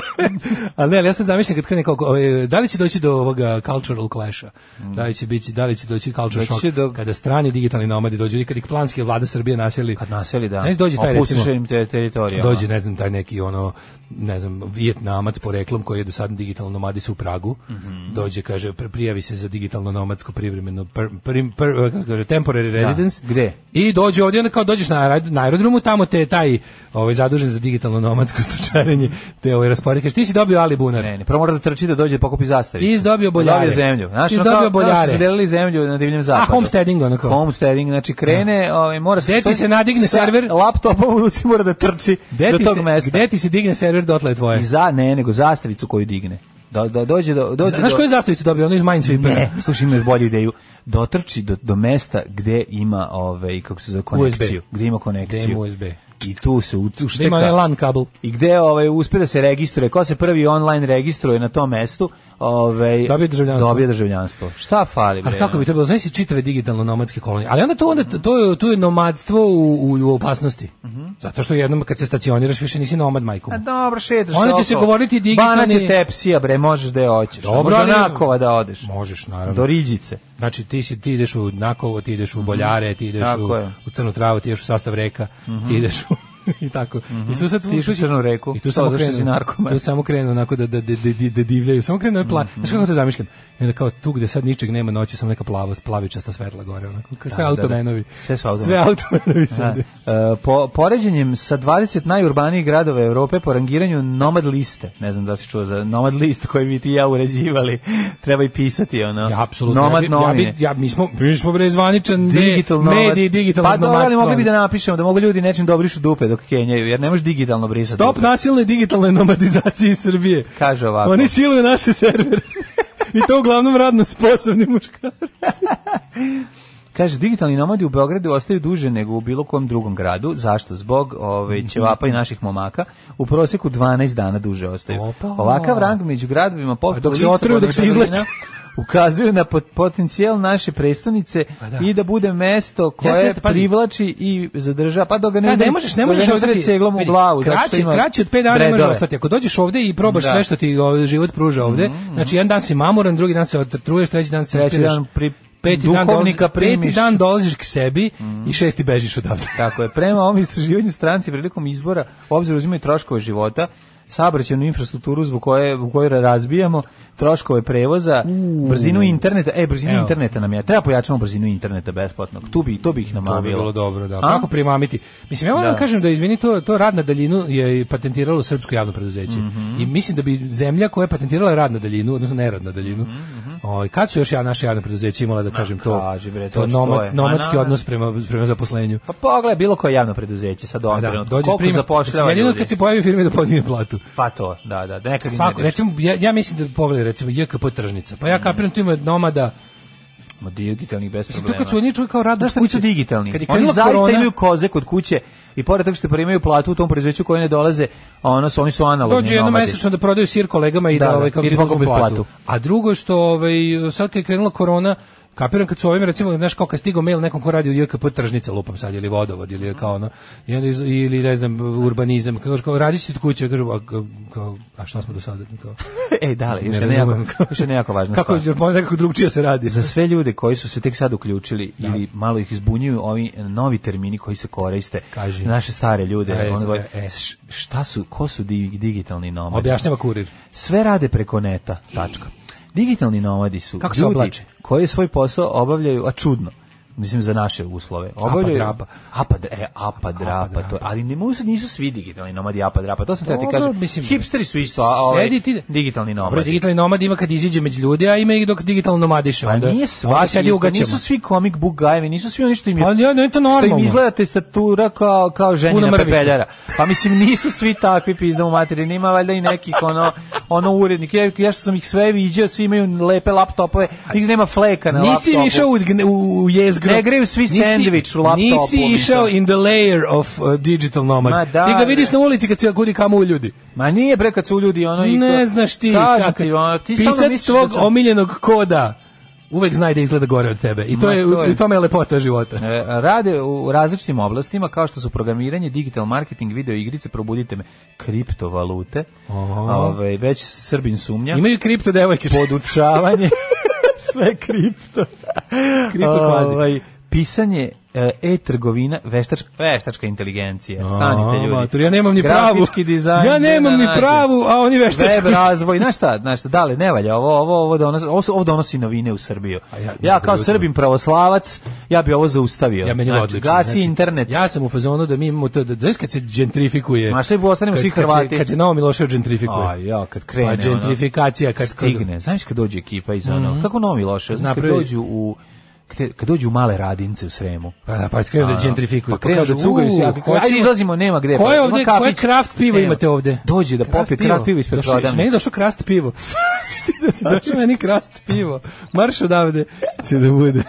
S6: Ali ne, ali ja sad zamišljam kad krene kao ovaj, da li će doći do ovoga cultural clasha? Da li će biti, da li će doći culture
S5: Mhm. Doći
S6: shock?
S5: će do-
S6: Kada strani digitalni nomadi dođu i kad ih planski vlada Srbije naseli.
S5: Kad naseli, da.
S6: Znaš, dođe taj
S5: Opustiš
S6: recimo-
S5: im te teritorije.
S6: Dođe, ne znam, taj neki ono, ne znam, vijetnamac poreklom koji je do sad digitalno nomadi se u Pragu.
S5: Mhm.
S6: Dođe, kaže, pr- prijavi se za digitalno nomadsko privremeno per, prim- per- kako se kaže, temporary residence.
S5: gde?
S6: I dođe ovdje, onda kao dođeš na, aerod- na aerodromu, tamo te je taj ovaj, zadužen za digitalno nomadsko stočarenje, te ovaj, rasporedi. Kaže, ti si dobio Ali Bunar.
S5: Ne, ne, prvo mora da trči da dođe da pokupi zastavicu.
S6: Ti si dobio boljare.
S5: Dobio zemlju. Znaš,
S6: Ti si
S5: ono kao-
S6: dobio
S5: kao što
S6: boljare.
S5: su delili zemlju na divljem zapadu.
S6: A, homesteading, ono kao.
S5: Homesteading, znači krene, ovaj, mora
S6: Gde ti se nadigne
S5: sa
S6: server?
S5: Laptopom u ruci mora da trči
S6: Gde
S5: do
S6: ti
S5: tog
S6: se,
S5: mesta.
S6: gde ti se digne server dotle je tvoje?
S5: I za, ne, nego zastavicu koju digne. Do, do, dođe do, dođe
S6: Znaš
S5: do...
S6: koju zastavicu dobio? Ono iz Minesweepera.
S5: Ne, slušaj, imaš bolju ideju. Dotrči do, do mesta gde ima, ovaj, kako se zove, konekciju.
S6: USB.
S5: Gde ima konekciju.
S6: Gde ima USB.
S5: I tu se ut-
S6: Da
S5: ušteka.
S6: ima onaj LAN kabel.
S5: I gde ovaj uspe da se registruje, ko se prvi online registruje na tom mestu, ovaj
S6: Dobije državljanstvo.
S5: Dobije državljanstvo. Šta fali bre?
S6: Ali kako bi to bilo? Znaš si čitave digitalno nomadske kolonije. Ali onda to onda to je, tu je nomadstvo u, u, u opasnosti.
S5: Mhm.
S6: Zato što jednom kad se stacioniraš više nisi nomad majkom.
S5: A dobro, šetaš.
S6: Onda će se
S5: okolo.
S6: govoriti digitalni-
S5: Banat je tepsija, bre, možeš da je hoćeš.
S6: Dobro,
S5: Dobro,
S6: ali-
S5: do Nakova da odeš.
S6: Možeš naravno.
S5: Do Riđice.
S6: Znači ti si ti ideš u Nakovo, ti ideš u Boljare, ti ideš
S5: Mhm. Tako
S6: u,
S5: je. Mhm.
S6: u Crnu travu, ti ideš u sastav reka, ti ideš u i tako. I su sad
S5: Ti ideš u
S6: tu si-
S5: Crnu reku,
S6: I tu
S5: to
S6: samo
S5: zato što si
S6: krenu.
S5: narkoman.
S6: Tu samo krenu onako da da da, da, da divljaju. Samo krenu na pla.
S5: Mhm.
S6: Znaš kako to zamišljam? I onda kao tu gde sad ničeg nema noću samo neka plavost, plavičasta svetla gore onako. Kao sve
S5: Da, da,
S6: automenovi.
S5: da. Sve su automenovi.
S6: Sve automenovi su
S5: Da.
S6: ovde.
S5: E, po, poređenjem sa 20 najurbanijih gradova Evrope po rangiranju Nomad liste, ne znam da li si čuo za Nomad list koji bi ti i ja uređivali, treba i pisati ono.
S6: Ja apsolutno.
S5: Nomad
S6: ja, bi- ja,
S5: novine.
S6: bi- ja, mi smo mi smo bre zvaničan
S5: Digital
S6: me-
S5: nomad.
S6: medij digitalno
S5: Pa dobro, ali
S6: nomadstvo.
S5: mogli bi da napišemo da mogu ljudi nečim da obrišu dupe dok kenjaju, jer ne možeš digitalno brisati.
S6: Stop
S5: dupe.
S6: nasilnoj digitalnoj nomadizaciji Srbije.
S5: Kaže ovako.
S6: Oni siluju naše servere. I to uglavnom radno sposobni muškarci.
S5: Kaže, digitalni nomadi u Beogradu ostaju duže nego u bilo kojem drugom gradu. Zašto? Zbog ove, ćevapa i naših momaka. U proseku 12 dana duže ostaju.
S6: Opa.
S5: Ovakav rang među gradovima poput
S6: A dok se
S5: Lisabona
S6: otruju, dok
S5: i
S6: se
S5: Berlina
S6: izleče.
S5: ukazuju na pot- potencijal naše prestonice
S6: Pa da.
S5: i da bude mesto koje
S6: Jeste, jeste, pazi.
S5: privlači i zadrža, pa dok ga ne,
S6: Ne,
S5: udari-
S6: ne možeš, ne
S5: dok ga
S6: možeš
S5: udari
S6: ostati
S5: ceglom u
S6: vidi,
S5: glavu. zato što
S6: Kraće,
S5: ima
S6: kraće od 5 dana ne možeš
S5: dredove.
S6: ostati. Ako dođeš ovde i probaš
S5: Da. Mm.
S6: sve što ti ovaj, život pruža ovde, znači jedan dan si mamoran, drugi dan se otruješ, treći dan se
S5: Treći
S6: otruješ.
S5: dan pri-
S6: peti dan, dolazi,
S5: duhovnika
S6: peti
S5: primiš. Mm.
S6: dan dolaziš k sebi i šesti bežiš odavde.
S5: Tako je, prema ovom istraživanju stranci prilikom izbora u obzir uzimaju troškove života, saobraćajnu infrastrukturu zbog koje u kojoj razbijamo, troškove prevoza, brzinu interneta, e brzinu
S6: Evo.
S5: interneta nam je. Treba pojačamo brzinu interneta besplatnog. Tu bi to bi ih namavilo.
S6: To Pa bi bilo dobro, da.
S5: A?
S6: Kako primamiti? Mislim, ja moram
S5: Da.
S6: da. kažem da, izvini, to, to rad na daljinu je patentiralo srpsko javno preduzeće.
S5: Mhm.
S6: I mislim da bi zemlja koja je patentirala rad na daljinu, odnosno nerad na daljinu,
S5: Mhm,
S6: ovaj, kad su još ja, naše javne preduzeće imala, da kažem, to,
S5: kaži bre,
S6: to
S5: to
S6: nomac,
S5: stoje.
S6: nomadski
S5: Ma, na-
S6: odnos prema, prema zaposlenju.
S5: Pa pogledaj bilo koje javno preduzeće sad
S6: A
S5: ovom
S6: da,
S5: trenutku.
S6: dođeš
S5: Koliko
S6: primiš,
S5: zapošljava
S6: jedino
S5: ljudi?
S6: kad se pojavi firme da podigne platu.
S5: Pa to, da, da, da nekad im
S6: Svako,
S5: ne ideš.
S6: recimo, ja, ja mislim da pogledaj, recimo, JKP tržnica.
S5: Mhm.
S6: Pa ja kapiram, tu ima nomada,
S5: Ma, digitalni bez
S6: Mislim,
S5: problema.
S6: to kad su oni čuli kao rad
S5: Znaš šta,
S6: od
S5: koji
S6: kuće?
S5: su digitalni?
S6: Kad je
S5: Oni
S6: krenula
S5: zaista
S6: korona-
S5: imaju koze kod kuće i pored toga što primaju platu u tom preduzeću koje ne dolaze, ono su, oni su analogni
S6: Dođu jednom
S5: nomadi.
S6: mesečno da prodaju sir kolegama i da,
S5: Da, da,
S6: ovaj kako
S5: i
S6: se
S5: da
S6: uzmu
S5: pokupe
S6: platu.
S5: platu.
S6: A drugo je što ovaj sad kad je krenula korona kapiram kad su ovim recimo znaš kao kad stigao mail nekom ko radi u JKP tržnica lupam sad ili vodovod ili kao ono i onda iz, ili ne znam urbanizam kako kao radiš ti od kuće kažu a, kao, a šta smo do sada kao
S5: Ej, E, da, li, još ne jako, još je nejako važna
S6: kako, stvar. Kako, nekako drugčije se radi.
S5: Za sve ljude koji su se tek sad uključili da. ili malo ih izbunjuju ovi novi termini koji se koriste,
S6: Kaži.
S5: naše stare ljude,
S6: E,
S5: ono,
S6: e, e.
S5: š- šta su, ko su di- digitalni nomadi?
S6: Objašnjava kurir.
S5: Sve rade preko neta, tačka. Digitalni nomadi su
S6: Kako se
S5: ljudi
S6: oblače?
S5: koji svoj posao obavljaju, a čudno, mislim za naše uslove. Obavljaju
S6: pa drapa. pa
S5: Apa, dra- e, apa drapa, to. je- Ali ne mogu se nisu svi digitalni nomadi apa drapa. To sam te ti
S6: Dobro,
S5: kažem.
S6: mislim,
S5: hipsteri su isto, a ovaj,
S6: sedi ti-
S5: digitalni
S6: Dobro,
S5: nomadi.
S6: digitalni nomad ima kad iziđe među ljudi, a ima i dok digitalno nomadiše.
S5: Pa
S6: Onda,
S5: nije
S6: onda
S5: sva
S6: sedi u gaćama.
S5: Nisu svi comic book gajevi, nisu svi oni što im je...
S6: Pa ja, no, je to
S5: Što im
S6: normalno.
S5: izgleda testatura kao, kao
S6: Puna
S5: ženina
S6: mrvica.
S5: pepeljara. Pa mislim, nisu svi takvi pizda u materini, ima valjda i nekih ono, ono urednik. Ja, ja što sam ih sve viđao, svi imaju lepe laptopove, nigdje nema fleka na
S6: Nisi
S5: laptopu.
S6: išao u, gne- u, u jezgro.
S5: Ne greju svi sendvič u laptopu,
S6: Nisi
S5: mislim.
S6: išao in the layer of uh, digital nomad.
S5: Ma da,
S6: Ti ga
S5: bre.
S6: vidiš na ulici kad se kudi kamo u ljudi.
S5: Ma nije bre kad su ljudi ono... i
S6: ne
S5: ko-
S6: znaš ti.
S5: Kažem
S6: kakav-
S5: ti, ono, ti stalno
S6: Pisac
S5: misliš da
S6: tvog
S5: sam-
S6: omiljenog koda uvek zna i da izgleda gore od tebe. I to
S5: Ma,
S6: je,
S5: to je.
S6: u tome je lepota života.
S5: E, Rade u različitim oblastima kao što su programiranje, digital marketing, video igrice, probudite me, kriptovalute, ovaj, već Srbin sumnja.
S6: Imaju kripto devojke.
S5: podučavanje sve kripto
S6: Kripto kvazi.
S5: Ovaj, pisanje e, e-trgovina, veštačka, veštačka inteligencija. Stanite
S6: A,
S5: ljudi.
S6: mater, ja nemam ni pravu.
S5: Grafički dizajn.
S6: Ja nemam
S5: gde da
S6: ni
S5: nađem?
S6: pravu, a oni veštačku.
S5: Web razvoj, znaš šta, znaš šta, da li ne valja ovo, ovo, ovo, donosi, ovo, su- ovo donosi novine u Srbiju.
S6: ja-
S5: ja, kao
S6: apsolutno.
S5: Srbin pravoslavac, ja bi ovo zaustavio.
S6: Ja meni je
S5: Znači,
S6: odlično.
S5: Gasi
S6: Znači,
S5: internet.
S6: Ja sam u fazonu da mi imamo to da znaš kad se gentrifikuje.
S5: Ma, sve postanemo
S6: kad-
S5: svi
S6: kad se-
S5: Hrvati.
S6: Kad se Novo Milošević gentrifikuje.
S5: A ja kad krene
S6: Pa gentrifikacija
S5: ono,
S6: kad Mhm.
S5: stigne. Znaš kad dođe ekipa iz ono, kako Novi Loše, znaš kad
S6: Napravi-
S5: dođu u kad, kad dođu u male radince u Sremu.
S6: Pa da, pa krenu da
S5: Ono,
S6: gentrifikuju.
S5: Pa krenu da cugaju se.
S6: "U,
S5: jako, Ajde
S6: hoćemo-
S5: izlazimo, nema gde.
S6: Koje
S5: pa,
S6: ovde,
S5: ima
S6: koje
S5: kafić,
S6: kraft pivo
S5: nema.
S6: imate ovde?
S5: Dođe da popije kraft pivo ispred
S6: Došao-
S5: prodavnice.
S6: Meni je došao krast pivo. Došao meni krast pivo. Marš odavde. Će da bude.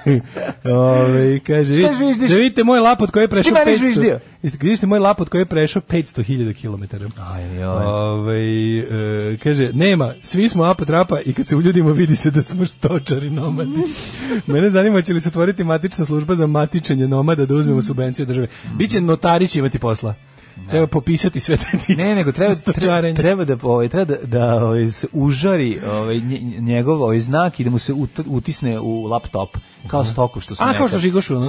S6: Ove, i kaže,
S5: Šta
S6: vid-
S5: žviždiš?
S6: da vidite moj lapot koji je prešao
S5: meni
S6: 500.
S5: žviždio?
S6: Isto, Vidite moj lapot koji je prešao 500.000 km.
S5: Aj, ovaj. joj.
S6: Ove, e, kaže, nema, svi smo apa trapa i kad se uljudimo vidi se da smo štočari nomadi. Mene zanima će li se otvoriti matična služba za matičenje nomada da uzmemo subvenciju od države. Biće notari će imati posla. Treba popisati sve te
S5: Ne, nego treba treba,
S6: Stočarenje.
S5: treba da ovaj treba da, da ovaj, se užari ovaj nje- njegov ovaj znak i da mu se ut- utisne u laptop kao stoku što se
S6: Mhm. A, kao što žigošu, ono?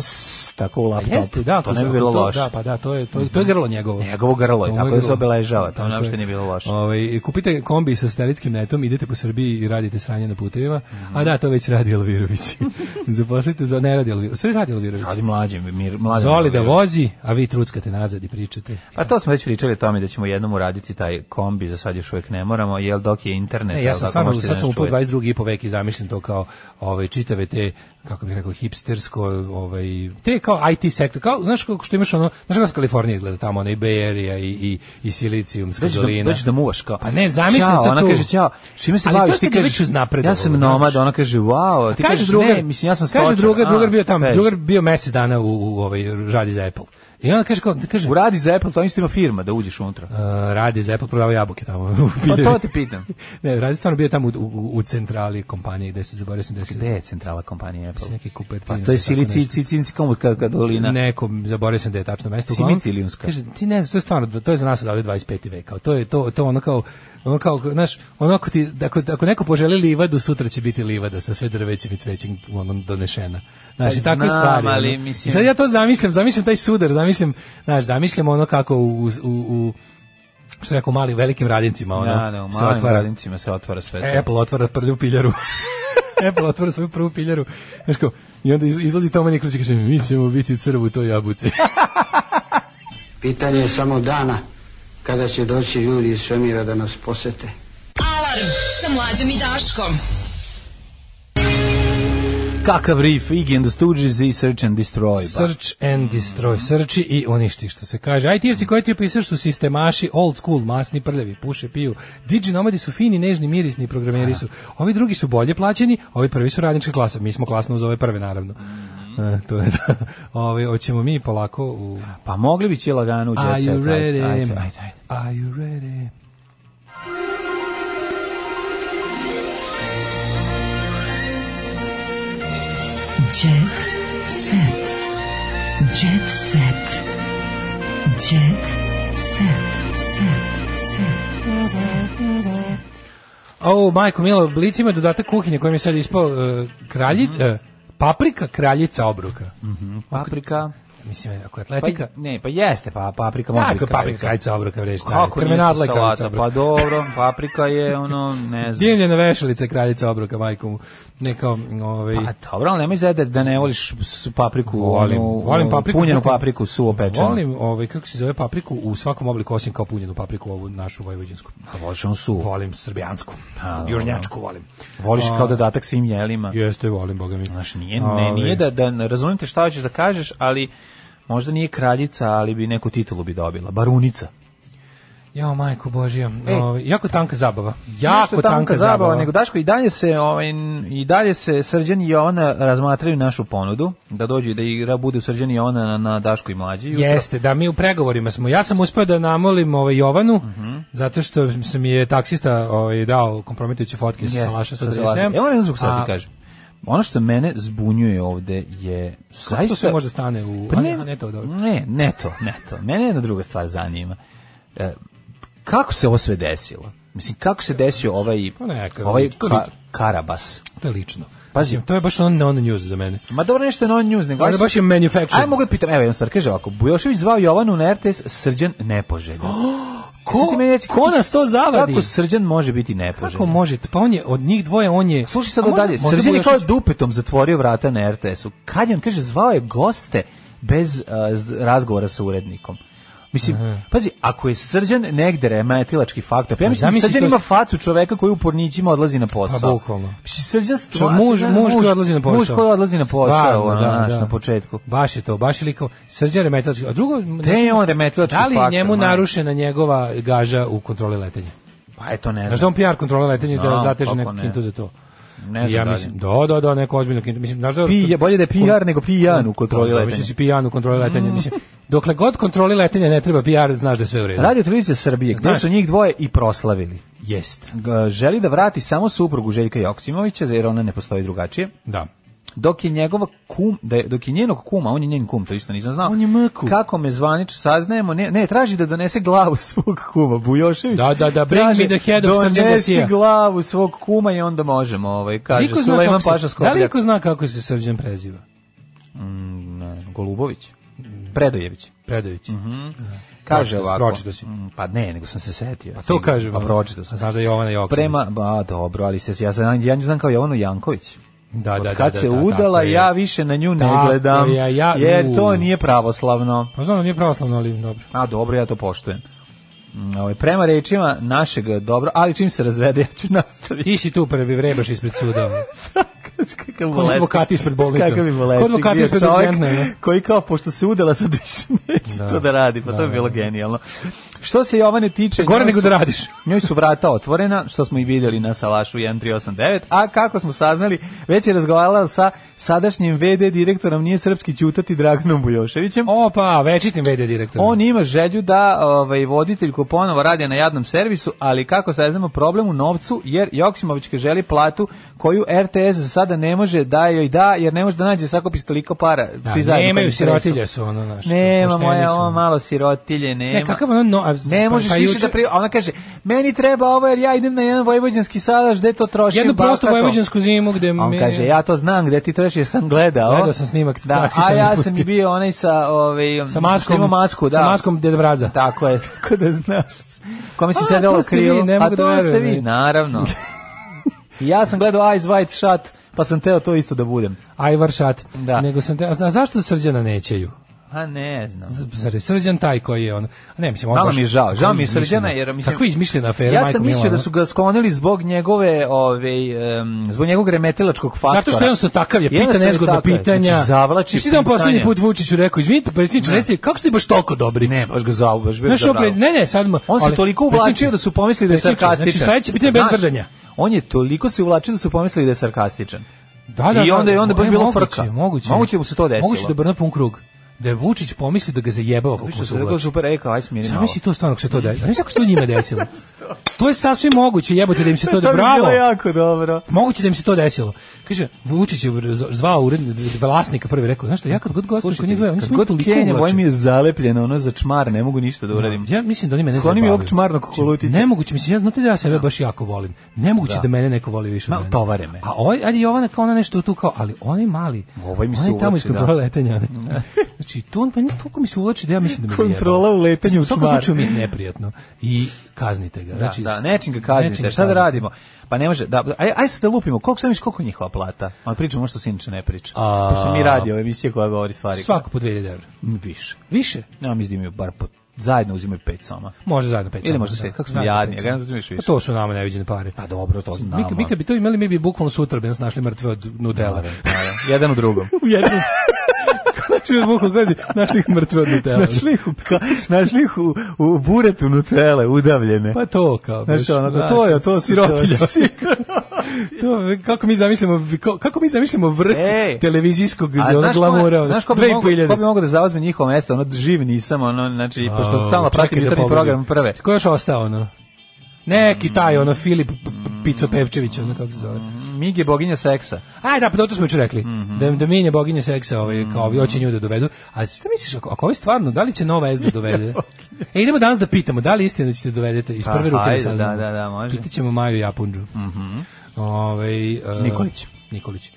S5: tako u laptop.
S6: Jeste, da,
S5: to ne bi
S6: su-
S5: bilo
S6: to-
S5: loše.
S6: Da, pa da, to je to, je- to je grlo njegovo.
S5: Njegovo grlo je,
S6: Ovo
S5: tako da se
S6: grlo.
S5: obeležava, to
S6: Tako
S5: uopšte
S6: je.
S5: nije bilo loše.
S6: Ovaj kupite kombi sa satelitskim netom, idete po Srbiji i radite sranje na putevima. A da, to već radi Elvirović. Zaposlite za ne radi Elvirović. Sve radi Elvirović.
S5: Radi mlađe, mir, mlađe.
S6: Zoli da vozi, a vi truckate nazad i pričate.
S5: Pa to smo već pričali o tome da ćemo jednom uraditi taj kombi, za sad još uvijek ne moramo, jel dok je internet.
S6: Ne,
S5: jel
S6: E, ja sam
S5: tako,
S6: stvarno,
S5: možete da
S6: sad sam
S5: nas
S6: u po
S5: čujete.
S6: 22. i po veki zamišljam to kao ovaj, čitave te, kako bih rekao, hipstersko, ovaj, te kao IT sektor, kao, znaš kako što imaš ono, znaš kako Kalifornija izgleda tamo, ono i Bay Area i, i, i Silicijumska
S5: Dođeš da,
S6: dolina.
S5: dođeš da muvaš kao.
S6: Pa ne, zamišljam
S5: "Ćao",
S6: se
S5: ona
S6: tu.
S5: kaže ćao. Čime se
S6: Ali
S5: baviš?
S6: to
S5: Ti
S6: ste ga
S5: kažeš
S6: već uznapredovali,
S5: ja sam
S6: znaš.
S5: nomad, ona kaže wow, ti
S6: Kaže
S5: kažeš
S6: drugar,
S5: ne, mislim ja sam stočar.
S6: Kaže drugar,
S5: A,
S6: drugar bio tamo,
S5: veš.
S6: drugar bio mesec dana u, u ovaj radi za Apple. I onda kaže kao, kaže,
S5: U radi za Apple, to isto ima firma da uđeš unutra.
S6: Uh, radi za Apple, prodava jabuke tamo. u
S5: Pa to
S6: Pidevi.
S5: ti pitam.
S6: ne, radi stvarno bio tamo u, u, u centrali kompanije gde se zaboravio sam da se
S5: Gde je centrala kompanije Apple?
S6: neki Cupertino,
S5: Pa to je
S6: tako nešto.
S5: Silicijumica dolina.
S6: Nekom, zaboravio sam da je tačno mesto.
S5: Simici
S6: Uglavnom,
S5: ili Unska?
S6: Kaže, ti ne znaš, to je stvarno, to je za nas odavde 25. vek. kao, To je to, to ono kao, ono kao, znaš, ono ako ti, ako, ako neko poželi livadu, sutra će biti livada sa sve drvećim i cvećim ono, donešena. Znaš,
S5: Pa
S6: i takve
S5: znam,
S6: stvari.
S5: ali
S6: ono.
S5: mislim-
S6: Sad ja to zamišljam, zamišljam taj sudar, zamišljam, znaš, zamišljam ono kako u, u, u što rekao, mali, velikim radincima, ono,
S5: Da, da, u
S6: se
S5: malim
S6: otvara,
S5: radincima se otvara sve to.
S6: E, Apple otvara prvu piljaru. Apple otvara svoju prvu piljaru. Znaš kao, i onda iz- izlazi Toma Nikolić i kaže, mi ćemo biti crv u toj jabuci.
S11: Pitanje je samo dana kada će doći ljudi iz svemira da nas posete.
S4: Alarm sa mlađom i Daškom.
S5: Kakav riff, Iggy and the Stooges i Search and Destroy. baš.
S6: Search and destroy. Srči i uništi, što se kaže. IT-evci koji ti opisaš su sistemaši, old school, masni, prljavi, puše, piju. Digi nomadi su fini, nežni, mirisni, programeri su. Ovi drugi su bolje plaćeni, ovi prvi su radnička klasa. Mi smo klasno uz ove prve, naravno. E, to je da. Ove, hoćemo mi polako u...
S5: Pa mogli bi će lagano u jet
S6: Are
S5: set,
S6: you
S5: ajde,
S6: ready?
S5: ajde, ajde, ajde.
S6: Are you ready?
S4: Jet set. Jet set. Jet set. Set. Set. set.
S6: O, majko Milo, blic ima dodatak kuhinje koji mi je sad ispao uh, kralji, uh, paprika kraljica obruka.
S5: Mhm. Paprika.
S6: Mislim, ako je atletika...
S5: Pa, ne, pa jeste, pa paprika može
S6: Tako,
S5: biti
S6: paprika kraljica obruka, vreš.
S5: Kako nije to salata? Pa dobro, paprika je ono, ne znam.
S6: Dimljena vešalica je kraljica obroka, majko mu. Neka, ovaj...
S5: Pa dobro, ali nemoj zajedati da ne voliš s- papriku,
S6: Volim,
S5: onu,
S6: volim papriku.
S5: punjenu
S6: kako-
S5: papriku, suvo pečenu.
S6: Volim, ovaj, kako se zove papriku, u svakom obliku, osim kao punjenu papriku, ovu našu vojvođansku.
S5: A voliš onu suvo.
S6: Volim srbijansku,
S5: A,
S6: južnjačku volim.
S5: Voliš
S6: A,
S5: kao dodatak svim jelima.
S6: Jeste, volim, boga mi.
S5: Znaš, nije, ne,
S6: Ovaj.
S5: nije da, da razumite šta ćeš da kažeš, ali možda nije kraljica, ali bi neku titulu bi dobila. Barunica.
S6: Jao, majko Božija,
S5: E.
S6: ovaj, jako tanka zabava.
S5: Nešto
S6: Jako
S5: je
S6: tanka zabava.
S5: nego Daško i dalje se ovaj i dalje se Srđan i Jovana razmatraju našu ponudu da dođu i da igra bude Srđan i Jovana na, na Daško i mlađi jutro.
S6: Jeste, da mi u pregovorima smo. Ja sam uspeo da namolim ovaj Jovanu,
S5: Mhm.
S6: zato što sam je taksista ovaj, dao kompromitujuće fotke sa
S5: Jeste,
S6: Salaša
S5: sa E, Salaša.
S6: 137.
S5: Evo ne znam kako sad
S6: A
S5: ti kažem. Ono što mene zbunjuje ovde je
S6: Kako to sve
S5: zaista-
S6: možda stane u...
S5: Pa
S6: a
S5: ne,
S6: ne, a ne to, dobro.
S5: Ne, ne to, ne to. Mene jedna druga stvar zanima. E, kako se ovo sve desilo? Mislim, kako se desio ovaj,
S6: Pa neka,
S5: ovaj
S6: to
S5: ka-
S6: lično.
S5: Karabas?
S6: To je lično.
S5: Pazi.
S6: Mislim, to je baš on on news za mene.
S5: Ma dobro nešto je non news, nego...
S6: Ono je baš je manufactured.
S5: Ajde mogu da pitam, evo jedan stvar, kaže ovako, Bujošević zvao Jovanu na RTS Srđan nepoželjan.
S6: ko-
S5: Sad ti meni reci,
S6: ko
S5: kako-
S6: nas to zavadi?
S5: Kako Srđan može biti nepoželjan?
S6: Kako možete? Pa on je, od njih dvoje, on je...
S5: Slušaj
S6: A
S5: sad
S6: možda-
S5: dalje,
S6: možda
S5: Srđan je kao
S6: Bujošević-
S5: dupetom zatvorio vrata na RTS-u. Kad je on, kaže, zvao je goste bez a, z- razgovora sa urednikom. Mislim, pazi, ako je Srđan negde remetilački faktor, pa ja
S6: Ma
S5: mislim, da
S6: zamisli
S5: Srđan
S6: to-
S5: ima facu čoveka koji u pornićima odlazi na posao.
S6: Pa, bukvalno.
S5: Mislim, Srđan
S6: Čo, muž, muž koji odlazi na posao.
S5: Muž koji odlazi na posao,
S6: Stvarno,
S5: ono,
S6: da,
S5: znaš,
S6: da.
S5: na početku.
S6: Baš je to, baš je likao Srđan Remetilački. A drugo,
S5: Te je on remetilački
S6: da li je
S5: faktor,
S6: njemu
S5: ma.
S6: narušena njegova gaža u kontroli letenja?
S5: Pa eto, ne
S6: Znaš da
S5: znam.
S6: on PR kontrola letenja da
S5: Znam,
S6: zateže
S5: kako
S6: neku
S5: ne.
S6: kintu za to?
S5: Ne znam
S6: ja
S5: dalje.
S6: mislim, da, da, da, neko ozbiljno kintu. Mislim, znaš da...
S5: Pija- bolje da je PR nego pijan u kontroli
S6: Da, zamisli
S5: letenja. Mm.
S6: si pijan u kontroli letenja. Mislim, dokle god kontroli letenja ne treba PR, znaš da je sve u redu.
S5: Radio Televizija Srbije, gde
S6: Znaš.
S5: su njih dvoje i proslavili.
S6: Jest.
S5: G- Želi da vrati samo suprugu Željka Joksimovića, jer ona ne postoji drugačije.
S6: Da.
S5: dok je njegova kum, da je, dok je njenog kuma, on je njen kum, to isto nisam znao.
S6: On je mku.
S5: Kako me zvanično saznajemo, ne, ne, traži da donese glavu svog kuma, Bujošević.
S6: Da, da, da, bring
S5: Traži,
S6: me the head of Srđan
S5: Donesi
S6: Dosija."
S5: glavu svog kuma i onda možemo, ovaj, kaže
S6: Niko zna
S5: Sulejman
S6: kako se-
S5: Paša
S6: Da li
S5: Skobljak.
S6: iko zna kako se Srđan preziva?
S5: Ne, Golubović. Predojević.
S6: Predović.
S5: Kaže
S6: Pročitao si,
S5: ovako.
S6: pročitao si.
S5: Mm, Pa ne, nego sam se setio.
S6: A to kaže.
S5: Pa pročitao sam.
S6: Znaš da je Jovana Joksimović.
S5: Prema, ba, dobro, ali se, ja, znam, ja nju znam kao Jovanu Janković.
S6: da, Pa da,
S5: Od
S6: da,
S5: kad
S6: da,
S5: se
S6: da, tako
S5: udala,
S6: je.
S5: ja više na nju ne
S6: Tako
S5: gledam,
S6: je, ja-
S5: jer to
S6: u.
S5: nije pravoslavno.
S6: Pa znam, nije pravoslavno, ali dobro.
S5: A dobro, ja to poštujem. Mm, Ovaj, prema rečima našeg dobro, ali čim se razvede, ja ću nastaviti.
S6: Ti si tu prvi vrebaš ispred suda.
S5: Kakav
S6: Ko advokat ispred bolnice.
S5: Kakav bi
S6: Ko
S5: bolesnik
S6: advokat
S5: bio
S6: ispred
S5: čovjek
S6: urgentne, ne?
S5: koji kao, pošto se udela, sad više neće
S6: Da.
S5: to da radi, pa to bi bilo genijalno. Što se Jovane tiče...
S6: Gore
S5: njoj
S6: nego
S5: su-
S6: da radiš.
S5: Njoj su vrata otvorena, što smo i vidjeli na Salašu 1389, a kako smo saznali, već je razgovarala sa sadašnjim VD direktorom Nije srpski ćutati Draganom Bujoševićem.
S6: Opa, večitim VD direktor.
S5: On ima želju da ovaj, voditeljku ponovo radi na jadnom servisu, ali kako saznamo problem u novcu, jer Joksimovićka želi platu koju RTS za sada ne može da joj da, jer ne može da nađe sakupiš toliko para.
S6: Da,
S5: svi zajedno
S6: nemaju
S5: kad se
S6: sirotilje
S5: resu.
S6: su ono, znaš.
S5: Nema
S6: pošteni
S5: moja,
S6: su.
S5: ovo malo sirotilje, nema.
S6: Ne, kakav ono, no, a,
S5: Ne možeš
S6: pa
S5: više
S6: juče-
S5: da pri... a Ona kaže, meni treba ovo jer ja idem na jedan vojvođanski salaš gde to trošim.
S6: Jednu prostu
S5: bahato."
S6: vojvođansku zimu
S5: A
S6: gde
S5: On
S6: me-
S5: kaže, ja to znam gde ti treš jer sam gledao.
S6: Gledao sam snimak,
S5: da,
S6: taksista
S5: a
S6: me
S5: ja
S6: pustio.
S5: sam i bio onaj sa, ovaj,
S6: Sa maskom,
S5: što ima masku, da.
S6: sa maskom Deda Mraza.
S5: Tako je, tako da znaš. Kome si
S6: A,
S5: sedelo
S6: to ste
S5: krilo?
S6: vi, ne
S5: a
S6: mogu da
S5: to ste
S6: verujem,
S5: vi,
S6: ne.
S5: naravno. I ja sam gledao Eyes Wide Shut, pa sam teo to isto da budem.
S6: Ajvar Šat.
S5: Da.
S6: Nego sam te, a zna- zašto Srđana nećeju?
S5: A ne znam.
S6: Z- Zar je Srđan taj koji je on? A ne, mislim, on
S5: Malo
S6: baš-
S5: mi je žao, žao mi je
S6: Izmišljena-
S5: Srđana, jer mislim-
S6: Kakva izmišljena afera,
S5: Ja
S6: majko
S5: sam mislio
S6: mila,
S5: da
S6: ono.
S5: su ga sklonili zbog njegove, ovaj, em, zbog njegovog remetilačkog faktora.
S6: Zato što jednostavno takav je, pita
S5: Jednostavno je
S6: nezgodna
S5: takav je.
S6: pitanja.
S5: Znači, zavlači
S6: Mislim da on poslednji
S5: pitanja.
S6: put Vučiću rekao, izvinite, predsjedniče, recite, kako ste baš toliko dobri?
S5: Ne, baš ga zavu, baš baš
S6: Znaš,
S5: ga
S6: opet,
S5: zavu.
S6: ne, ne, sad... mu-
S5: On se
S6: ali-
S5: toliko uvlačio
S6: predsjedniče,
S5: da su pomislili da je
S6: predsjedniče,
S5: sarkastičan.
S6: Znači, sledeće pitanje bez
S5: Znaš,
S6: vrdanja.
S5: On je toliko se uvlačio da su pomislili da je sarkastičan.
S6: Da, da,
S5: I onda-
S6: da,
S5: i onda baš
S6: e,
S5: bilo
S6: moguće,
S5: frka.
S6: Moguće,
S5: Moguće mu se to desilo.
S6: Moguće da brne pun krug. da je Vučić pomislio da ga zajebao kako
S5: Više
S6: se
S5: se rekao
S6: uvlači.
S5: super, ej, kao, aj smiri
S6: Sam
S5: malo.
S6: misli to stvarno kako se to desilo. Znaš kako se to njima desilo? to je sasvim moguće, jebote da im se to...
S5: To bi
S6: bravo!
S5: bilo jako dobro.
S6: Moguće da im se to desilo. Kaže, Vučić je zvao ured, vlasnika prvi, rekao, znaš šta, ja kad god gostujem kod njih dvoje, oni
S5: Kad
S6: su mi
S5: god
S6: toliko
S5: Kenja, ovo mi
S6: uvlačeni.
S5: je zalepljeno, ono za čmar, ne mogu ništa da uradim.
S6: Ja mislim da oni mene
S5: Skloni mi
S6: zabavljaju.
S5: ovog čmarnog kolutića.
S6: Nemoguće, mislim, ja znate da ja sebe baš jako volim. Nemoguće
S5: Da.
S6: da, mene neko voli više
S5: Ma,
S6: od mene.
S5: tovare me.
S6: A ovaj, ajde Jovana kao ona nešto tu kao, ali onaj mali,
S5: Ovaj mi se
S6: onaj tamo iz
S5: uvlači, da.
S6: kontrole letenja. onaj. znači, to on, meni toliko mi se uvlači da ja mislim da me zajebao.
S5: Kontrola u letenju u
S6: U svakom
S5: čmar.
S6: slučaju mi je neprijatno. I kaznite ga.
S5: Da,
S6: znači,
S5: da, nečim ga kaznite,
S6: nečim
S5: šta da
S6: kaznite.
S5: radimo? Pa ne može, da, aj, aj sad da lupimo, koliko sam viš, koliko je njihova plata? Ali pričamo ono što Sinče ne priča.
S6: A-
S5: Pošto mi radi ova emisija koja govori stvari.
S6: Svako po 2000 evra.
S5: M, Više.
S6: Više?
S5: Ja mislim da imaju bar po, zajedno uzimaju pet soma.
S6: Može zajedno pet.
S5: Ili
S6: soma,
S5: možda
S6: da.
S5: sve, kako sam
S6: Zajedno
S5: jadni,
S6: pet
S5: ja
S6: soma.
S5: gledam da uzmeš
S6: Pa
S5: više.
S6: to su nama neviđene pare.
S5: Pa dobro, to znam.
S6: Mi, mi kad bi to imali, mi bi bukvalno sutra bi nas našli mrtve od Nutella.
S5: Jedan u drugom.
S6: U jednom. Znači, od bukvalno gazi, našli ih mrtve od Nutella.
S5: našli ih, u, ka, našli ih u, u buretu Nutele, udavljene.
S6: Pa to kao.
S5: Znaš,
S6: baš,
S5: ono, da, to je, to su-
S6: sirotilja.
S5: to su-
S6: to, kako mi zamislimo, ko- kako mi zamislimo vrh
S5: Ej.
S6: televizijskog
S5: E. A
S6: zelenog
S5: znaš ko,
S6: glamura. ono,
S5: je, znaš ko bi,
S6: Dve i po
S5: mogo, ko
S6: hiljade.
S5: bi mogao da zauzme njihovo mesto, ono živ nisam, ono, znači, pošto
S6: Au,
S5: stalno
S6: čekaj
S5: pratim
S6: da
S5: jutarnji
S6: pogledam.
S5: program prve.
S6: Ko je još ostao, ono? Neki taj, ono, Filip P- P-
S5: Mm.
S6: Pico Pevčević, ono, kako se zove.
S5: Mig je boginja seksa.
S6: Aj, da, pa to smo još rekli.
S5: Mhm.
S6: Da, da minje boginje seksa, ovaj, kao ovi hoće nju da dovedu. A šta misliš, ako, ako ovo je stvarno, da li će nova S da dovede? e, idemo danas da pitamo, da li je istina da ćete dovedete iz
S5: Pa,
S6: prve ruke
S5: hajde,
S6: da saznamo.
S5: da, da, da, može. Mhm.
S6: Pitaćemo Maju Japunđu. Ovaj, e,
S5: Nikolić.
S6: Nikolić.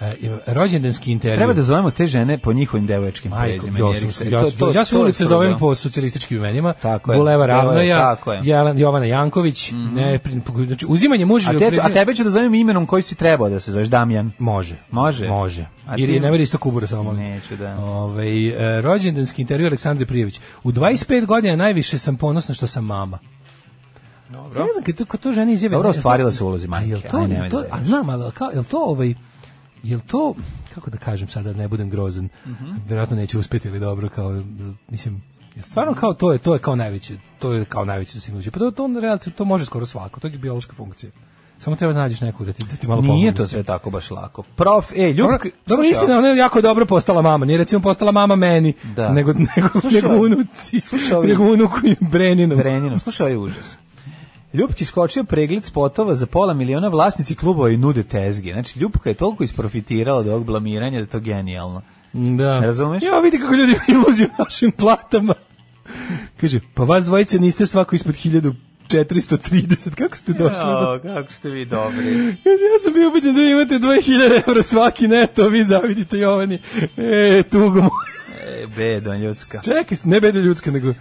S6: E, i- rođendanski intervju.
S5: Treba da zovemo te žene po njihovim devojačkim
S6: E, Majko,
S5: prezimenima.
S6: ja,
S5: jer ih
S6: sam,
S5: se-
S6: ja,
S5: to- to-
S6: ja se
S5: to je
S6: ulice
S5: svuda.
S6: zovem po socijalističkim imenima.
S5: Tako je.
S6: Buleva
S5: Tako je,
S6: Ravnoja,
S5: tako je. Mhm.
S6: Jelan- Jovana Janković, ne, pri- znači uzimanje muža
S5: A, te, a tebe ću da zovem imenom koji si trebao da se zoveš Damjan.
S6: Može.
S5: Može?
S6: Može.
S5: A
S6: Ili
S5: ti-
S6: ne veri isto kubura samo molim.
S5: Neću da.
S6: Ovaj e, rođendanski intervju Aleksandre Prijević. U 25 godina najviše sam ponosna što sam mama. Dobro. Ne znam kad to, kad to žene izjave.
S5: Dobro,
S6: ne znam,
S5: ostvarila se u ulozi majke,
S6: A jel to,
S5: aj,
S6: jel
S5: nemoj
S6: to,
S5: da
S6: a
S5: zajebeš.
S6: znam, ali kao, jel to ovaj, jel to, kako da kažem sada, da ne budem grozan,
S5: Mhm.
S6: vjerojatno neću uspjeti ili dobro, kao, mislim, jel stvarno kao to je, to je kao najveće, to je kao najveće dostignuće. Pa to, to, on relativno- to može skoro svako, to je biološka funkcija. Samo treba da nađeš nekog da ti, da ti malo pomogne
S5: Nije
S6: s
S5: to
S6: tim.
S5: sve tako baš lako. Prof, e, Ljub...
S6: Dobro, dobro
S5: slušaj,
S6: istina, ona je jako dobro postala mama. Nije recimo postala mama meni,
S5: Da.
S6: nego nego
S5: Slušaj,
S6: nego unuci,
S5: slušaj ovi-
S6: nego unuku i Breninu.
S5: Breninom, slušaj, ovaj užas. Ljupki skočio pregled spotova za pola miliona vlasnici klubova i nude tezge. Znači, Ljupka je toliko isprofitirala od ovog blamiranja da je to genijalno.
S6: Da.
S5: Razumeš?
S6: Ja vidi kako ljudi imaju iluziju o našim platama. Kaže, pa vas dvojice niste svako ispod 1430. Kako ste došli? do-
S5: O, kako ste vi dobri.
S6: Kaže, ja sam bio ubeđen da vi imate 2000 evra svaki neto, vi zavidite Jovani. E, tugo moju.
S5: E, bedon ljudska.
S6: Čekaj, ne bede ljudska, nego...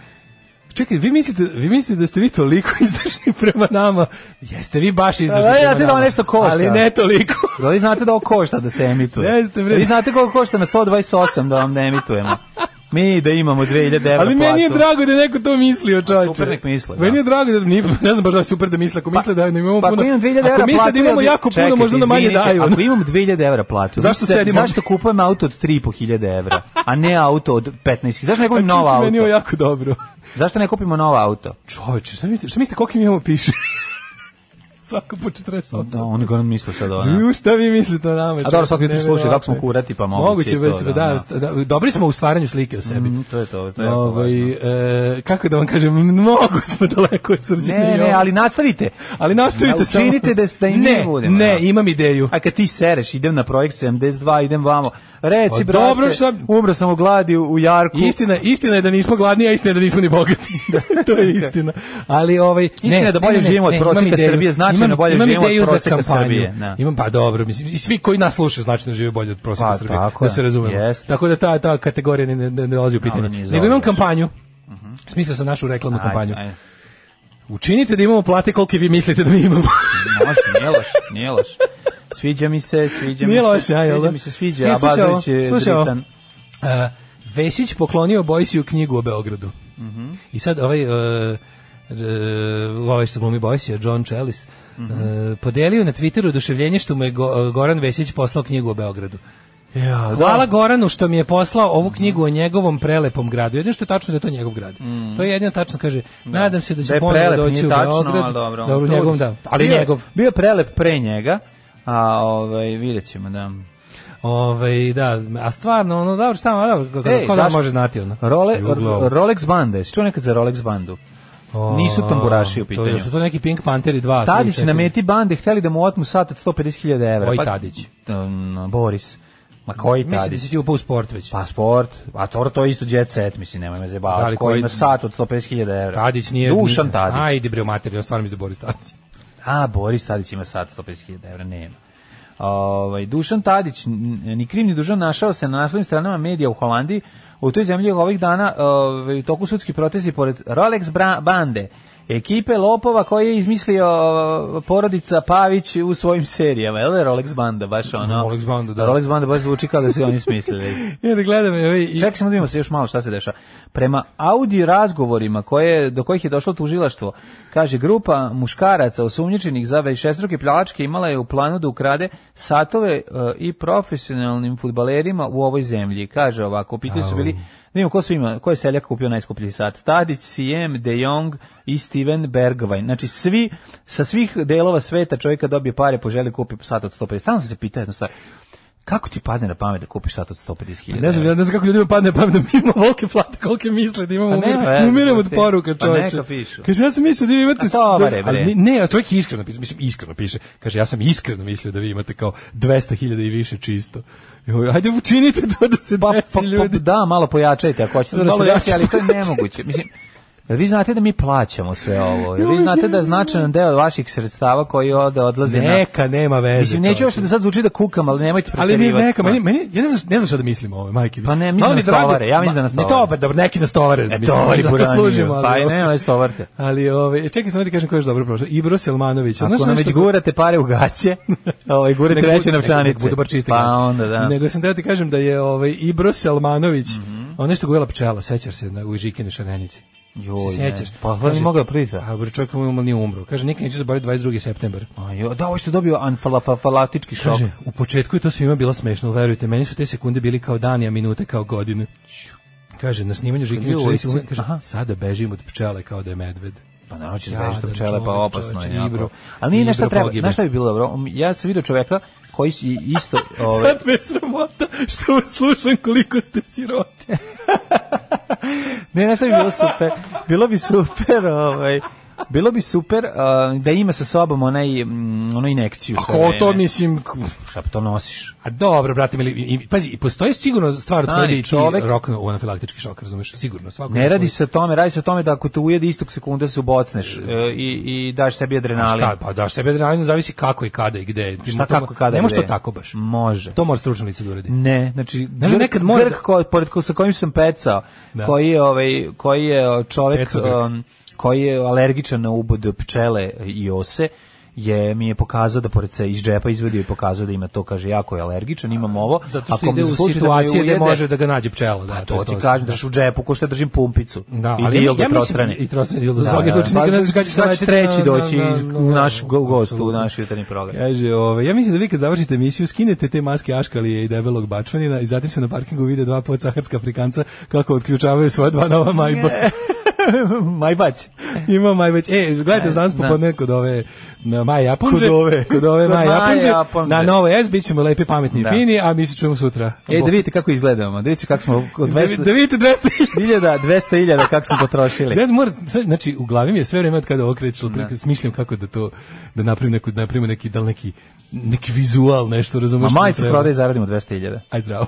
S6: Čekaj, vi mislite, vi mislite da ste vi toliko izdašni prema nama? Jeste vi baš izdašni
S5: A, ja
S6: prema
S5: ti dam
S6: nama,
S5: nešto košta.
S6: Ali ne toliko.
S5: Da li znate da ovo košta da se emituje?
S6: Jeste, bre.
S5: Vi znate koliko košta na 128 da vam ne emitujemo? Mi da imamo 2000 evra platu.
S6: Ali meni je drago da je neko to mislio, čovječe.
S5: Pa super nek misle, da.
S6: Meni je drago da, nije, ne znam baš da je super da misle, ako misle da ne imamo
S5: Pa
S6: puno...
S5: ako imam 2000 evra
S6: ako misle da
S5: platu,
S6: imamo
S5: ja bi-
S6: jako puno,
S5: Čekajte,
S6: možda nam manje
S5: izvinite,
S6: daju.
S5: Ako imam 2000 evra platu,
S6: Zašto
S5: vi ste-
S6: sedimo?
S5: Zašto kupujem auto od 3.500 evra, a ne auto od 15.000? Zašto ne kupim novo
S6: Pa Čekaj, Meni je ovo
S5: auto?
S6: jako dobro.
S5: Zašto ne kupimo novo auto?
S6: Čovječe, šta mislite, šta mislite koliko mi imamo piše? Svako po 48.
S5: Pa Da, oni ga misle sad ono. ovo. ne?
S6: Ju, šta vi mislite o nama?
S5: Pa A dobro, svaki
S6: čovječe,
S5: jutro slušaj,
S6: nevjerovatno
S5: tako smo
S6: je.
S5: kurati, pa moguće
S6: Moguće,
S5: je
S6: već,
S5: to,
S6: da,
S5: da,
S6: da, dobri smo u stvaranju slike o sebi.
S5: Mm, to je to, to je jako
S6: Ovaj, e, kako da vam kažem, mnogo smo daleko od srđana.
S5: Ne, ne, ali nastavite.
S6: ali nastavite
S5: Da, učinite da s- da i mi
S6: ne,
S5: budemo,
S6: Ne,
S5: da.
S6: imam ideju.
S5: A kad ti sereš, idem na projekt 72, idem vamo. Reci,
S6: Pa
S5: brate,
S6: dobro sam-
S5: umro sam u gladi u, u Jarku.
S6: Istina, istina je da nismo gladni, a istina je da nismo ni bogati. to je istina. Ali ovaj
S5: Istina je da bolje živimo od
S6: imam
S5: prosjeka
S6: ideju.
S5: Srbije, značajno
S6: Imam-
S5: bolje
S6: imam
S5: živimo od
S6: ideju za
S5: prosjeka
S6: kampanju.
S5: Srbije, da.
S6: Imam pa dobro, mislim i svi koji nas slušaju značajno žive bolje od prosjeka
S5: Pa,
S6: Srbije.
S5: tako
S6: da
S5: je,
S6: se razumemo.
S5: jest.
S6: Tako da ta ta kategorija ne ne, ne dolazi u pitanje.
S5: Ali nije
S6: Nego imam
S5: zaobilaš.
S6: kampanju. Smislio sam našu reklamnu
S5: Ajde,
S6: kampanju.
S5: ajde.
S6: Učinite da imamo plate kolike vi mislite da mi imamo.
S5: Može, nije loš, nije loš. Sviđa mi se, sviđa
S6: Nije
S5: mi se.
S6: loše, a, jel
S5: Sviđa
S6: da?
S5: mi se, sviđa,
S6: E,
S5: a
S6: slušaj ovo,
S5: Bazović je
S6: slušaj ovo.
S5: dritan.
S6: E, Vesić poklonio Bojsiju knjigu o Beogradu.
S5: Mhm.
S6: I sad ovaj e, e, ovaj što glumi Bojsija, John Chalice,
S5: Mhm.
S6: e, podelio na Twitteru oduševljenje što mu je Go- e, Goran Vesić poslao knjigu o Beogradu.
S5: Ja,
S6: Hvala Goranu što mi je poslao ovu knjigu o njegovom prelepom gradu. Jedino što je tačno da je to njegov grad. To je jedino tačno, kaže. Nadam se da će
S5: Mhm. da je
S6: ponovo
S5: prelep,
S6: doći
S5: nije
S6: u
S5: tačno,
S6: Beograd.
S5: ali dobro.
S6: Dobro, u
S5: To-
S6: njegovom da. Ali
S5: bio,
S6: njegov.
S5: Bio je prelep pre njega, a ovaj, vidjet ćemo da...
S6: Ovaj da, a stvarno ono da šta, da, kako,
S5: Ej,
S6: ko da
S5: znaš,
S6: može znati ono.
S5: Role,
S6: Jugoslavu.
S5: Rolex banda, jesi čuo nekad za Rolex bandu? Nisu tamburaši u
S6: To
S5: pitanju.
S6: su to neki Pink Panteri 2.
S5: Tadić
S6: tri,
S5: na
S6: četiri.
S5: meti bande hteli da mu otmu sat od 150.000 evra.
S6: Koji
S5: Pa-
S6: Tadić?
S5: Mm, Boris. Ma koji
S6: Mislim da
S5: Tadić?
S6: si ti upao u sport već.
S5: Pa sport, a to, to je isto jet set, mislim, nemoj me zebavati.
S6: Da li
S5: koji
S6: koji-
S5: ima sat od 150.000 evra?
S6: Tadić nije
S5: Dušan
S6: nije-
S5: Tadić.
S6: Ajde bre, u materiju, stvarno mislim da je Boris Tadić.
S5: A, Boris Tadić ima sad 150.000 evra, nema. Ovaj, Dušan Tadić, n- ni kriv ni dužan, našao se na naslovnim stranama medija u Holandiji. U toj zemlji je ovih dana ovaj, u toku sudski protesti pored Rolex bra- bande, ekipe lopova koje je izmislio o, porodica Pavić u svojim serijama. Jel da je Rolex banda, baš ono?
S6: Rolex banda, da.
S5: Rolex banda baš zvuči kao da su je oni smislili.
S6: Ja da gledam, evo i...
S5: Čekaj samo da vidimo se još malo šta se dešava. Prema audio razgovorima koje, do kojih je došlo tužilaštvo, kaže grupa muškaraca osumnjičenih za višestruke pljačke imala je u planu da ukrade satove e, i profesionalnim fudbalerima u ovoj zemlji. Kaže ovako, pitali su bili Da vidimo ko sve ima, ko je seljak kupio najskuplji sat. Tadić, Siem, De Jong i Steven Bergwijn. Znači svi, sa svih delova sveta čovjeka dobije pare, poželi kupi sat od 150. Stalno sam se pitao jednu stvar. Kako ti padne na pamet da kupiš sat od 150.000?
S6: Ne znam, ja ne znam kako ljudima padne pamet da mi imamo volke plate, kolike misle da imamo,
S5: Pa nema
S6: umir-
S5: veze,
S6: umirem od
S5: brate.
S6: poruka
S5: Pa
S6: čoveče.
S5: neka pišu.
S6: Kaže, ja sam mislio da vi imate...
S5: A tovare,
S6: da- ali
S5: bre.
S6: ni- ne, a čovjek je iskreno piše, mislim, iskreno piše. Kaže, ja sam iskreno mislio da vi imate kao 200.000 i više čisto. Joj, Ajde, učinite to da se
S5: pa,
S6: desi
S5: pa, pa,
S6: ljudi.
S5: da, malo pojačajte ako hoćete da se
S6: Malo
S5: desi, ali to je
S6: jače.
S5: nemoguće. Mislim, jel vi znate da mi plaćamo sve ovo? Jel vi
S6: Joj,
S5: znate da je
S6: ne.
S5: značajan deo vaših sredstava koji ode odlaze na...
S6: Neka, nema veze.
S5: Mislim, neću
S6: čoveče.
S5: još da sad zvuči da kukam, ali nemojte
S6: Ali mi
S5: preterivati.
S6: je neka, meni, meni, ja ne znam, ne znam šta da mislim o ovoj majke.
S5: Pa ne, mislim
S6: Malo
S5: na
S6: mi je drago-
S5: stovare, ja mislim
S6: Ma,
S5: da na
S6: Ne,
S5: stovare.
S6: dobro, dobro, neki na stovare.
S5: E,
S6: mislim,
S5: tovari
S6: ovaj zato
S5: buraniju.
S6: služimo, ali- ono-
S5: Pa i ne, ne, stovarte.
S6: Ali, ovaj, čekaj samo da ti kažem ko je još dobro prošao. Ibro Selmanović.
S5: Ako
S6: znaš ono
S5: nam
S6: nešto-
S5: već gurate pare u gaće, ovaj, gurate
S6: Nek
S5: treće
S6: bude- nek
S5: novčanice.
S6: bude bar čiste
S5: Pa
S6: gaće.
S5: onda, da.
S6: Nego sam teo ti kažem da je ovaj Ibro Selmanović, on nešto gojela pčela, sećaš se na u Žikine šarenici.
S5: Joj,
S6: se
S5: ne.
S6: sećaš.
S5: Pa, pa
S6: Kaže-
S5: mi mogao da prita.
S6: A bre čovjek mu nije umro. Kaže nikad neću zaboraviti 22. septembar.
S5: A jo, da, ovo što je dobio anfalafalatički šok.
S6: Kaže, u početku je to svima bilo smešno, ali verujte, meni su te sekunde bili kao dani, a minute kao godine. Kaže, na snimanju Žikine
S5: bio u
S6: šarenici,
S5: ulici?
S6: umre- kaže, sada bežim od pčele kao da je medved.
S5: Pa naravno će
S6: Jadan
S5: zbežiš od pčele, pa
S6: čovjek,
S5: opasno je
S6: čovječe,
S5: jako.
S6: Ibro-
S5: Ali nije nešto
S6: Ibro
S5: treba,
S6: pogine.
S5: znaš šta bi bilo dobro? Ja sam vidio čoveka koji si isto... Ovaj,
S6: Sad me sramota što vas slušam koliko ste sirote.
S5: Ne, znaš šta bi bilo super? Bilo bi super, ovaj, bilo bi super uh, da ima sa sobom onaj, mm, onu inekciju. sve
S6: Ako Pa to
S5: vreme.
S6: mislim, k-
S5: Šta pa to nosiš?
S6: A dobro, brate, mili, i, pazi, i postoji sigurno stvar od koje
S5: Stani,
S6: bi ti
S5: čovek-
S6: roknuo u anafilaktički šok, razumeš? Sigurno, svako.
S5: Ne
S6: ima
S5: radi
S6: svoj-
S5: se o tome, radi se o tome da ako te ujede istog sekunda se ubocneš e, i, i daš sebi adrenalin.
S6: Šta, pa da, sebe adrenalin zavisi kako i kada i gde. Ti
S5: Šta,
S6: to-
S5: kako, kada,
S6: Ne može to
S5: gde?
S6: tako baš.
S5: Može.
S6: To mora stručno lice da uradi.
S5: Ne, znači
S6: Znaš,
S5: grk-
S6: nekad mora
S5: grk
S6: da-
S5: ko, pored ko, sa kojim sam pecao,
S6: Da.
S5: koji je ovaj koji je o, čovjek
S6: Pecao grk.
S5: um, koji je alergičan na ubod pčele i ose je mi je pokazao da pored se iz džepa izvadio i pokazao da ima to kaže jako je alergičan imam ovo
S6: Zato što
S5: Ako mi
S6: ide u
S5: slučaj da me
S6: situacije gde Pa
S5: ujede,
S6: može da ga nađe pčela. Da,
S5: a
S6: je
S5: to ti kažem daš u džepu ko što ja držim pumpicu
S6: Da,
S5: i
S6: ali ja-
S5: dildo
S6: ja mislim-
S5: trostrani
S6: i trostrani dildo, za svaki slučaj nikad ne znaš kad će
S5: Znači,
S6: naleteti
S5: treći
S6: na-
S5: doći
S6: na- na-
S5: iz-
S6: na-
S5: u naš go- gost u
S6: apsolutno.
S5: naš jutarnji program
S6: Kaže, ove, ja mislim da vi kad završite emisiju skinete te maske Aškalije i debelog Bačvanina i zatim se na parkingu vide dva podsaharska Afrikanca kako otključavaju svoja dva nova majba.
S5: majbać
S6: Ima Maj već. E, gledajte, danas
S5: da.
S6: popodne kod ove na Maj Japunđe.
S5: Kod ove.
S6: Kod ove
S5: Kod
S6: Maj
S5: Maje
S6: Japunđe.
S5: Japunđe.
S6: Na Novoj S bit ćemo lepi, pametni i
S5: Da. E,
S6: fini, a mi se čujemo sutra.
S5: Ej, da vidite kako izgledamo, da vidite kako smo od
S6: Da vi-
S5: 200
S6: da vidite 200
S5: hiljada, 200 hiljada kako smo potrošili.
S6: Ja moram, sad, znači, u glavi mi je sve vreme od kada ovo krećelo, da. smišljam kako da to, da napravim, neku, da napravim neki, da li neki, neki vizual, nešto,
S5: Ma
S6: razumeš? što mi
S5: majicu
S6: treba?
S5: prodaj i zaradimo 200 hiljada.
S6: Aj, zdravo.